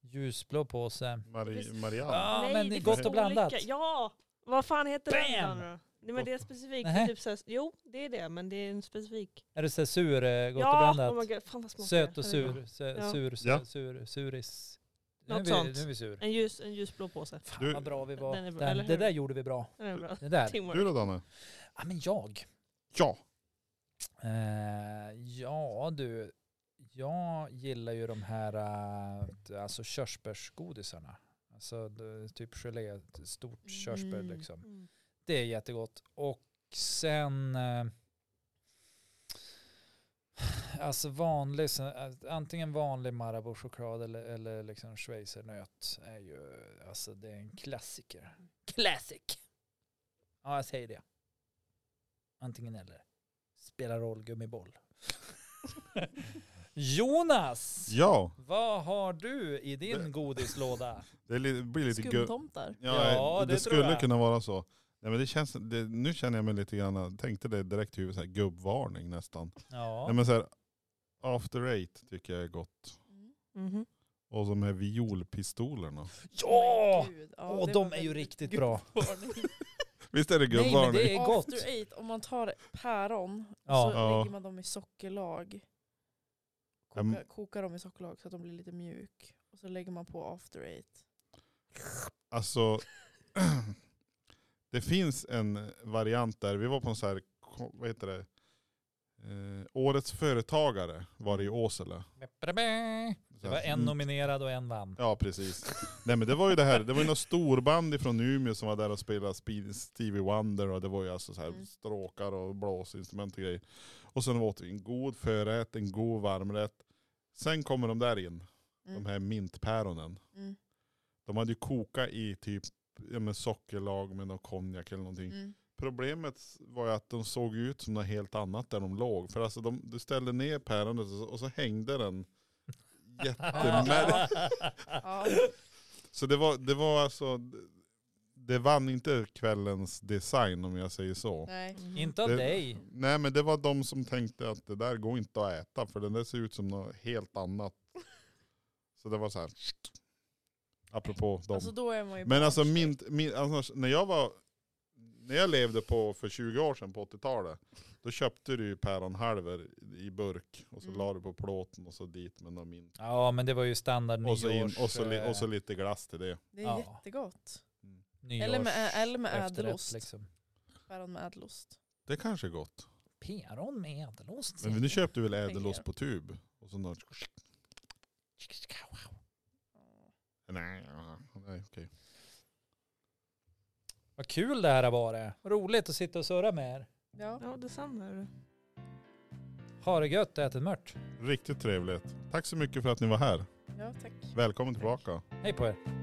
Speaker 1: Ljusblå påse.
Speaker 2: Mari-
Speaker 4: Precis.
Speaker 2: Marianne?
Speaker 1: Ja,
Speaker 4: Nej,
Speaker 1: men
Speaker 4: det
Speaker 1: gott
Speaker 4: finns
Speaker 1: och blandat.
Speaker 4: olika. Ja, vad fan heter
Speaker 1: Bam!
Speaker 4: den då? Nej, men det är specifikt. Det
Speaker 1: Nähä.
Speaker 4: är typ så här, jo, det är det, men det är en specifik.
Speaker 1: Är det så här sur, eh, gott
Speaker 4: ja,
Speaker 1: och blandat?
Speaker 4: oh my God, fan vad smakar
Speaker 1: Söt
Speaker 4: det?
Speaker 1: och
Speaker 4: Herregud.
Speaker 1: sur, sö,
Speaker 4: Ja.
Speaker 1: sur, sur,
Speaker 2: Ja.
Speaker 1: sur, suris.
Speaker 4: Något
Speaker 1: nu är vi,
Speaker 4: sånt.
Speaker 1: nu är vi sur.
Speaker 4: En, ljus, en ljusblå påse.
Speaker 1: Fan
Speaker 2: Du-
Speaker 1: vad bra vi var.
Speaker 4: Den är bra,
Speaker 1: Den,
Speaker 4: eller
Speaker 1: det
Speaker 4: hur?
Speaker 1: där gjorde vi bra.
Speaker 4: Den är bra.
Speaker 1: Det där.
Speaker 4: Teamwork.
Speaker 2: Du då Danne?
Speaker 1: Ja, men jag.
Speaker 2: Ja.
Speaker 1: Eh, ja du, jag gillar ju de här eh, alltså körsbärsgodisarna. Alltså det- typ gelé, stort körsbär
Speaker 3: Mm.
Speaker 1: liksom.
Speaker 4: Mm.
Speaker 1: Det är jättegott. Och sen... Eh, alltså vanlig, så- att- antingen vanlig Marabou-choklad eller, eller liksom schweizernöt är ju, alltså det är en klassiker. Classic! Ja, jag säger det. Antingen eller. Spelar roll, gummiboll. Jonas!
Speaker 2: Ja,
Speaker 1: Vad har du i
Speaker 2: Det-
Speaker 1: din godislåda?
Speaker 2: det är li- blir lite gött.
Speaker 3: Skumtomtar.
Speaker 2: Ja,
Speaker 1: Ja,
Speaker 2: det,
Speaker 1: det tror
Speaker 2: skulle
Speaker 1: jag.
Speaker 2: kunna vara så. Nej, men det känns, det, nu känner jag mig lite grann, tänkte det direkt i huvudet, så här, gubbvarning nästan.
Speaker 1: Ja.
Speaker 2: Nej, men så här, after eight tycker jag är gott.
Speaker 3: Mm.
Speaker 4: Mhm.
Speaker 2: Och de här violpistolerna.
Speaker 1: Ja!
Speaker 3: Men gud, ja,
Speaker 1: Åh,
Speaker 3: det
Speaker 1: de
Speaker 3: var
Speaker 1: är ju
Speaker 3: väldigt
Speaker 1: riktigt
Speaker 3: gud.
Speaker 1: bra.
Speaker 2: Visst är det
Speaker 1: Nej, men
Speaker 2: gubbvarning?
Speaker 1: det är gott.
Speaker 3: After eight, om man tar päron
Speaker 1: Ja.
Speaker 3: så
Speaker 2: Ja.
Speaker 3: lägger man dem i sockerlag.
Speaker 2: Mm.
Speaker 3: Koka, kokar dem i sockerlag så att de blir lite mjuk. Och så lägger man på after eight.
Speaker 2: Alltså, det finns en variant där, vi var på en så här, ko- vad heter det, eh, Årets företagare var det i Åsele.
Speaker 1: Det var en nominerad och en vann.
Speaker 2: Mm. Ja precis. Nej men det var ju det här, det var ju något storband ifrån Umeå som var där och spelade Speed- Stevie Wonder och det var ju alltså så här
Speaker 3: Mm.
Speaker 2: stråkar och blåsinstrument och grejer. Och sen åt vi en god förrätt, en god varmrätt. Sen kommer de där in,
Speaker 3: Mm.
Speaker 2: de här mintpäronen.
Speaker 3: Mm.
Speaker 2: De hade ju kokat i typ ja, men sockerlag med någon konjak eller någonting.
Speaker 3: Mm.
Speaker 2: Problemet var ju att de såg ju ut som något helt annat där de låg. För alltså de, du ställde ner päronet och så, och så hängde den jättemärkligt.
Speaker 1: Ah.
Speaker 3: Ja,
Speaker 2: Så det var, det var alltså, det vann inte kvällens design om jag säger så.
Speaker 3: nej.
Speaker 1: Inte av
Speaker 2: Det-
Speaker 1: dig.
Speaker 2: Nej men det var de som tänkte att det där går inte att äta för den där ser ut som något helt annat. Så det var så här. Apropå dem.
Speaker 3: Alltså då är man ju
Speaker 2: men alltså,
Speaker 3: barnslig.
Speaker 2: min, min, alltså när jag var, när jag levde på för 20 år sedan på 80-talet. Då köpte du ju päronhalvor i burk och så
Speaker 3: Mm.
Speaker 2: la du på plåten och så dit med någon mint.
Speaker 1: Ja, men det var ju standard
Speaker 2: Och så, in,
Speaker 1: nyårs...
Speaker 2: och, så li,
Speaker 1: eh,
Speaker 2: och så lite glass till det.
Speaker 3: Det är
Speaker 1: ja.
Speaker 3: jättegott.
Speaker 1: eh, nyårs
Speaker 3: eller med- eller med
Speaker 1: efterrätt,
Speaker 3: ädelost.
Speaker 1: Liksom.
Speaker 3: Päron med ädelost.
Speaker 2: Det kanske är gott.
Speaker 1: Päron med ädelost.
Speaker 2: Men nu köpte du väl
Speaker 3: Tänker
Speaker 2: ädelost
Speaker 3: jag.
Speaker 2: på tub? Och så något... Nej, nej okej.
Speaker 1: Vad kul det här har varit. Roligt att sitta och surra med er.
Speaker 3: Ja.
Speaker 4: Ja, detsamma. är det.
Speaker 1: Ha det gött, ät en mört.
Speaker 2: Riktigt trevligt. Tack så mycket för att ni var här.
Speaker 3: ja, tack.
Speaker 2: Välkommen tillbaka.
Speaker 1: Hej på er.